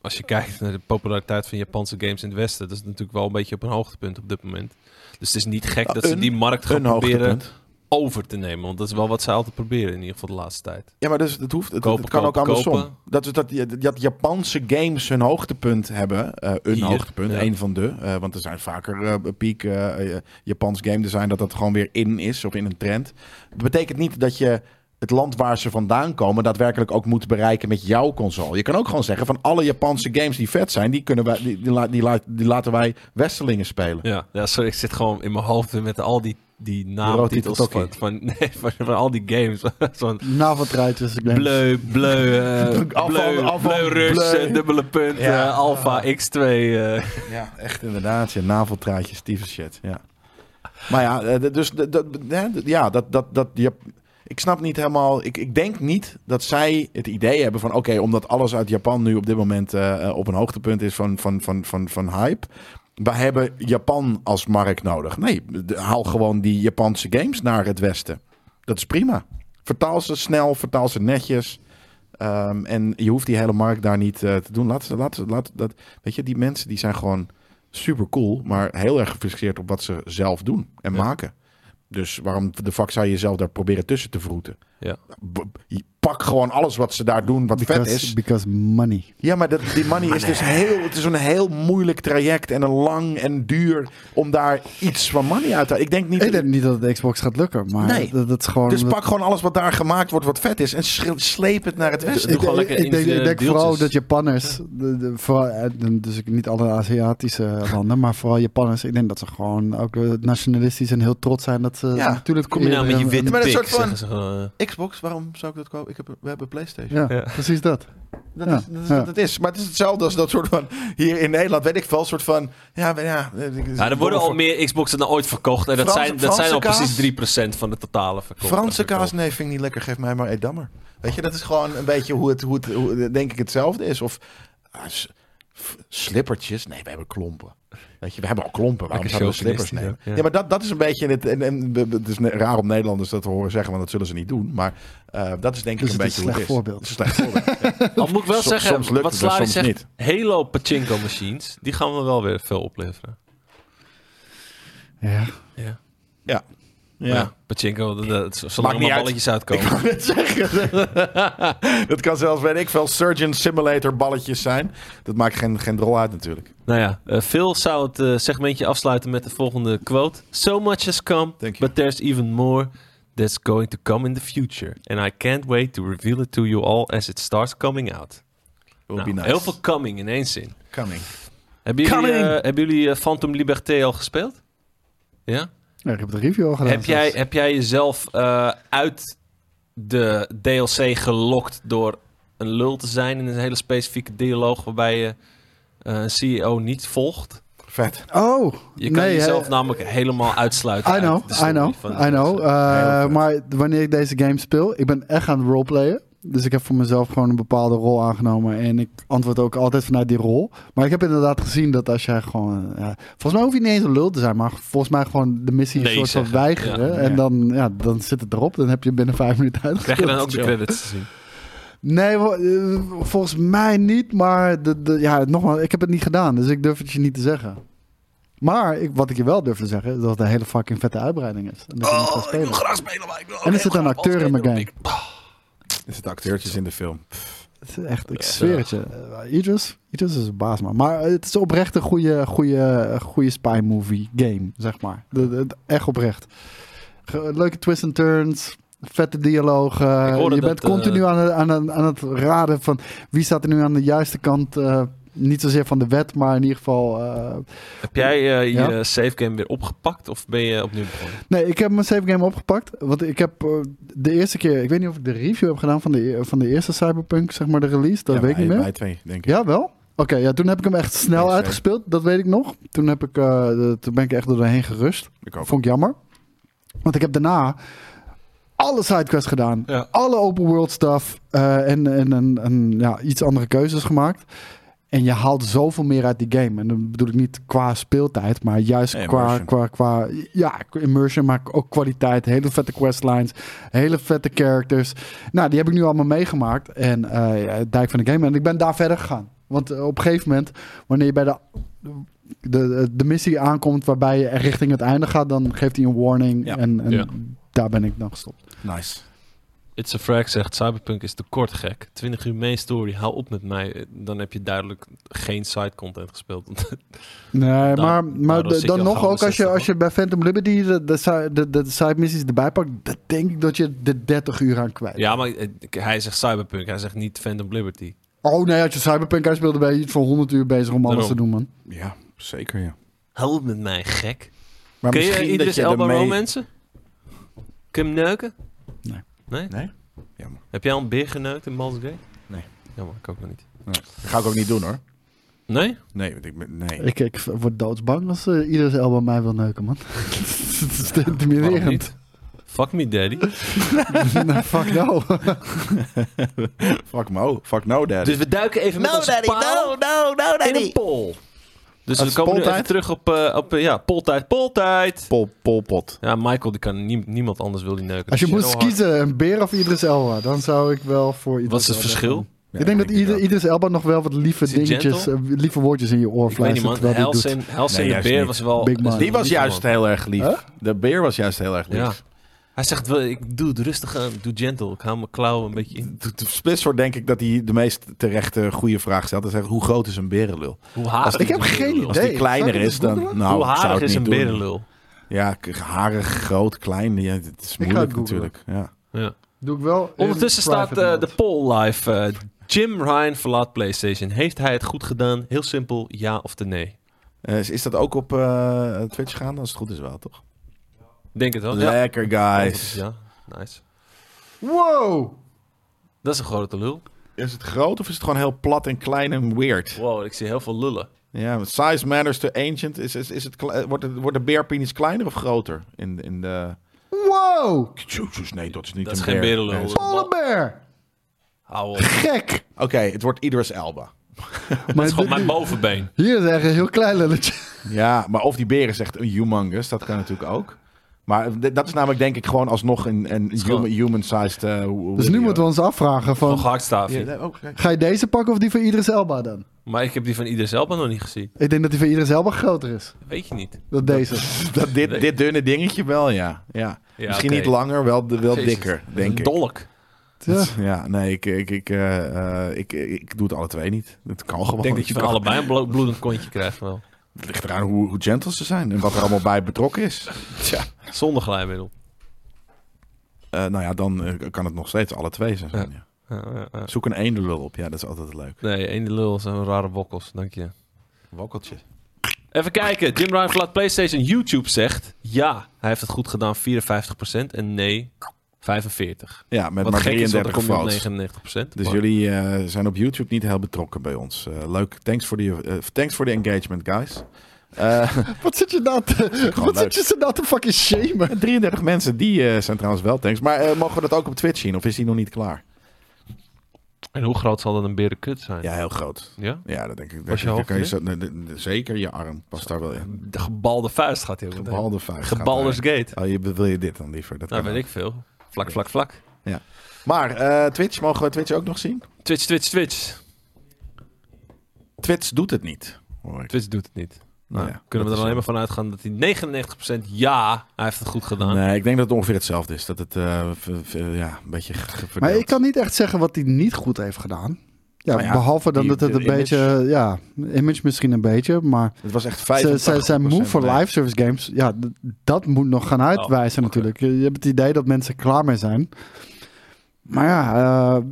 S1: als je kijkt naar de populariteit van Japanse games in het Westen, dat is natuurlijk wel een beetje op een hoogtepunt op dit moment. Dus het is niet gek
S2: Ja,
S1: dat ze
S2: een-
S1: die markt gaan
S2: Een
S1: proberen
S2: hoogtepunt.
S1: over te nemen. Want dat is wel wat ze altijd proberen, in ieder geval de laatste tijd.
S2: Ja, maar dus het hoeft. Het,
S1: Kopen,
S2: het kan
S1: kopen,
S2: ook andersom.
S1: kopen.
S2: Dat, is dat, dat, dat Japanse games hun hoogtepunt hebben. eh een
S1: Hier,
S2: hoogtepunt,
S1: ja.
S2: één van de. eh, want er zijn vaker eh piek eh, eh, Japans game design dat dat gewoon weer in is of in een trend. Dat betekent niet dat je het land waar ze vandaan komen daadwerkelijk ook moet bereiken met jouw console. Je kan ook gewoon zeggen van alle Japanse games die vet zijn, die, kunnen wij, die, die, la- die, la- die laten wij Westerlingen spelen.
S1: Ja, ja sorry, ik zit gewoon in mijn hoofd met al die, die naamtitels
S2: Rototoki.
S1: van, van, nee, van, van al die games. Zo'n
S3: Naveltruitjes, ik denk.
S1: bleu, bleu, eh,
S2: Afval-
S1: bleu,
S2: afval-
S1: bleu Rus,
S2: bleu.
S1: eh, dubbele punt,
S2: Ja.
S1: eh, alpha, x2. eh.
S2: Ja, echt inderdaad. Ja, naveltraadjes, tieve shit. Ja. Maar ja, eh, d- dus d- dat- hè, d- ja, dat, dat, dat, ja, ik snap niet helemaal. Ik, ik denk niet dat zij het idee hebben van: oké, omdat alles uit Japan nu op dit moment eh, eh, op een hoogtepunt is van, van, van, van, van hype. Wij hebben Japan als markt nodig. Nee, d- haal gewoon die Japanse games naar het Westen. Dat is prima. Vertaal ze snel, vertaal ze netjes. Ehm, en je hoeft die hele markt daar niet eh, te doen. Laat, ze- laat, ze- laat, dat, weet je, die mensen die zijn gewoon super cool, maar heel erg gefixeerd op wat ze zelf doen en
S1: Ja.
S2: maken. Dus waarom de fuck zou je jezelf daar proberen tussen te vroeten?
S1: Ja.
S2: B- je pak gewoon alles wat ze daar doen, wat vet
S3: Because, Ah,
S2: is.
S3: because money.
S2: Ja, maar dat, die money is dus heel... Het is een heel moeilijk traject en een lang en duur om daar iets van money uit te... Ik denk niet...
S3: Ik denk niet dat het Xbox gaat lukken, maar
S2: Nee.
S3: dat, dat is gewoon...
S2: dus
S3: dat-
S2: pak gewoon alles wat daar gemaakt wordt, wat vet is, en schre- sleep het naar het westen.
S1: Doe gewoon
S3: ik,
S1: lekker
S3: ik denk, ik
S1: individuele
S3: denk vooral
S1: deeltjes.
S3: dat Japanners, de, de, vooral, eh, dus ik- niet alle Aziatische landen, maar vooral Japanners, ik denk dat ze gewoon ook eh, nationalistisch en heel trots zijn dat ze
S2: Ja,
S3: natuurlijk...
S1: Kom je nou met je
S3: eerder-
S1: witte
S2: maar dat is
S1: pik,
S2: een soort van-
S1: zeggen ze gewoon, eh.
S2: Xbox, waarom zou ik dat kopen? Ik heb, we hebben PlayStation.
S3: Ja,
S1: Ja.
S3: precies dat.
S2: Dat,
S3: Ja,
S2: is, dat, is,
S3: ja.
S2: wat het is. Maar het is hetzelfde als dat soort van... Hier in Nederland weet ik wel, soort van... Ja, maar ja... eh,
S1: Ja, Nou, er worden al meer Xboxen dan ooit verkocht. En dat
S2: Dus Franse-
S1: zijn, dat zijn al
S2: Franse
S1: precies 3% van de totale verkoop.
S2: Franse kaas, nee, vind ik niet lekker. Geef mij maar Edammer. Weet je, dat is gewoon een beetje hoe het, hoe het hoe, denk ik, hetzelfde is. Of ah, s- f- slippertjes. Nee, we hebben klompen. Weet je, we hebben al klompen. Waarom
S1: Lekker
S2: zouden we slippers
S1: chauvinistisch
S2: nemen?
S1: ook,
S2: Ja.
S1: ja.
S2: maar dat, dat is een beetje... Het, en, en we- we- het is ne- raar om Nederlanders dat te horen zeggen, want dat zullen ze niet doen. Maar eh, dat is denk ik
S3: Dus
S2: een
S3: het is
S2: beetje hoe het is.
S3: een
S2: Het is een slecht voorbeeld.
S1: Al moet ik wel
S2: Soms-
S1: zeggen,
S2: soms lukt
S1: wat
S2: het en
S1: Slari
S2: soms
S1: zegt,
S2: niet.
S1: Halo pachinko machines, die gaan we wel weer veel opleveren.
S3: Ja.
S1: Ja.
S2: Ja.
S1: Maar
S2: ja.
S1: pachinko, dat, dat,
S2: Maakt
S1: zolang er
S2: niet
S1: maar
S2: uit.
S1: balletjes
S2: Ik
S1: uitkomen.
S2: wou net zeggen. dat kan zelfs, weet ik veel, Surgeon Simulator balletjes zijn. Dat maakt geen, geen drol uit natuurlijk.
S1: Nou ja, eh, Phil zou het eh, segmentje afsluiten met de volgende quote. So much has come,
S2: Thank you.
S1: but there's even more that's going to come in the future. And I can't wait to reveal it to you all as it starts coming out.
S2: Will
S1: Nou,
S2: be nice.
S1: Heel veel coming in één zin.
S2: coming.
S1: Hebben jullie,
S2: Coming!
S1: eh, hebben jullie eh, Phantom Liberté al gespeeld? Ja?
S3: Ja, ik heb de review al gedaan.
S1: Heb jij,
S3: zelfs.
S1: heb jij jezelf eh, uit de DLC gelokt door een lul te zijn in een hele specifieke dialoog waarbij je eh, een CEO niet volgt?
S2: Vet.
S3: Oh,
S1: Je kan
S3: nee,
S1: jezelf
S3: hè.
S1: namelijk helemaal uitsluiten.
S3: I
S1: uit
S3: know,
S1: de story
S3: I know,
S1: van-
S3: I know.
S2: Heel
S3: Eh,
S2: vet.
S3: maar wanneer ik deze game speel, ik ben echt aan het roleplayen. Dus ik heb voor mezelf gewoon een bepaalde rol aangenomen. En ik antwoord ook altijd vanuit die rol. Maar ik heb inderdaad gezien dat als jij gewoon. ja, volgens mij hoef je niet eens een lul te zijn, maar volgens mij gewoon de missie een
S1: Nee
S3: soort
S1: zeggen.
S3: van weigeren.
S2: Ja.
S3: En
S2: Ja.
S3: dan, ja, dan zit het erop. Dan heb je binnen vijf minuten
S1: Krijg
S3: uitgespeeld.
S1: je dan ook de
S3: Chill.
S1: credits te zien?
S3: Nee, wo- eh, volgens mij niet. Maar de, de, ja, nogmaals, ik heb het niet gedaan. Dus ik durf het je niet te zeggen. Maar ik, wat ik je wel durf te zeggen, is dat het een hele fucking vette uitbreiding is. En dat je
S1: Oh,
S3: niet gaat spelen.
S1: graag spelen, maar ik wil
S3: En er zit een acteur in mijn game.
S2: Er zitten acteurtjes in de film.
S3: Het is echt, ik zweer het je. Eh, Idris, Idris is een baas, man. Maar eh, het is oprecht een goede, goede, goede spy movie game, zeg maar. De, de- de- echt oprecht. Ge- leuke twists en turns. Vette dialoog. eh,
S1: Ik hoorde
S3: je
S1: dat,
S3: bent continu
S1: eh,
S3: aan, het- aan, het- aan het raden van wie staat er nu aan de juiste kant. eh, niet zozeer van de wet, maar in ieder geval. eh,
S1: Heb jij eh,
S3: Ja?
S1: je eh, save game weer opgepakt of ben je opnieuw begonnen?
S3: Nee, ik heb mijn save game opgepakt. Want ik heb eh, de eerste keer. Ik weet niet of ik de review heb gedaan van de, van de eerste Cyberpunk, zeg maar, de release. Dat
S2: Ja,
S3: weet ik
S2: wij-
S3: niet meer.
S2: Wij twee, denk ik.
S3: Ja, wel? Oké, ja, toen heb ik hem echt snel
S2: Nice, hè?
S3: uitgespeeld. Dat weet ik nog. Toen, heb ik, eh, de- toen ben ik echt door doorheen gerust.
S2: Ik ook.
S3: Vond ik jammer. Want ik heb daarna alle sidequests gedaan.
S1: Ja.
S3: Alle open world stuff. eh, en en, en, en, ja, iets andere keuzes gemaakt. En je haalt zoveel meer uit die game. En dan bedoel ik niet qua speeltijd, maar juist qua,
S2: Immersion.
S3: qua, qua ja, immersion, maar ook kwaliteit. Hele vette questlines, hele vette characters. Nou, die heb ik nu allemaal meegemaakt. En eh, ja, het Dijk van de Game. En ik ben daar verder gegaan. Want eh, op een gegeven moment, wanneer je bij de, de, de missie aankomt waarbij je echt richting het einde gaat, dan geeft hij een warning.
S2: Ja.
S3: En, en
S1: Ja.
S3: daar ben ik dan gestopt.
S2: Nice.
S1: It's a Frag zegt, Cyberpunk is te kort gek. 20 uur main story, hou op met mij. Eh, Dan heb je duidelijk geen side content gespeeld.
S3: Nee, maar, maar
S1: daardoor Nou, zit
S3: d-
S1: je
S3: dan
S1: al
S3: nog
S1: gauw in
S3: ook als je,
S1: 60,
S3: als je bij Phantom Liberty de, de, si- de, de side missies erbij pakt, dan denk ik dat je de 30 uur aan kwijt.
S1: ja, maar eh, k- hij zegt Cyberpunk, hij zegt niet Phantom Liberty.
S3: Oh nee, als je Cyberpunk uitspeelde ben je iets van 100 uur bezig om alles
S1: Daarom.
S3: te doen, man.
S2: Ja, zeker ja.
S1: Hou op met mij, gek.
S2: Maar
S1: Kun je
S2: misschien dat
S1: Idris Elba
S2: ermee-
S1: Row mensen? Kun je hem neuken?
S3: Nee.
S1: Nee?
S2: Nee? Jammer.
S1: Heb jij al een beer geneukt in Baldur's Gate?
S2: Nee.
S1: Jammer, ik ook nog niet.
S2: Dat ga ik ook niet doen hoor.
S1: Nee?
S2: Nee, want ik ben... Nee.
S3: Ik, ik word doodsbang als eh, iedere elbow mij wil neuken, man. Het is te
S1: Waarom
S3: intimiderend.
S1: niet? Fuck me daddy.
S3: Nou, Fuck no.
S2: Fuck no. Fuck no, daddy.
S1: Dus we duiken even met onze paal
S2: no, no,
S1: in een pol. Dus
S2: Als
S1: we komen nu
S2: poltijd?
S1: even terug op, eh, op eh, ja, poltijd, poltijd.
S2: Pol, polpot.
S1: Ja, Michael, die kan nie- niemand anders wil die neuken.
S3: Als je
S1: Dus
S3: moest
S1: Shadow Heart-
S3: kiezen, een beer of Idris Elba, dan zou ik wel voor Idris
S1: Wat is het
S3: Elba
S1: verschil?
S3: gaan. ik denk dat Idris,
S2: ieder
S3: Idris Elba nog wel wat lieve
S1: Is hij
S3: dingetjes,
S1: gentle?
S3: eh, lieve woordjes in je oor
S1: Ik weet niet,
S3: fluistert.
S1: man.
S3: terwijl hij het doet.
S1: Hels in, Hels
S2: Nee,
S1: in de
S2: juist
S1: beer
S2: niet.
S1: was wel...
S3: Big man.
S2: Die was
S1: lief,
S2: juist
S1: man.
S2: heel erg lief.
S3: Huh?
S2: De beer was juist heel erg lief.
S1: Ja. Hij zegt wel, ik doe het rustig aan, ik doe gentle. Ik hou mijn klauwen een beetje in.
S2: De- de Splitsword denk ik dat hij de meest terechte goede vraag stelt. Dat is hoe groot is een berenlul?
S1: Hoe haast
S3: Ik heb geen
S2: Als
S3: idee.
S2: die kleiner
S3: Zou ik het
S2: is, dan...
S3: googlen?
S2: Nou,
S1: Hoe
S2: ik zou
S1: harig
S2: het
S1: is een
S2: niet doen.
S1: berenlul?
S2: Ja, k- harig, groot, klein. Ja, het is
S3: ga
S2: moeilijk
S3: het googlen.
S2: natuurlijk. Ja.
S1: Ja.
S3: Doe ik wel.
S1: Ondertussen
S3: eerder
S1: staat
S3: private
S1: eh, de
S3: mode.
S1: poll live. eh, Jim Ryan verlaat PlayStation. Heeft hij het goed gedaan? Heel simpel, ja of de nee.
S2: Eh, is- is dat ook op eh, Twitch gaan? Als het goed is wel, toch?
S1: Denk het wel. Ja.
S2: Lekker, guys.
S1: Ja, nice.
S3: Wow!
S1: Dat is een grote lul.
S2: Is het groot of is het gewoon heel plat en klein en weird?
S1: Wow, ik zie heel veel lullen.
S2: Ja, want size matters to ancient. Is, is, is het, kle- eh, wordt, het, wordt de beerpenis kleiner of groter? In, in de...
S3: Wow!
S2: Jezus, nee, dat is niet
S1: Dat is
S2: een
S1: geen
S2: beer.
S1: berenlul.
S2: Nee, dat is-
S3: Polar bear!
S1: Hou op.
S3: Gek!
S2: Oké, het wordt Idris Elba.
S1: Dat is
S3: Maar
S1: gewoon
S3: dit-
S1: mijn bovenbeen.
S3: hier is echt een heel klein lulletje.
S2: Ja, maar of die beer is echt een humongous, dat kan natuurlijk ook. Maar d- dat is namelijk denk ik gewoon alsnog een, een
S1: is gewoon-
S2: human- human-sized... eh, hoe-
S3: Dus
S2: hoe-
S3: nu moeten we ons afvragen
S1: Van
S3: van...
S1: gehaktstaafje.
S2: Ja, oh, kijk.
S3: Ga je deze pakken of die van Idris Elba dan?
S1: Maar ik heb die van ieder zelf nog niet gezien.
S3: Ik denk dat die van Idris Elba groter is
S1: Weet je niet.
S3: dan deze.
S2: Dat, dit, dit dunne dingetje wel, ja. ja.
S1: Ja,
S2: Misschien
S1: oké.
S2: niet langer, wel, de- wel
S1: Jezus,
S2: dikker,
S1: dat is
S2: denk
S1: een
S2: ik.
S1: dolk.
S3: Ja.
S2: Ja, nee, ik, ik, ik, eh, eh, ik, ik doe het alle twee niet. Het kan gewoon.
S1: Ik denk dat je
S2: Het
S1: van
S2: kan.
S1: allebei een blo- bloedend kontje krijgt wel.
S2: Het ligt eraan hoe, hoe gentle ze zijn en wat er allemaal bij betrokken is. Tja.
S1: Zonder glijmiddel.
S2: Eh, nou ja, dan eh, kan het nog steeds alle twee zijn.
S1: Ja.
S2: ja.
S1: Ja, ja, ja.
S2: Zoek een eendelul op. Ja, dat is altijd leuk.
S1: Nee, één lul zijn rare wokkels. Dank je.
S2: Wokkeltje.
S1: Even kijken. Jim Ryan verlaat PlayStation. YouTube zegt ja, hij heeft het goed gedaan 54% en nee 45.
S2: Ja, met
S1: Wat
S2: maar
S1: gek is, want dan
S2: 33
S1: kom je op
S2: votes.
S1: 99%.
S2: Dus
S1: Maar-
S2: jullie eh, zijn op YouTube niet heel betrokken bij ons. Eh, leuk. Thanks voor de eh, thanks voor de engagement, guys. Eh,
S3: Wat zit je nou te,
S2: gewoon
S3: wat
S2: leuk.
S3: zit je ze nou te fucking shamen?
S2: 33 mensen, die eh, zijn trouwens wel thanks. Maar eh, mogen we dat ook op Twitch zien? Of is die nog niet klaar?
S1: En hoe groot zal dat een berenkut zijn?
S2: Ja, heel groot.
S1: Ja?
S2: Ja, dat denk ik.
S1: Was je
S2: Dan
S1: hoofd
S2: kan je
S1: erin?
S2: zo- nee, nee, nee, zeker je arm past daar wel in.
S1: De gebalde vuist gaat heel goed. hè?
S2: Gebalde vuist. gaat
S1: Gebalders Gate.
S2: daar. Oh, je, wil je dit dan liever? Dat
S1: Nou,
S2: kan
S1: weet ik
S2: ook.
S1: veel. Vlak, vlak, vlak.
S2: Maar eh, Twitch, mogen we Twitch ook nog zien?
S1: Twitch, Twitch, Twitch.
S2: Twitch doet het niet. Hoor ik.
S1: Twitch doet het niet. Nou,
S2: Ja, dat
S1: kunnen we
S2: is
S1: er alleen
S2: zo.
S1: maar van uitgaan dat hij 99% ja, hij heeft het goed gedaan.
S2: Nee, ik denk dat het ongeveer hetzelfde is. Dat het eh, v- v- ja, een beetje ge- ge-
S3: Maar
S2: verdeeld.
S3: ik kan niet echt zeggen wat hij niet goed heeft gedaan. Ja,
S2: Nou ja,
S3: behalve dan
S2: die-
S3: dat het
S2: de
S3: een
S2: image.
S3: beetje, ja, image misschien een beetje, maar
S2: Het was echt
S3: ze-
S2: 85
S3: ze- zijn move voor
S2: bij-
S3: live service games, ja, d- dat moet nog
S2: Oh,
S3: gaan uitwijzen
S1: oké.
S3: natuurlijk. Je, je hebt het idee dat mensen klaar mee zijn. Maar ja, eh,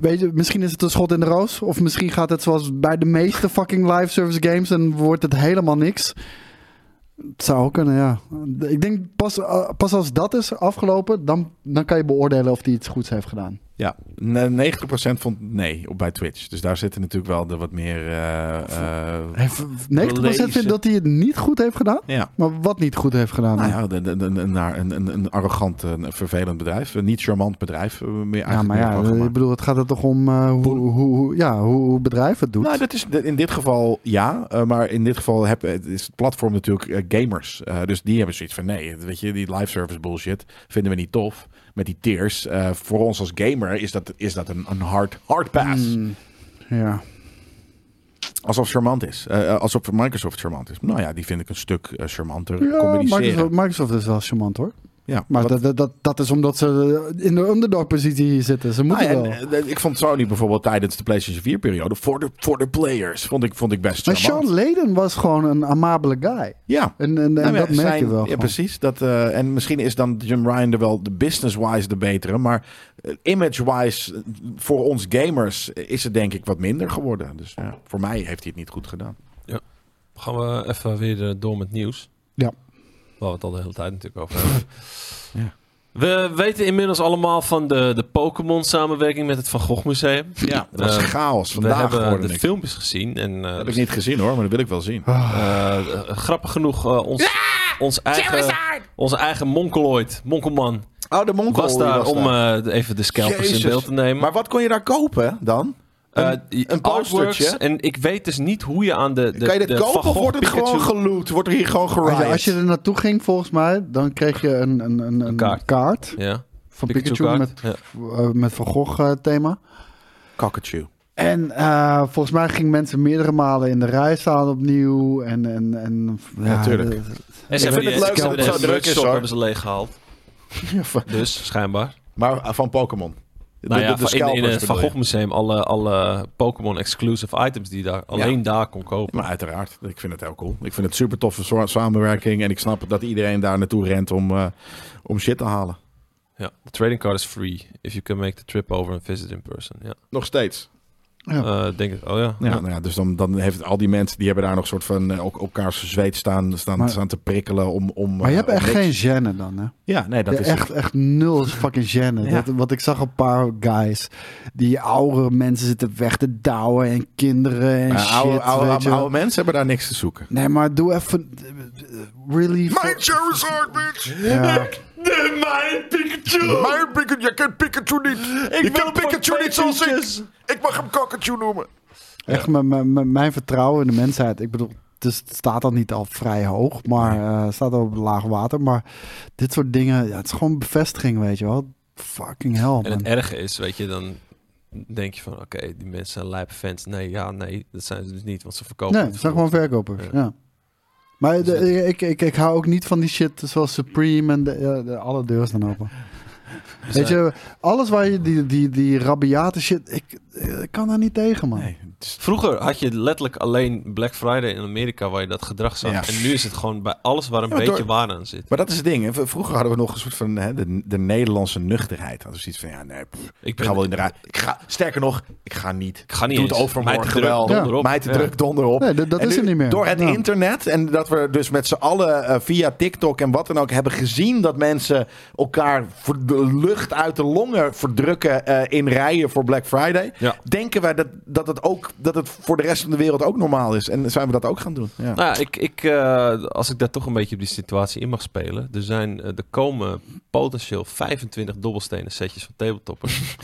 S3: weet je, misschien is het een schot in de roos, of misschien gaat het zoals bij de meeste fucking live service games en wordt het helemaal niks. Het zou ook kunnen, ja. Ik denk pas, eh, pas als dat is afgelopen, dan, dan kan je beoordelen of hij iets goeds heeft gedaan.
S2: Ja, ne- 90% vond nee op bij Twitch. Dus daar zitten natuurlijk wel de wat meer... eh, eh,
S3: Hij v- 90% vindt
S1: Lezen.
S3: dat hij het niet goed heeft gedaan.
S2: ja,
S3: Maar wat niet goed heeft gedaan.
S2: nou
S3: ja,
S2: ja, de- de- de- de- naar een, een, een arrogant, een vervelend bedrijf. Een niet charmant bedrijf. eh, Meer eigenlijk
S3: maar
S2: meer
S3: ja,
S2: van gemaakt.
S3: ik bedoel, het gaat er toch om eh, hoe, hoe, hoe- ja, hoe, hoe bedrijf het doet.
S2: Nou, dat is dat- in dit geval ja. eh, maar in dit geval heb, het is het platform natuurlijk eh, gamers. Eh, dus die hebben zoiets van nee, weet je, die live service bullshit vinden we niet tof. Met die tiers. eh, voor ons als gamer is dat, is dat een, een hard, hard pass.
S3: Mm, ja.
S2: Alsof charmant is. Eh, eh, alsof Microsoft charmant is. Nou ja, die vind ik een stuk eh, charmanter
S3: ja
S2: communiceren.
S3: Microsoft, Microsoft is wel charmant hoor.
S2: Ja,
S3: Maar
S2: wat-
S3: dat, dat, dat, dat is omdat ze in de underdog positie zitten. Ze
S2: Nou
S3: moeten
S2: ja, en,
S3: wel.
S2: eh, ik vond Sony bijvoorbeeld tijdens de PlayStation 4 periode voor de, voor de players vond ik, vond ik best
S3: maar
S2: charmant.
S3: Sean Layden was gewoon een amabele guy.
S2: ja,
S3: En, en, en
S2: Nou ja,
S3: dat merk
S2: zijn-
S3: je wel.
S2: Ja,
S3: gewoon.
S2: precies. Dat, eh, en misschien is dan Jim Ryan er wel de business-wise de betere. Maar eh, image-wise, eh, voor ons gamers, eh, is het denk ik wat minder geworden. Dus ja, voor mij heeft hij het niet goed gedaan.
S1: Gaan we even weer eh, door met nieuws.
S3: Ja.
S1: Waar we het al de hele tijd natuurlijk over hebben.
S2: Ja.
S1: We weten inmiddels allemaal van de, de Pokémon samenwerking met het Van Gogh Museum.
S2: Ja, het was
S1: Eh,
S2: chaos.
S1: We
S2: Vandaag
S1: hebben
S2: hoorde
S1: de
S2: ik.
S1: filmpjes gezien. En, eh,
S2: heb ik niet gezien hoor, maar dat wil ik wel zien.
S3: Ah.
S1: eh, eh, grappig genoeg, eh, ons, ons eigen, onze eigen Monkeloid, Monkelman,
S2: Oh, de Monkel
S1: was
S2: die
S1: daar om
S2: daar.
S1: eh, even de scalpers
S2: Jezus.
S1: in beeld te nemen.
S2: Maar wat kon je daar kopen dan?
S1: Eh,
S2: een-
S1: die
S2: een postertje.
S1: artworks, En ik weet dus niet hoe je aan de, de
S2: kan je dit
S1: de Van
S2: kopen of
S1: Gogh
S2: wordt het
S1: Pikachu-
S2: gewoon geloot? Wordt er hier gewoon
S3: Als
S2: geriot?
S3: je, als je er naartoe ging volgens mij, dan kreeg je een, een, een, een
S1: kaart.
S3: kaart.
S1: Ja,
S3: van Pikachu,
S1: Pikachu, kaart.
S3: met,
S1: Ja.
S3: eh, met Van Gogh eh, thema.
S2: Cockatoo.
S3: En eh, volgens mij gingen mensen meerdere malen in de rij staan opnieuw. En, en, en,
S2: Ja, tuurlijk.
S3: de-
S1: En ze
S2: Ik
S1: hebben
S2: vind
S1: die-
S2: het leuk
S1: ze
S2: dat
S1: hebben
S2: het
S1: de
S2: zo druk is,
S1: merchshop
S2: hoor.
S1: hebben ze leeggehaald. Dus, schijnbaar.
S2: Maar eh, van Pokémon. De-
S1: Nou
S2: de-
S1: ja,
S2: de
S1: in, in
S2: scalpers
S1: het Van
S2: bedoel je.
S1: Gogh Museum alle, alle Pokémon exclusive items die je daar alleen daar kon kopen.
S2: Maar uiteraard, ik vind het heel cool. Ik vind het super toffe soort samenwerking. En ik snap dat iedereen daar naartoe rent om, eh, om shit te halen.
S1: Ja, de trading card is free if you can make the trip over and visit in person. Ja.
S2: Nog steeds.
S1: Eh, denk ik, oh ja.
S2: Ja, Nou ja, dus dan, dan heeft al die mensen die hebben daar nog soort van eh, ook elkaars zweet staan, staan,
S3: Maar-
S2: staan te prikkelen om. om
S3: Maar je hebt
S2: eh, om
S3: echt geen
S2: niks.
S3: gêne dan, hè?
S2: Ja, nee, dat
S3: Ja,
S2: is
S3: echt, echt nul fucking gêne.
S2: Ja.
S3: Dat, wat ik zag een paar guys, die oudere mensen zitten weg te douwen en kinderen en
S2: Maar
S3: shit,
S2: Eh, oude, oude,
S3: weet je.
S2: oude mensen hebben daar niks te zoeken.
S3: Nee, maar doe even... eh, Really?
S2: Charizard, bitch!
S3: Ja.
S1: Mijn Pikachu!
S2: Mijn Pikachu, je kent Pikachu niet! Ik
S1: wil voor twee tientjes.
S2: Ik mag hem Cockatoo noemen!
S3: Echt, mijn- mijn- mijn- mijn vertrouwen in de mensheid. Ik bedoel, dus het staat al niet al vrij hoog, maar eh, het staat al op laag water. Maar dit soort dingen, ja, het is gewoon bevestiging, weet je wel. Fucking hell, man.
S1: En het erge is, weet je, dan denk je van, oké, die mensen zijn lijpe fans. Nee, ja, nee, dat zijn ze dus niet, want ze verkopen
S3: nee,
S1: het
S3: het zijn gewoon verkopers,
S1: Ja.
S3: ja. Maar
S1: Dus
S3: de- ik, ik, ik hou ook niet van die shit zoals Supreme en de, ja, de- alle deuren staan open. Weet je, alles waar je die, die, die rabiate shit, ik, ik kan daar niet tegen, man.
S2: Nee, het is-
S1: Vroeger had je letterlijk alleen Black Friday in Amerika waar je dat gedrag zag.
S2: Ja.
S1: En nu is het gewoon bij alles waar een
S2: Ja, maar
S1: beetje
S2: door-
S1: waar aan zit.
S2: Maar dat is het ding. hè. V- Vroeger hadden we nog een soort van hè, de, de Nederlandse nuchterheid. Dat is iets van, ja, nee, pff,
S1: Ik
S2: ik
S1: ben-
S2: ga wel in de rij. Ik ga, sterker nog, ik ga niet.
S1: Ik ga niet
S2: Doe het
S1: eens. Mij te
S2: overmorgen
S1: druk,
S2: wel.
S1: donder op.
S2: Mij te
S1: Ja.
S2: druk, donder op.
S3: Nee, dat- dat
S2: En
S3: is
S2: nu,
S3: er niet meer.
S2: Door het
S3: Ja.
S2: internet en dat we dus met z'n allen eh, via TikTok en wat dan ook hebben gezien... dat mensen elkaar voor de lucht uit de longen verdrukken eh, in rijen voor Black Friday...
S1: Ja.
S2: denken wij dat, dat, het ook, dat het voor de rest van de wereld ook normaal is. En zijn we dat ook gaan doen. Ja.
S1: Nou, ja, ik, ik, eh, als ik daar toch een beetje op die situatie in mag spelen. Er, zijn, eh, er komen potentieel 25 dobbelstenen setjes van tabletoppers.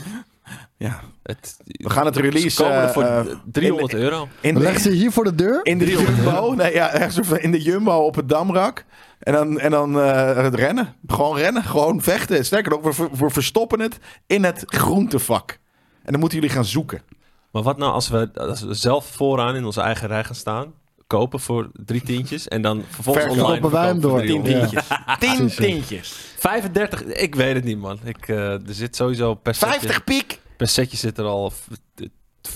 S4: Ja.
S1: Het,
S2: We gaan het
S1: Ze
S2: release
S1: komen er voor
S2: eh,
S1: eh, 300 euro.
S2: in,
S3: Leg ze
S2: de,
S3: hier voor de deur.
S2: in de
S1: 300
S2: Jumbo. Nee, ja, ergens op- in de Jumbo op het Damrak. En dan, en dan eh, het rennen. Gewoon rennen. Gewoon vechten. Sterker nog, we, ver- we verstoppen het in het groentevak. En dan moeten jullie gaan zoeken.
S1: Maar wat nou als we, als we zelf vooraan in onze eigen rij gaan staan, kopen voor drie tientjes en dan vervolgens
S2: Verkopen
S1: online
S3: wij hem
S1: verkopen voor
S3: door.
S2: Tien
S1: 300?
S3: Ja.
S2: tientjes.
S1: Ah,
S2: Tien
S3: Precies, ja.
S2: tientjes.
S1: 35, ik weet het niet man. Ik, eh, er zit sowieso per setje,
S2: 50 piek.
S1: per setje zit er al f- t-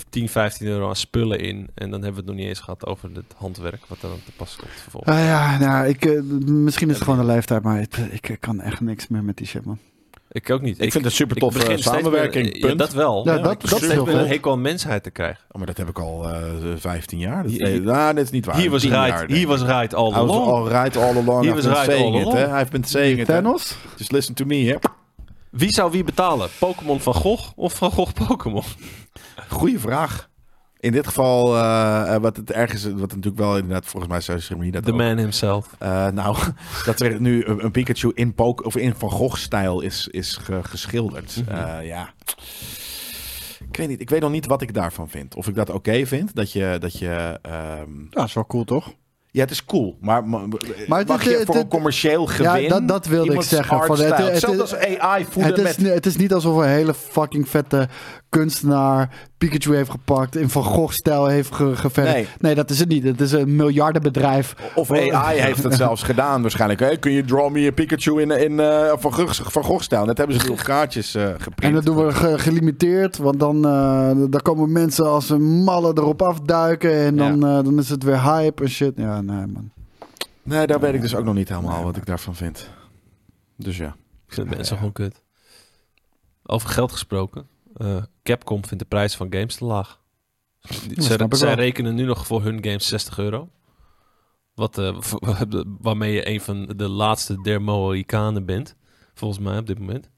S1: 10, 15 euro aan spullen in. En dan hebben we het nog niet eens gehad over het handwerk wat er aan te pas komt vervolgens.
S3: Ah ja, nou, ik, eh, misschien is het gewoon de leeftijd, maar het- ik, ik kan echt niks meer met die shit, man.
S1: Ik ook niet.
S2: Ik vind het een super
S1: ik
S2: toffe
S1: begin steeds
S2: samenwerking.
S1: meer- ja,
S2: punt.
S1: dat wel.
S3: Ja,
S1: Ja,
S3: dat-
S1: ik
S3: dat
S1: steeds
S3: is heel
S1: meer een
S3: vet.
S1: hekel aan mensheid te krijgen.
S2: Oh, maar dat heb ik al eh 15 jaar. Dat,
S1: Hier-
S2: nee, nou, dat is niet waar.
S1: Hier was
S2: 10 jaar,
S1: right,
S2: denk ik.
S1: hier was right all
S2: I was
S1: along.
S2: all right all along.
S1: He
S2: I've
S1: was
S2: been
S1: right
S2: saying
S1: all
S2: it,
S1: along.
S2: hè. I've been saying it. hè.
S3: Thanos?
S2: Just listen to me, hè.
S1: Wie zou wie betalen? Pokémon van Gogh of van Gogh Pokémon?
S2: Goeie vraag. In dit geval, eh, eh, wat het ergens, wat het natuurlijk wel inderdaad, volgens mij zou Ceremony dat
S1: The
S2: ook.
S1: man himself.
S2: Eh, nou, dat er nu een, een Pikachu in, Poke, of in Van Gogh-stijl is, is ge- geschilderd.
S1: Mhm.
S2: Eh, ja. Ik weet, niet, ik weet nog niet wat ik daarvan vind. Of ik dat oké vind, dat je... Dat je ehm,
S3: Ja, is wel cool, toch?
S2: ja, het is cool, maar, maar,
S3: Maar het
S2: mag
S3: is-
S2: je
S3: het-
S2: voor
S3: het-
S2: een commercieel gewin...
S3: Ja, dat, dat wilde ik
S2: iemands
S3: zeggen. Van, het,
S2: artstyle.
S3: het-
S2: Hetzelfde
S3: het-
S2: als AI voeden
S3: het, is,
S2: met...
S3: ni- het is niet alsof een hele fucking vette kunstenaar Pikachu heeft gepakt. In Van Gogh-stijl heeft ge geverfd.
S2: Nee.
S3: Nee. Oh, dat is het niet. Het is een miljardenbedrijf.
S2: Of AI heeft dat zelfs gedaan waarschijnlijk. Hè? Kun je draw me a Pikachu in, in eh, van, Gogh, van Gogh stijl? Dat hebben ze op kaartjes eh geprint.
S3: En dat doen we ge- gelimiteerd, want dan eh, daar komen mensen als een malle erop afduiken. En
S2: Ja.
S3: dan, eh, dan is het weer hype en shit. Ja, nee, man.
S2: Nee, daar weet ik dus ook nog niet helemaal wat ik daarvan vind. Dus ja.
S1: Ik vind
S2: Ja,
S3: Nou
S1: mensen
S2: ja.
S1: gewoon kut. Over geld gesproken. eh, Capcom vindt de prijs van games te laag. Die-
S3: snap
S1: Zij,
S3: ik
S1: zij
S3: wel.
S1: rekenen nu nog voor hun games 60 euro. Wat, eh, v- waarmee je een van de laatste der Mohicanen bent. Volgens mij op dit moment.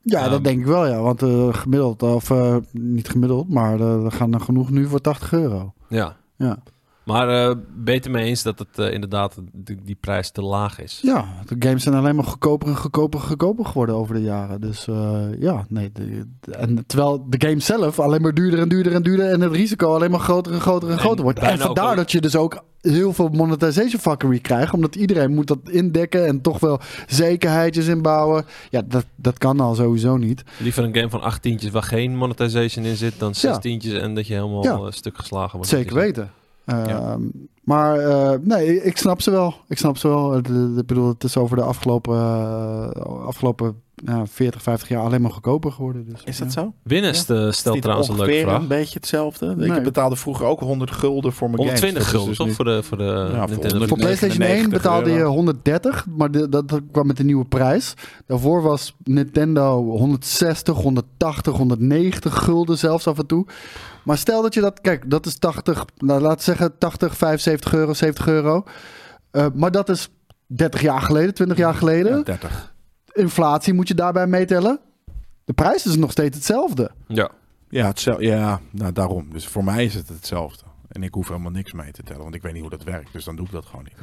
S3: Ja,
S1: Ehm.
S3: dat denk ik wel, ja. Want eh, gemiddeld, of eh, niet gemiddeld, maar eh, er gaan er genoeg nu voor 80 euro.
S1: Ja.
S3: Ja.
S1: Maar eh, beter mee eens dat het eh, inderdaad die, die prijs te laag is.
S3: Ja, de games zijn alleen maar goedkoper en goedkoper en goedkoper geworden over de jaren. Dus eh, ja, nee. de- de- en terwijl de game zelf alleen maar duurder en duurder en duurder en het risico alleen maar groter en groter en
S1: En
S3: groter wordt. En
S1: bijna ook
S3: vandaar
S1: al-
S3: dat je dus ook heel veel monetization fuckery krijgt, omdat iedereen moet dat indekken en toch wel zekerheidjes inbouwen. Ja, dat, dat kan al sowieso niet.
S1: Liever een game van 8 tientjes waar geen monetization in zit dan 6
S3: Ja.
S1: tientjes en dat je helemaal
S3: Ja.
S1: eh, stuk geslagen wordt.
S3: Zeker
S1: Dat is-
S3: weten. Ehm, Maar eh, nee, ik snap ze wel. Ik snap ze wel. Eh, de- de- Ik bedoel, het is over de afgelopen, eh, afgelopen ja, 40, 50 jaar alleen maar goedkoper geworden. Dus,
S2: Is
S3: ja.
S2: dat zo?
S1: Winnest eh,
S2: Is
S1: stelt
S2: dit
S1: trouwens een leuke
S2: ongeveer
S1: vraag.
S2: een beetje hetzelfde?
S3: Nee.
S2: Ik betaalde vroeger ook 100 gulden voor mijn
S1: 120
S2: games.
S1: gulden,
S2: Dat is
S1: toch?
S2: dus
S1: Voor de, voor de eh,
S2: voor
S1: Nintendo
S2: 100
S3: Voor PlayStation 1 betaalde je
S2: euro.
S3: 130, maar de- dat, dat kwam met de nieuwe prijs. Daarvoor was Nintendo 160, 180, 190 gulden zelfs af en toe. Maar stel dat je dat, kijk, dat is 80, nou, laten we zeggen 80, 75 euro, 70 euro. Eh, maar dat is 30 jaar geleden, 20 jaar
S2: nu-
S3: geleden.
S2: Ja, 30.
S3: Inflatie moet je daarbij meetellen. De prijs is nog steeds hetzelfde.
S1: Ja.
S2: Ja, hetzelfde, ja, nou daarom. Dus voor mij is het hetzelfde. En ik hoef helemaal niks mee te tellen, want ik weet niet hoe dat werkt. Dus dan doe ik dat gewoon niet.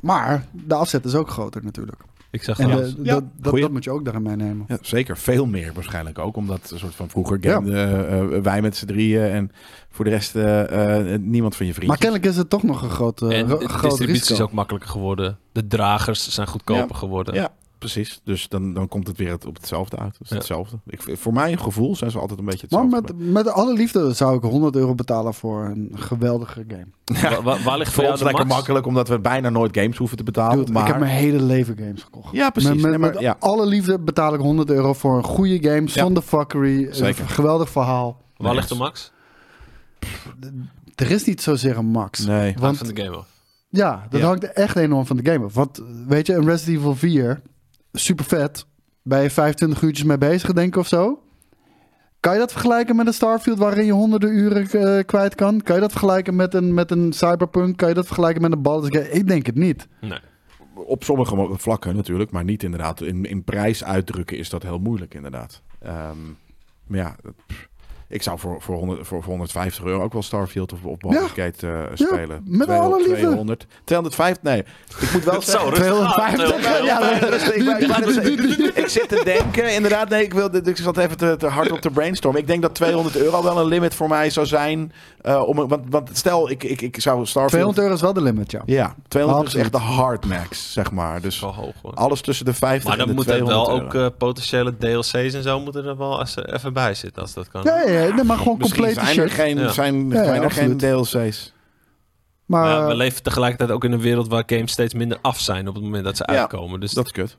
S3: Maar de afzet is ook groter natuurlijk.
S1: Ik zag
S3: En
S1: ja.
S3: de-
S2: Ja.
S3: dat, dat,
S2: Goeie.
S3: dat moet je ook daarin meenemen.
S2: Ja, zeker. Veel meer waarschijnlijk ook. Omdat een soort van vroeger
S3: Ja.
S2: gameden, eh, eh, wij met z'n drieën en voor de rest eh, eh, niemand van je vrienden.
S3: Maar kennelijk is het toch nog een groot, eh,
S1: en
S3: ro-
S1: de
S3: groot
S1: distributie
S3: risico.
S1: is ook makkelijker geworden. De dragers zijn goedkoper geworden.
S2: Ja. Precies, dus dan, dan komt het weer het- op hetzelfde uit. Dus
S1: Ja.
S2: hetzelfde. Ik, voor mijn gevoel zijn ze altijd een beetje
S3: Maar
S2: hetzelfde.
S3: met, met alle liefde zou ik 100 euro betalen voor een geweldige game.
S1: Wa- wa- Waar, ligt voor
S2: voor
S1: jou
S2: ons
S1: de max?
S2: lekker makkelijk, omdat we bijna nooit games hoeven te betalen.
S3: Dude,
S2: maar...
S3: Ik heb mijn hele leven games gekocht.
S2: Ja, precies.
S3: Met, met,
S2: Nee, maar-
S3: met
S2: ja.
S3: alle liefde betaal ik 100 euro voor een goede game, zonder fuckery. Een
S2: Zeker.
S3: geweldig verhaal.
S1: Waar ligt de max?
S3: Er is niet zozeer een max.
S2: Nee.
S1: Want,
S3: Want
S1: van de game af.
S3: ja, dat
S2: Ja.
S3: hangt echt enorm van de game af. Want weet je, een Resident Evil 4, super vet. Ben je 25 uurtjes mee bezig, denk ik, of zo? Kan je dat vergelijken met een Starfield waarin je honderden uren eh, kwijt kan? Kan je dat vergelijken met een, met een Cyberpunk? Kan je dat vergelijken met een Baldur's Gate? Ik denk het niet.
S1: Nee.
S2: Op sommige mo- vlakken natuurlijk, maar niet inderdaad. In, in prijs uitdrukken is dat heel moeilijk inderdaad. Ehm, maar ja, dat- pff. Ik zou voor, voor, 100, voor, voor 150 euro ook wel Starfield of, of Baldur's Gate eh, spelen.
S3: met alle liefde.
S2: 200. 250, nee. Ik moet wel
S1: Dat
S2: zeggen...
S1: zou rustig
S3: 250.
S1: gaan,
S2: Ja, maar
S1: 250.
S2: dat is- ik- ik- ik- ik- Ik zit te denken, inderdaad, nee, ik, wil, dit- ik zat even te, te hard op te brainstormen. Ik denk dat 200 euro wel een limit voor mij zou zijn. eh, om, een- want, want stel, ik, ik, ik zou Starfield...
S3: 200 euro is wel de limit, ja.
S2: Ja, 200 is
S3: Absoluut.
S2: echt de hard max, zeg maar.
S1: is
S2: Dus
S1: wel hoog hoor.
S2: alles tussen de 50
S1: Maar
S2: en de
S1: dan moeten er
S2: 200
S1: wel
S2: euro.
S1: ook eh, potentiële DLC's en zo moeten er wel eens, eh, even bij zitten als dat kan.
S3: Ja, ja, ja, nee, maar gewoon
S2: Misschien
S3: complete
S2: zijn er,
S3: shit.
S2: geen,
S1: Ja.
S2: zijn,
S3: Ja, ja,
S2: zijn er geen
S3: absoluut.
S2: DLC's.
S3: Maar,
S1: Maar ja, we leven tegelijkertijd ook in een wereld waar games steeds minder af zijn op het moment dat ze
S2: Ja,
S1: uitkomen. Dus
S2: Dat is kut.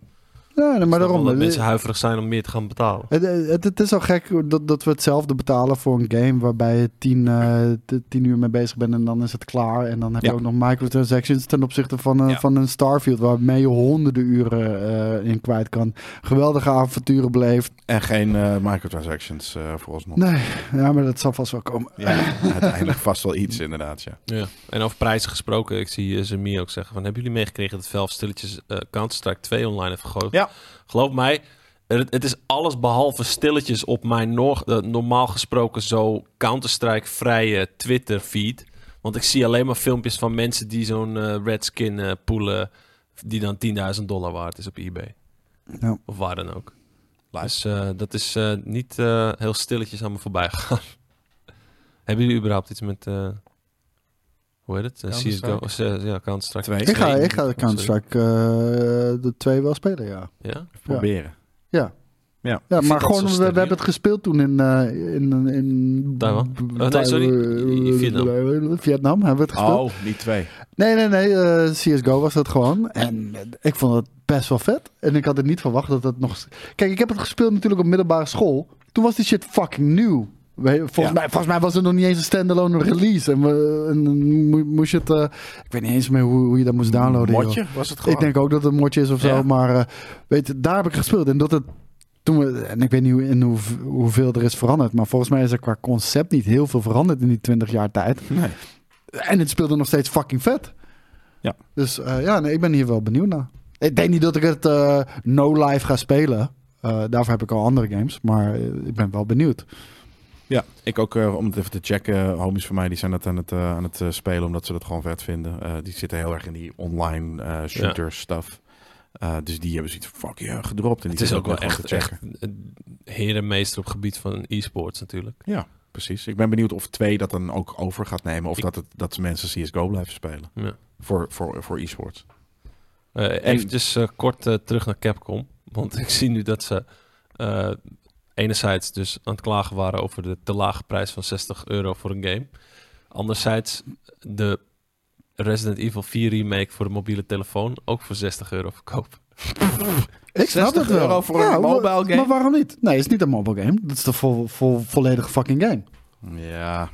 S3: ja, nee,
S1: daarom
S3: maar daarom.
S1: dat
S3: eh,
S1: mensen huiverig zijn om meer te gaan betalen.
S3: Het, het, het is al gek dat, dat we hetzelfde betalen voor een game waarbij je tien, eh, t- tien uur mee bezig bent en dan is het klaar. En dan heb je
S2: Ja.
S3: ook nog microtransactions ten opzichte van, een-
S1: Ja.
S3: van een Starfield waarmee je honderden uren eh, in kwijt kan. Geweldige avonturen beleefd.
S2: En geen eh, microtransactions eh vooralsnog.
S3: Nee, ja, maar dat zal vast wel komen.
S2: Ja, uiteindelijk vast wel iets inderdaad, ja.
S1: Ja. En over prijzen gesproken, ik zie Zemi Samir ook zeggen van... Hebben jullie meegekregen dat Valve stilletjes eh, Counter-Strike 2 online heeft gegooid?
S2: Ja.
S1: Geloof mij, het, het is alles behalve stilletjes op mijn noor- eh, normaal gesproken zo Counter-Strike vrije Twitter feed. Want ik zie alleen maar filmpjes van mensen die zo'n eh, red skin eh, poelen... die dan 10.000 dollar waard is op eBay.
S3: Ja.
S1: Of waar dan ook.
S2: Live.
S1: Dus eh, dat is eh, niet eh, heel stilletjes aan me voorbij gegaan. Hebben jullie überhaupt iets met... eh, hoe heet het? Eh, CSGO?
S2: Counter-Strike?
S1: Eh, ja, Counter-Strike.
S2: Twee.
S3: Ik ga,
S1: Twee.
S3: ik ga de Counter-Strike eh, de twee wel spelen, ja.
S1: Ja?
S2: Proberen.
S3: Ja,
S1: vind
S3: maar
S1: dat
S3: gewoon,
S1: zo
S3: we, we
S1: stabiel.
S3: hebben het gespeeld toen in... eh, in, in
S1: Taiwan? Oh, nee, sorry. In Vietnam.
S3: Vietnam hebben we het gespeeld.
S2: Oh, niet twee.
S3: Nee, nee, nee. eh, CSGO was dat gewoon. En eh, ik vond het best wel vet. En ik had het niet verwacht dat het nog... Kijk, ik heb het gespeeld natuurlijk op middelbare school. Toen was die shit fucking nieuw. We- Volgens,
S2: Ja.
S3: mij, volgens mij was het nog niet eens een standalone release. En, we, en dan moe- moest je het... eh, ik weet niet eens meer hoe, hoe je dat moest downloaden. Oh, joh.
S2: Motje was het
S3: Ik
S2: gewoon.
S3: denk ook dat het een motje is of zo.
S2: Ja.
S3: Maar eh, weet je, daar heb ik gespeeld. En dat het toen we, en ik weet niet hoe, in hoe, hoeveel er is veranderd. Maar volgens mij is er qua concept niet heel veel veranderd in die 20 jaar tijd.
S2: Nee.
S3: En het speelde nog steeds fucking vet.
S2: Ja.
S3: Dus eh, ja, nee, ik ben hier wel benieuwd naar. Ik denk niet dat ik het eh, no live ga spelen. Eh, daarvoor heb ik al andere games. Maar eh, ik ben wel benieuwd.
S2: Ja, ik ook eh, om het even te checken. Homies van mij die zijn dat aan het, eh, aan het eh, spelen omdat ze dat gewoon vet vinden. Eh, die zitten heel erg in die online eh, shooter stuff. Eh, dus die hebben zoiets van fuck yeah, gedropt. En die
S1: Het is
S2: zitten
S1: ook wel
S2: gewoon
S1: echt,
S2: te checken.
S1: echt een herenmeester op het gebied van e-sports natuurlijk.
S2: Precies. Ik ben benieuwd of twee dat dan ook over gaat nemen. Of
S1: Ik-
S2: dat, het, dat mensen CSGO blijven spelen.
S1: Ja.
S2: Voor, voor, voor e-sports.
S1: Eh eventjes eh, kort eh, terug naar Capcom. Want ik zie nu dat ze eh, enerzijds dus aan het klagen waren over de te lage prijs van 60 euro voor een game. Anderzijds eh, de Resident Evil 4 remake voor de mobiele telefoon ook voor 60 euro verkopen.
S3: Ik
S2: 60
S3: snap het wel.
S2: euro voor een
S3: wa-
S2: mobile game?
S3: Maar waarom niet? Nee, het is niet een mobile game. Dat is de vol, vol, volledige fucking game.
S2: Ja.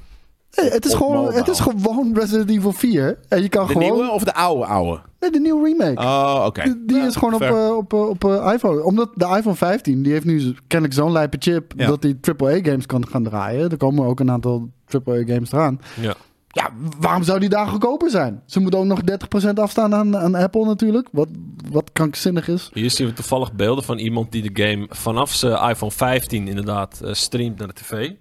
S3: Hey, het, is
S2: Op
S3: gewoon,
S2: mobile.
S3: het is gewoon Resident Evil 4. En je kan
S2: De
S3: gewoon.
S2: nieuwe of de oude oude?
S3: Nee, de nieuwe remake.
S2: Oh, oké.
S3: Die, die
S2: Ja,
S3: is gewoon op,
S2: fair.
S3: eh, op, eh, op eh, iPhone. Omdat de iPhone 15, die heeft nu z- kennelijk zo'n lijpe chip...
S2: Ja.
S3: dat die AAA-games kan gaan draaien. Er komen ook een aantal AAA-games eraan.
S1: Ja.
S3: Ja, waarom zou die daar goedkoper zijn? Ze moeten ook nog 30% afstaan aan, aan Apple natuurlijk. Wat, wat krankzinnig is.
S1: Hier zien we toevallig beelden van iemand die de game vanaf zijn iPhone 15 inderdaad eh, streamt naar de tv.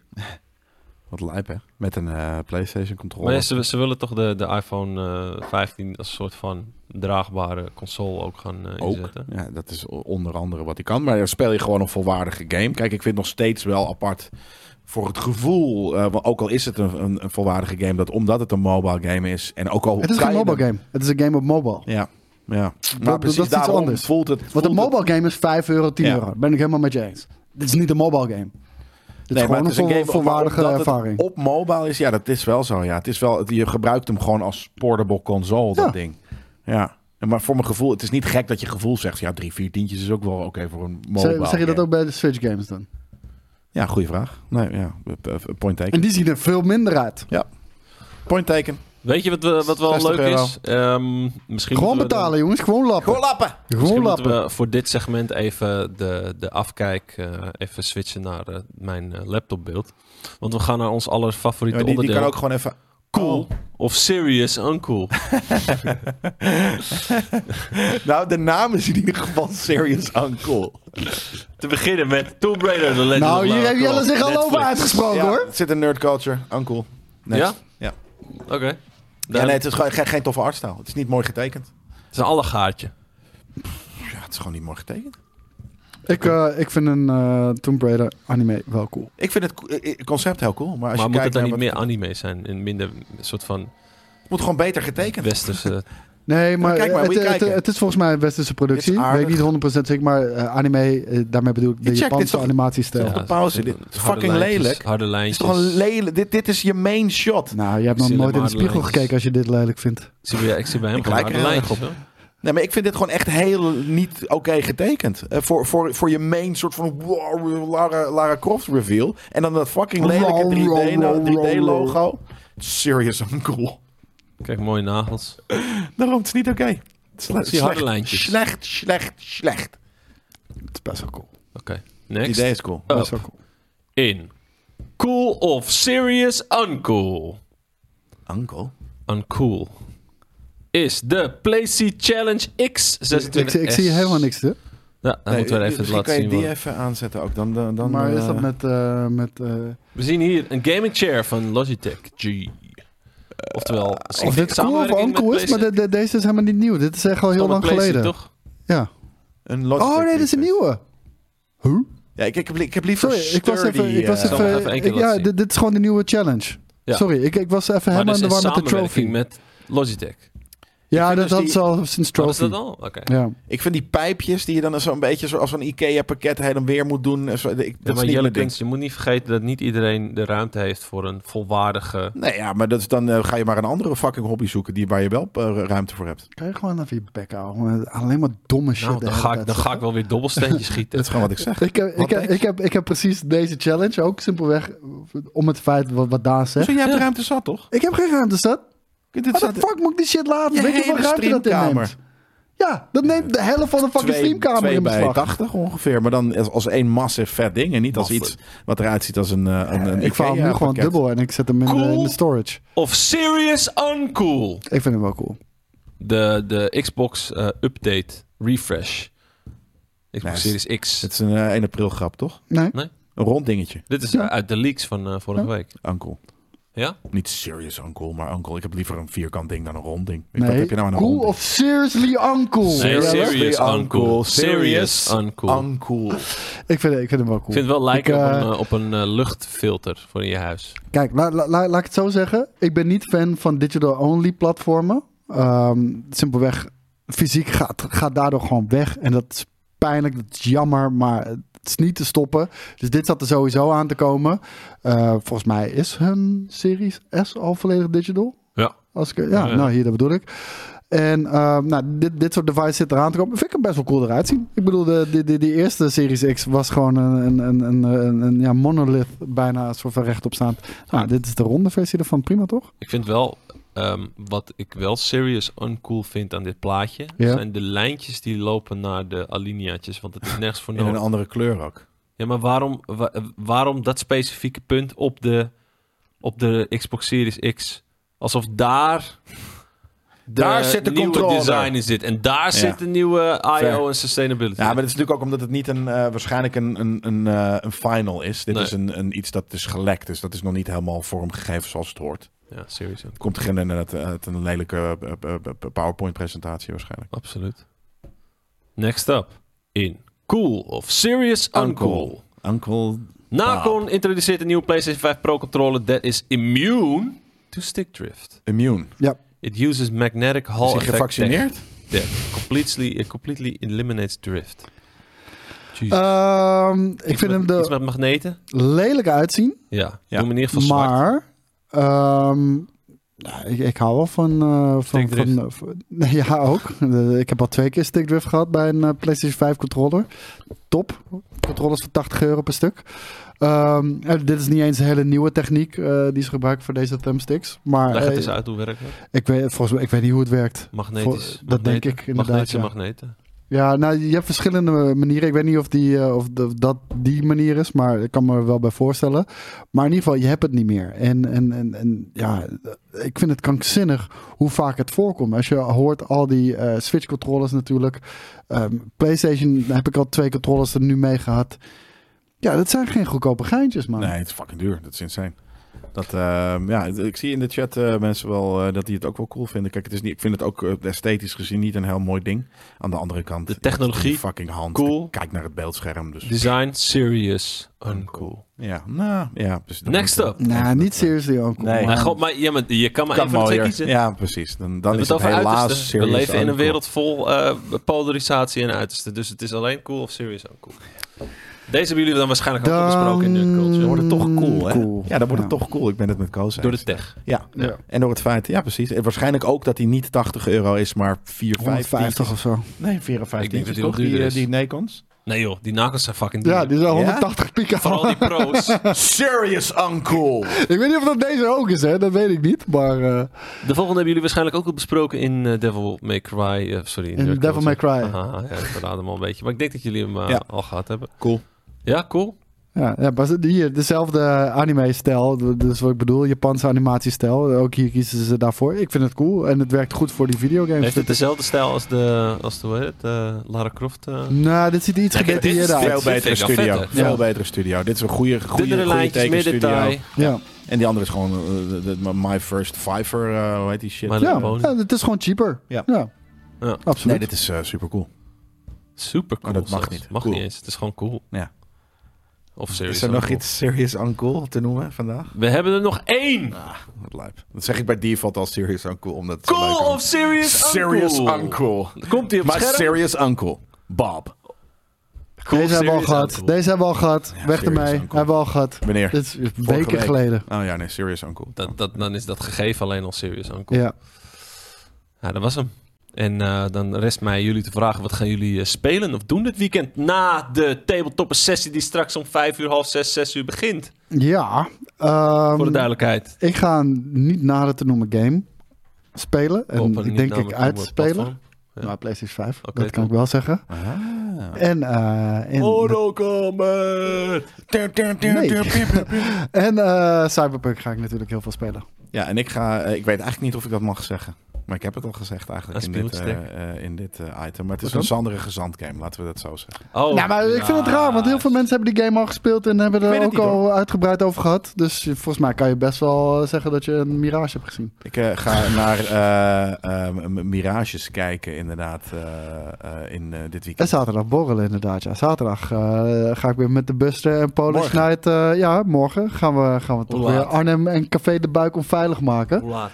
S2: Wat lijp, hè? Met een eh, PlayStation
S1: Maar
S2: controller.
S1: ja, ze, ze willen toch de, de iPhone eh, 15 als soort van draagbare console ook gaan eh,
S2: ook.
S1: inzetten.
S2: Ja, dat is o- onder andere wat hij kan. Maar dan speel je gewoon een volwaardige game. Kijk, ik vind het nog steeds wel apart voor het gevoel. eh, want ook al is het een, een, een volwaardige game, dat omdat het een mobile game is. En ook al
S3: Het is
S2: kan
S3: geen
S2: je
S3: mobile
S2: hem-
S3: game. Het is een game op mobile.
S2: Ja, ja.
S3: dat
S2: Maar
S3: is
S2: precies
S3: iets
S2: daarom
S3: anders.
S2: voelt het...
S3: Want
S2: voelt
S3: een mobile game is 5 euro, 10
S2: Ja.
S3: euro. Ben ik helemaal met je eens. Dit is niet een mobile game. Dit
S2: Nee,
S3: is
S2: maar
S3: gewoon
S2: het
S3: een,
S2: is
S3: vol-
S2: game,
S3: volwaardige
S2: omdat het
S3: ervaring.
S2: Op mobile is, ja, dat is wel zo. Ja. Het is wel, het- je gebruikt hem gewoon als portable console,
S3: Ja.
S2: dat ding. Ja. En Maar voor mijn gevoel, het is niet gek dat je gevoel zegt, ja, drie, vier tientjes is ook wel oké voor een mobile.
S3: Zeg, zeg je dat
S2: game.
S3: ook bij de Switch games dan?
S2: Ja, goede vraag. Nee, ja, eh, point taken.
S3: En die zien er veel minder uit.
S2: Point taken.
S1: Weet je wat, we, wat wel
S2: 60
S1: leuk
S2: euro.
S1: is? Ehm, misschien
S3: Gewoon
S1: moeten we dan-
S3: betalen, jongens. Gewoon lappen.
S2: Gewoon lappen.
S3: Gewoon
S1: misschien
S3: lappen.
S1: moeten we voor dit segment even de, de afkijk eh, even switchen naar eh, mijn eh, laptopbeeld. Want we gaan naar ons aller favoriete
S2: die, die
S1: onderdeel.
S2: kan ook gewoon even
S1: cool of serious uncool.
S2: Nou, de naam is in ieder geval Serious Uncle.
S1: Te beginnen met Tomb Raider, The Legend
S3: Nou,
S1: of
S3: hier
S1: Lara
S3: heb Jelle
S1: Croft,
S3: zich al over
S1: Netflix.
S3: uitgesproken
S2: Ja,
S3: Oh, hoor.
S2: het zit een nerd culture. Uncle. Next.
S1: Ja?
S2: Ja.
S1: Oké.
S2: Ja, nee, het is gewoon geen, geen toffe artstijl. Het is niet mooi getekend.
S1: Het is een allegaartje.
S2: Ja, het is gewoon niet mooi getekend.
S3: Ik, eh, ik vind een eh, Tomb Raider anime wel cool.
S2: Ik vind het co- eh, eh, concept heel cool, maar als
S1: Maar
S2: je
S1: moet het
S2: kijkt
S1: dan niet
S2: naar
S1: meer
S2: wat-
S1: anime zijn? Een minder soort van
S2: het moet gewoon beter getekend.
S1: westerse...
S3: Nee, maar,
S2: kijk maar,
S3: het,
S2: moet je
S3: het,
S2: kijken.
S3: het is volgens mij een westerse productie.
S2: Dit is aardig.
S3: Weet ik niet 100% zeker, maar eh, anime, eh, daarmee bedoel ik
S2: check,
S3: de
S2: dit is
S3: Japanse
S2: toch-
S3: animatiestijl.
S2: Ja. op de pauze. Dit is
S1: harde
S2: fucking
S1: lijntjes,
S2: lelijk.
S1: Harde
S2: Het is
S1: lijntjes.
S2: toch een lelijk... Dit, dit is je main shot.
S3: Nou, je hebt nog
S1: Zie alleen
S3: nooit in de
S1: maar de
S3: spiegel
S1: lijntjes.
S3: gekeken als je dit lelijk
S2: Oh.
S3: vindt.
S1: Ik zie bij- ik zie bij hem
S2: Ik
S1: gewoon
S2: lijk
S1: harde
S2: er heel erg
S1: lijntjes.
S2: op.
S1: hoor.
S2: Nee, maar ik vind dit gewoon echt heel niet oké getekend. Eh, voor, voor, voor je main soort van wow, Lara, Lara Croft reveal. En dan dat fucking lelijke
S3: Wow,
S2: 3D,
S3: wow, wow,
S2: 3D logo. Serious uncle.
S1: Kijk, mooie nagels.
S2: Daarom, het is niet oké. Het is le-
S1: Zie je harde
S2: slecht,
S1: lijntjes.
S2: Slecht, slecht, slecht.
S3: Het is best wel cool.
S1: Oké,
S2: Het
S1: next.
S2: idee is cool.
S1: Oh.
S3: Best wel cool.
S1: In. Cool of serious uncool?
S2: Uncle?
S1: Uncool. Is de PlaySea Challenge
S3: Ik, ik,
S1: X26S.
S3: ik zie helemaal niks, hè?
S1: Ja, dan moeten we even het laten
S2: kan je
S1: zien.
S2: die
S1: man.
S2: even aanzetten ook. Dan, dan, dan,
S3: maar is dat
S2: eh,
S3: met... eh, met eh,
S1: We zien hier een gaming chair van Logitech G. Oftewel, ik
S3: Eh,
S1: denk
S3: of dit cool of
S1: samenwerking met
S3: uncool is, maar de-
S1: PlayStation.
S3: de- deze is helemaal niet nieuw. Dit is echt al heel
S1: Van de
S3: lang
S1: PlayStation,
S3: geleden.
S1: Toch?
S3: Ja.
S2: een
S3: Oh
S2: Logitech
S3: nee, dit is een
S2: G-Fest.
S3: nieuwe. Huh?
S2: Ja, ik, ik, heb, li- ik heb liever
S3: Sorry, ik was
S2: sturdy,
S3: even. Ik was
S2: eh,
S1: zal ik even
S3: even,
S1: één
S3: ik-
S1: keer
S3: ja,
S1: laten zien.
S3: dit, dit is gewoon de nieuwe challenge.
S1: Ja.
S3: Sorry, ik, ik was even
S1: Maar
S3: helemaal
S1: dus
S3: in de
S1: in
S3: war met de trophy.
S1: samenwerking met Logitech.
S3: ja,
S2: vind
S3: dat
S2: dus
S3: had
S2: die-
S3: ze al sinds
S1: Wat is
S3: trophy.
S1: dat al? Oké.
S3: Ja.
S2: Ik vind die pijpjes die je dan zo'n beetje zo, als zo'n IKEA-pakket heen en weer moet doen. eh, Zo, ik, dat
S1: Ja,
S2: is
S1: maar
S2: niet
S1: Jelle
S2: mijn ding.
S1: Kunst, je moet niet vergeten dat niet iedereen de ruimte heeft voor een volwaardige...
S2: Nee, ja, maar dat is, dan eh, ga je maar een andere fucking hobby zoeken die, waar je wel eh, ruimte voor hebt.
S3: Kan je gewoon even je bek houden? Alleen maar domme shit.
S1: Nou,
S3: de
S1: dan
S3: hele
S1: ga, ik,
S3: tijd
S1: dan ga ik
S3: zeggen.
S1: wel weer dobbelsteentjes schieten.
S2: Dat is gewoon wat ik zeg.
S3: Ik heb, ik,
S2: Wat
S3: heb,
S2: denk
S3: ik, heb, ik heb precies deze challenge ook simpelweg om het feit wat, wat Daan zegt.
S2: Zo, jij hebt de ruimte zat, toch?
S3: Ik heb geen ruimte zat.
S2: Dit is
S3: Wat de fuck moet ik die shit laten?
S2: Je
S3: Weet je
S2: hele
S3: wat ruimte dat inneemt?
S2: streamkamer.
S3: Ja, dat neemt de helft van de fucking streamkamer in
S2: bij
S3: beslag.
S2: 80 ongeveer, maar dan als, als één massive vet ding en niet als
S1: Massive.
S2: iets wat eruit ziet als een, eh, een, een
S3: Ik vouw hem nu gewoon
S2: IKEA-pakket.
S3: dubbel en ik zet hem in, de-
S1: Cool.
S3: in de storage.
S1: Of serious uncool.
S3: Ik vind hem wel cool.
S1: De, de Xbox eh, update refresh. Xbox
S2: Nice.
S1: Series X.
S2: Het is een eh, 1 april grap, toch?
S3: Nee?
S2: Een rond dingetje,
S1: Dit is
S3: Ja.
S1: eh, uit de leaks van eh, vorige week.
S2: uncle.
S1: Ja?
S2: Niet serious uncle, maar uncle. Ik heb liever een vierkant ding dan een rond ding. Ik- Wat
S3: nee.
S2: heb je nou aan een
S3: cool
S2: rond ding?
S3: of seriously uncool?
S1: Nee,
S3: Jelle?
S1: serious uncool. Serious
S2: Serious
S1: uncool.
S2: uncool.
S3: Ik vind, ik vind hem wel cool.
S1: Ik vind het wel lijken
S3: Ik,
S1: op
S3: eh,
S1: een, eh, op een eh, luchtfilter voor in je huis.
S3: Kijk, la- la- la- laat ik het zo zeggen. Ik ben niet fan van digital-only platformen. Ehm, simpelweg, fysiek gaat, gaat daardoor gewoon weg. En dat is pijnlijk, dat is jammer, maar het is niet te stoppen. Dus dit zat er sowieso aan te komen. Eh, volgens mij is hun Series S al volledig digital.
S1: Ja.
S3: Als ik, ja,
S1: Ja.
S3: nou hier, dat bedoel ik. En ehm, nou, dit, dit soort device zit eraan te komen. Vind ik hem best wel cool eruit zien. Ik bedoel, de, de, de, die eerste Series X was gewoon een, een, een, een, een ja, monolith, bijna soort van rechtop staand. Nou, dit is de ronde versie ervan. Prima, toch?
S1: Ik vind wel, ehm, wat ik wel serious uncool vind aan dit plaatje,
S3: Ja.
S1: zijn de lijntjes die lopen naar de alineaatjes, want het is nergens voor
S2: In een
S1: nodig.
S2: andere kleur ook.
S1: Ja, maar waarom, wa- waarom dat specifieke punt op de, op de Xbox Series X? Alsof daar... De
S2: Daar zit de
S1: nieuwe
S2: controller.
S1: design in zit. En daar zit de nieuwe
S2: Fair.
S1: I.O. en sustainability.
S2: Ja, maar dat is natuurlijk ook omdat het niet een, eh, waarschijnlijk een, een, een, eh, een final is. Dit
S1: Nee.
S2: is een, een, iets dat is gelekt, dus dat is nog niet helemaal vormgegeven zoals het hoort.
S1: ja serious uncool.
S2: Het komt geen inderdaad uit een lelijke eh, eh, eh, PowerPoint-presentatie waarschijnlijk.
S1: Absoluut. Next up. In Cool of Serious Uncool.
S2: Uncool. Uncle...
S1: Nacon introduceert een nieuwe PlayStation 5 Pro controller that is immune to stick drift.
S2: Immune.
S3: Ja.
S1: It uses magnetic Hall
S2: is hij
S1: effect
S2: gevaccineerd?
S1: tech that completely, it completely eliminates drift. Jezus.
S3: Eh, Ehm, ik
S1: Iets
S3: vind
S1: met-
S3: hem
S1: Iets
S3: er
S1: met magneten?
S3: lelijk uitzien.
S1: Ja. Doe
S2: Ja.
S1: hem in ieder geval zwart.
S3: Maar ehm, ja, ik, ik hou wel van. eh, van,
S1: Stickdrift.
S3: van, van- nee, ja, ook. Eh, ik heb al twee keer stickdrift gehad bij een eh, PlayStation 5 controller. Top. Controllers voor 80 euro per stuk. Ehm, en dit is niet eens een hele nieuwe techniek eh, die ze gebruiken voor deze thumbsticks. Maar
S1: Leg het
S3: eh,
S1: eens uit hoe werkt het.
S3: ik, weet, volgens mij, ik weet niet hoe het werkt.
S1: Magnetisch.
S3: Voor- dat denk
S1: magneten.
S3: ik inderdaad,
S1: Magnetische
S3: ja.
S1: magneten.
S3: Ja, nou, je hebt verschillende manieren. Ik weet niet of, die, eh, of de- dat die manier is, maar ik kan me er wel bij voorstellen. Maar in ieder geval, je hebt het niet meer. En, en, en, en ja, ik vind het krankzinnig hoe vaak het voorkomt. Als je hoort al die eh, Switch-controllers natuurlijk. Ehm, PlayStation heb ik al twee controllers er nu mee gehad. Ja, dat zijn geen goedkope geintjes, man.
S2: Nee, het is fucking duur. Dat is insane. Dat, ehm, ja, het- ik zie in de chat eh, mensen wel eh, dat die het ook wel cool vinden. Kijk, het is niet, ik vind het ook eh, esthetisch gezien niet een heel mooi ding. Aan de andere kant,
S1: De
S2: het is
S1: technologie,
S2: een fucking hand.
S1: cool.
S2: Ik Kijk naar het beeldscherm. Dus
S1: Design serious uncool.
S2: ja, nou ja. Dus dat
S1: Next
S2: moet-
S1: up.
S3: Nou, niet seriously, onkel.
S2: Nee.
S1: Nou, god, maar, ja, maar je kan maar
S2: Kan
S1: even twee
S2: mooier.
S1: kiezen.
S2: Ja, precies. Dan, dan
S1: We
S2: is
S1: hebben
S2: het
S1: het over
S2: helaas
S1: uitersten. We
S2: serieus
S1: leven in een
S2: uncool.
S1: wereld vol eh, polarisatie en uitersten. Dus het is alleen cool of serious uncool. Deze hebben jullie dan waarschijnlijk ook al besproken in de culture.
S3: Dan
S2: wordt het toch cool, hè?
S3: cool.
S2: Ja, dan wordt het
S3: Ja.
S2: toch cool. Ik ben het met Koos.
S1: Door de
S2: eens.
S1: tech.
S2: Ja.
S3: Ja.
S2: En door het feit, ja precies. En waarschijnlijk ook dat hij niet 80 euro is, maar 4,
S3: 150 of zo.
S2: Nee, 54.
S1: Ik denk dat die
S2: toch
S1: wel
S2: die,
S1: duurder
S2: eh, die
S1: is.
S2: Nikons.
S1: Nee joh, die nagels zijn fucking duur.
S3: Ja, die zijn
S2: Ja?
S3: 180 piek aan.
S1: Vooral die pro's.
S2: Serious uncool.
S3: Ik weet niet of dat deze ook is, hè? Dat weet ik niet. Maar eh,
S1: De volgende hebben jullie waarschijnlijk ook al besproken in eh, Devil May Cry. eh, sorry,
S3: in
S1: Nerd
S3: Devil May
S1: Culture.
S3: Cry.
S1: Aha, ja, ik verraad hem al een beetje. Maar ik denk dat jullie hem eh,
S2: Ja.
S1: al gehad hebben.
S2: Cool.
S1: Ja, cool.
S3: Ja, ja, maar ze- hier, dezelfde anime-stijl. Dus wat ik bedoel, Japanse animatiestijl. Ook hier kiezen ze daarvoor. Ik vind het cool en het werkt goed voor die videogames.
S1: Heeft het dezelfde stijl als de, als de hoe heet het, eh, Lara Croft? eh
S3: Nou, dit ziet iets
S1: Ja, kijk, dit is
S3: gedetailleerder
S1: veel-
S3: uit.
S2: Veel
S1: vind
S2: betere
S1: ik wel
S2: studio.
S1: vet,
S3: hè?
S2: Veel
S3: Ja.
S2: betere studio. Dit is een goede,
S1: Dunnere
S2: goede, goede
S1: lijntjes, meer
S2: tekenstudio.
S1: detail.
S3: Ja,
S2: En die andere is gewoon eh, de- de- de- My First Fiverr, eh, hoe heet die shit?
S1: Maar-
S3: ja.
S1: Pony.
S3: ja, het is gewoon cheaper.
S2: Ja.
S1: Ja.
S2: nee,
S3: absoluut.
S2: dit is eh, super cool.
S1: Super cool.
S2: Oh, dat mag
S1: zelfs.
S2: niet.
S1: Mag
S2: Cool.
S1: niet eens. Het is gewoon cool.
S2: Ja.
S1: Of serious
S2: is er nog
S1: uncool.
S2: iets serious uncool te noemen vandaag?
S1: We hebben er nog één.
S2: Wat lijp. Dat zeg ik bij default al serious uncool. Omdat het zo leuk
S1: Cool
S2: is.
S1: of serious uncool?
S2: serious uncool.
S1: Komt hij op
S2: Maar
S1: het scherm?
S2: serious uncool. Bob.
S1: Cool,
S3: Deze hebben we al
S1: serious
S3: gehad.
S1: uncool.
S3: Deze hebben we al gehad.
S2: Ja,
S3: Weg
S2: serieus,
S3: ermee.
S2: uncool.
S3: Hebben we al gehad.
S2: Meneer.
S3: Dit is weken
S2: week.
S3: geleden.
S2: Oh ja, nee, serious uncool.
S1: Dat, dat, dan is dat gegeven alleen al serious uncool. Ja.
S3: Ja.
S1: Nou, dat was hem. En eh, dan rest mij jullie te vragen, wat gaan jullie eh, spelen of doen dit weekend na de tabletopper sessie die straks om 5 uur, half 6, 6 uur begint?
S3: Ja. ehm,
S1: Voor de duidelijkheid.
S3: ik ga een niet nader te noemen game spelen. En
S1: Op een
S3: ik
S1: niet
S3: denk ik
S1: namelijk
S3: uitspelen.
S1: platform. Ja.
S3: Maar PlayStation 5,
S1: Oké,
S3: dat kan
S1: cool.
S3: ik wel zeggen.
S2: Ah.
S3: En, eh en,
S1: Orokomer!
S3: en eh, Cyberpunk ga ik natuurlijk heel veel spelen.
S2: Ja, en ik ga. eh, ik weet eigenlijk niet of ik dat mag zeggen. Maar ik heb het al gezegd eigenlijk in
S1: Dat
S2: dit,
S1: speelt sterk.
S2: eh, eh, in dit eh, item. Maar het is
S3: Wat
S2: een zanderige zandgame, laten we dat zo zeggen.
S1: Oh,
S3: nou, maar ik vind het raar, want heel veel mensen hebben die game al gespeeld en hebben
S2: Ik weet
S3: er
S2: het
S3: ook
S2: niet,
S3: al uitgebreid over gehad. Dus volgens mij kan je best wel eh, zeggen dat je een Mirage hebt gezien.
S2: Ik eh, ga naar eh, eh, m- mirages kijken, inderdaad, eh, eh, in eh, dit
S3: En
S2: weekend.
S3: zaterdag borrelen inderdaad. Ja, zaterdag eh, ga ik weer met de bus eh, en Polish
S2: Morgen.
S3: Night. eh, ja, morgen gaan we, gaan we toch
S1: Hoe
S3: weer
S1: laat?
S3: Arnhem en Café de Buik onveilig maken.
S1: Hoe laat?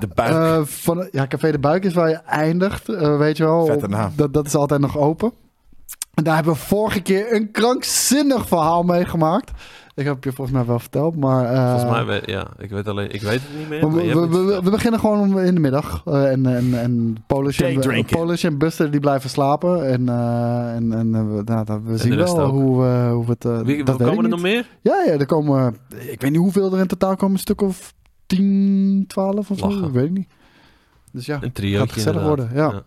S2: De buik.
S3: Eh, van, ja, Café de Buik is waar je eindigt, eh, weet je wel.
S2: Vette naam.
S3: Dat, dat is altijd nog open. En daar hebben we vorige keer een krankzinnig verhaal meegemaakt. Ik heb het je volgens mij wel verteld, maar... eh,
S1: Volgens mij, we- ja, ik weet, alleen, ik weet het niet meer.
S3: we,
S1: maar je hebt
S3: we,
S1: het
S3: we,
S1: verteld.
S3: we beginnen gewoon om- in de middag. Eh, en en, en Polish, en,
S2: Daydrinking.
S3: Polish en Buster die blijven slapen. En, eh, en, en eh, we, nou, dat- we zien
S1: rest
S3: wel
S1: ook.
S3: hoe, we- hoe we het... eh,
S1: Wie-
S3: dat weet ik
S1: komen er
S3: niet.
S1: nog meer?
S3: Ja, ja, er komen... Ik weet niet hoeveel er in totaal komen. Een stuk of 10, 12 of zo.
S1: Lachen.
S3: Ik weet het niet. Dus ja.
S1: Een
S3: Gaat
S1: triootje
S3: gezellig worden, ja.
S1: Ja.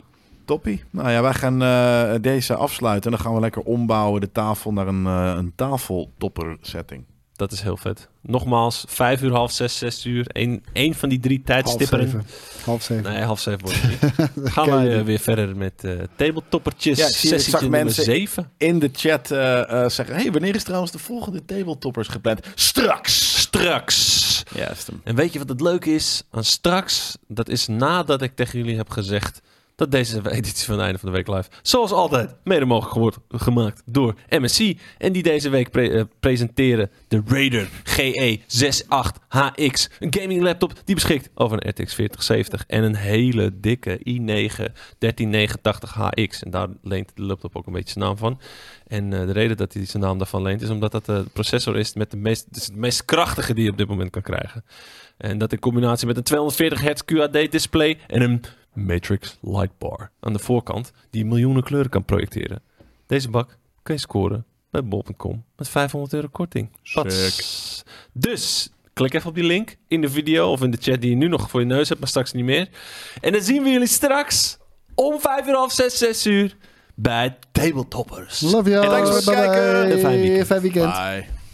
S2: Toppie. Nou ja, wij gaan eh, deze afsluiten. En dan gaan we lekker ombouwen de tafel naar een, eh, een tafeltopper setting.
S1: Dat is heel vet. Nogmaals, vijf uur, half zes, zes uur. Eén één van die drie
S3: Half
S1: tijdstipperen.
S3: zeven. Half zeven.
S1: Nee, half zeven wordt het niet. Gaan
S3: ken je
S1: wij eh,
S3: niet.
S1: weer verder met eh tabletoppertjes.
S2: Ja, ik zie- ik
S1: Sessietje
S2: zag
S1: nummer
S2: mensen-
S1: zeven.
S2: In de chat eh, eh, zeggen: hey, wanneer is trouwens de volgende tabletoppers gepland? Straks!
S1: Straks.
S2: Ja, is hem.
S1: En weet je wat het leuke is? Aan straks, dat is nadat ik tegen jullie heb gezegd dat deze editie van het einde van de week live, zoals altijd, mede mogelijk wordt gemaakt door MSC. En die deze week pre- eh, presenteren de Raider E GE68HX. Een gaming laptop die beschikt over een RTX 4070 en een hele dikke i9 1389HX. En daar leent de laptop ook een beetje zijn naam van. En eh, de reden dat hij zijn naam daarvan leent is omdat dat eh, de processor is met de meest, dus het meest krachtige die je op dit moment kan krijgen. En dat in combinatie met een 240 Hz QHD-display en een Matrix Lightbar aan de voorkant, die miljoenen kleuren kan projecteren. Deze bak kun je scoren bij bol.com met 500 euro korting. Pats. Dus klik even op die link in de video of in de chat die je nu nog voor je neus hebt, maar straks niet meer. En dan zien we jullie straks om 5 uur half 6, 6 uur bij Tabletoppers.
S3: Love you.
S2: Thanks voor het
S3: Bye bye.
S2: kijken.
S1: Fijn weekend.
S3: Fijn weekend.
S2: Bye.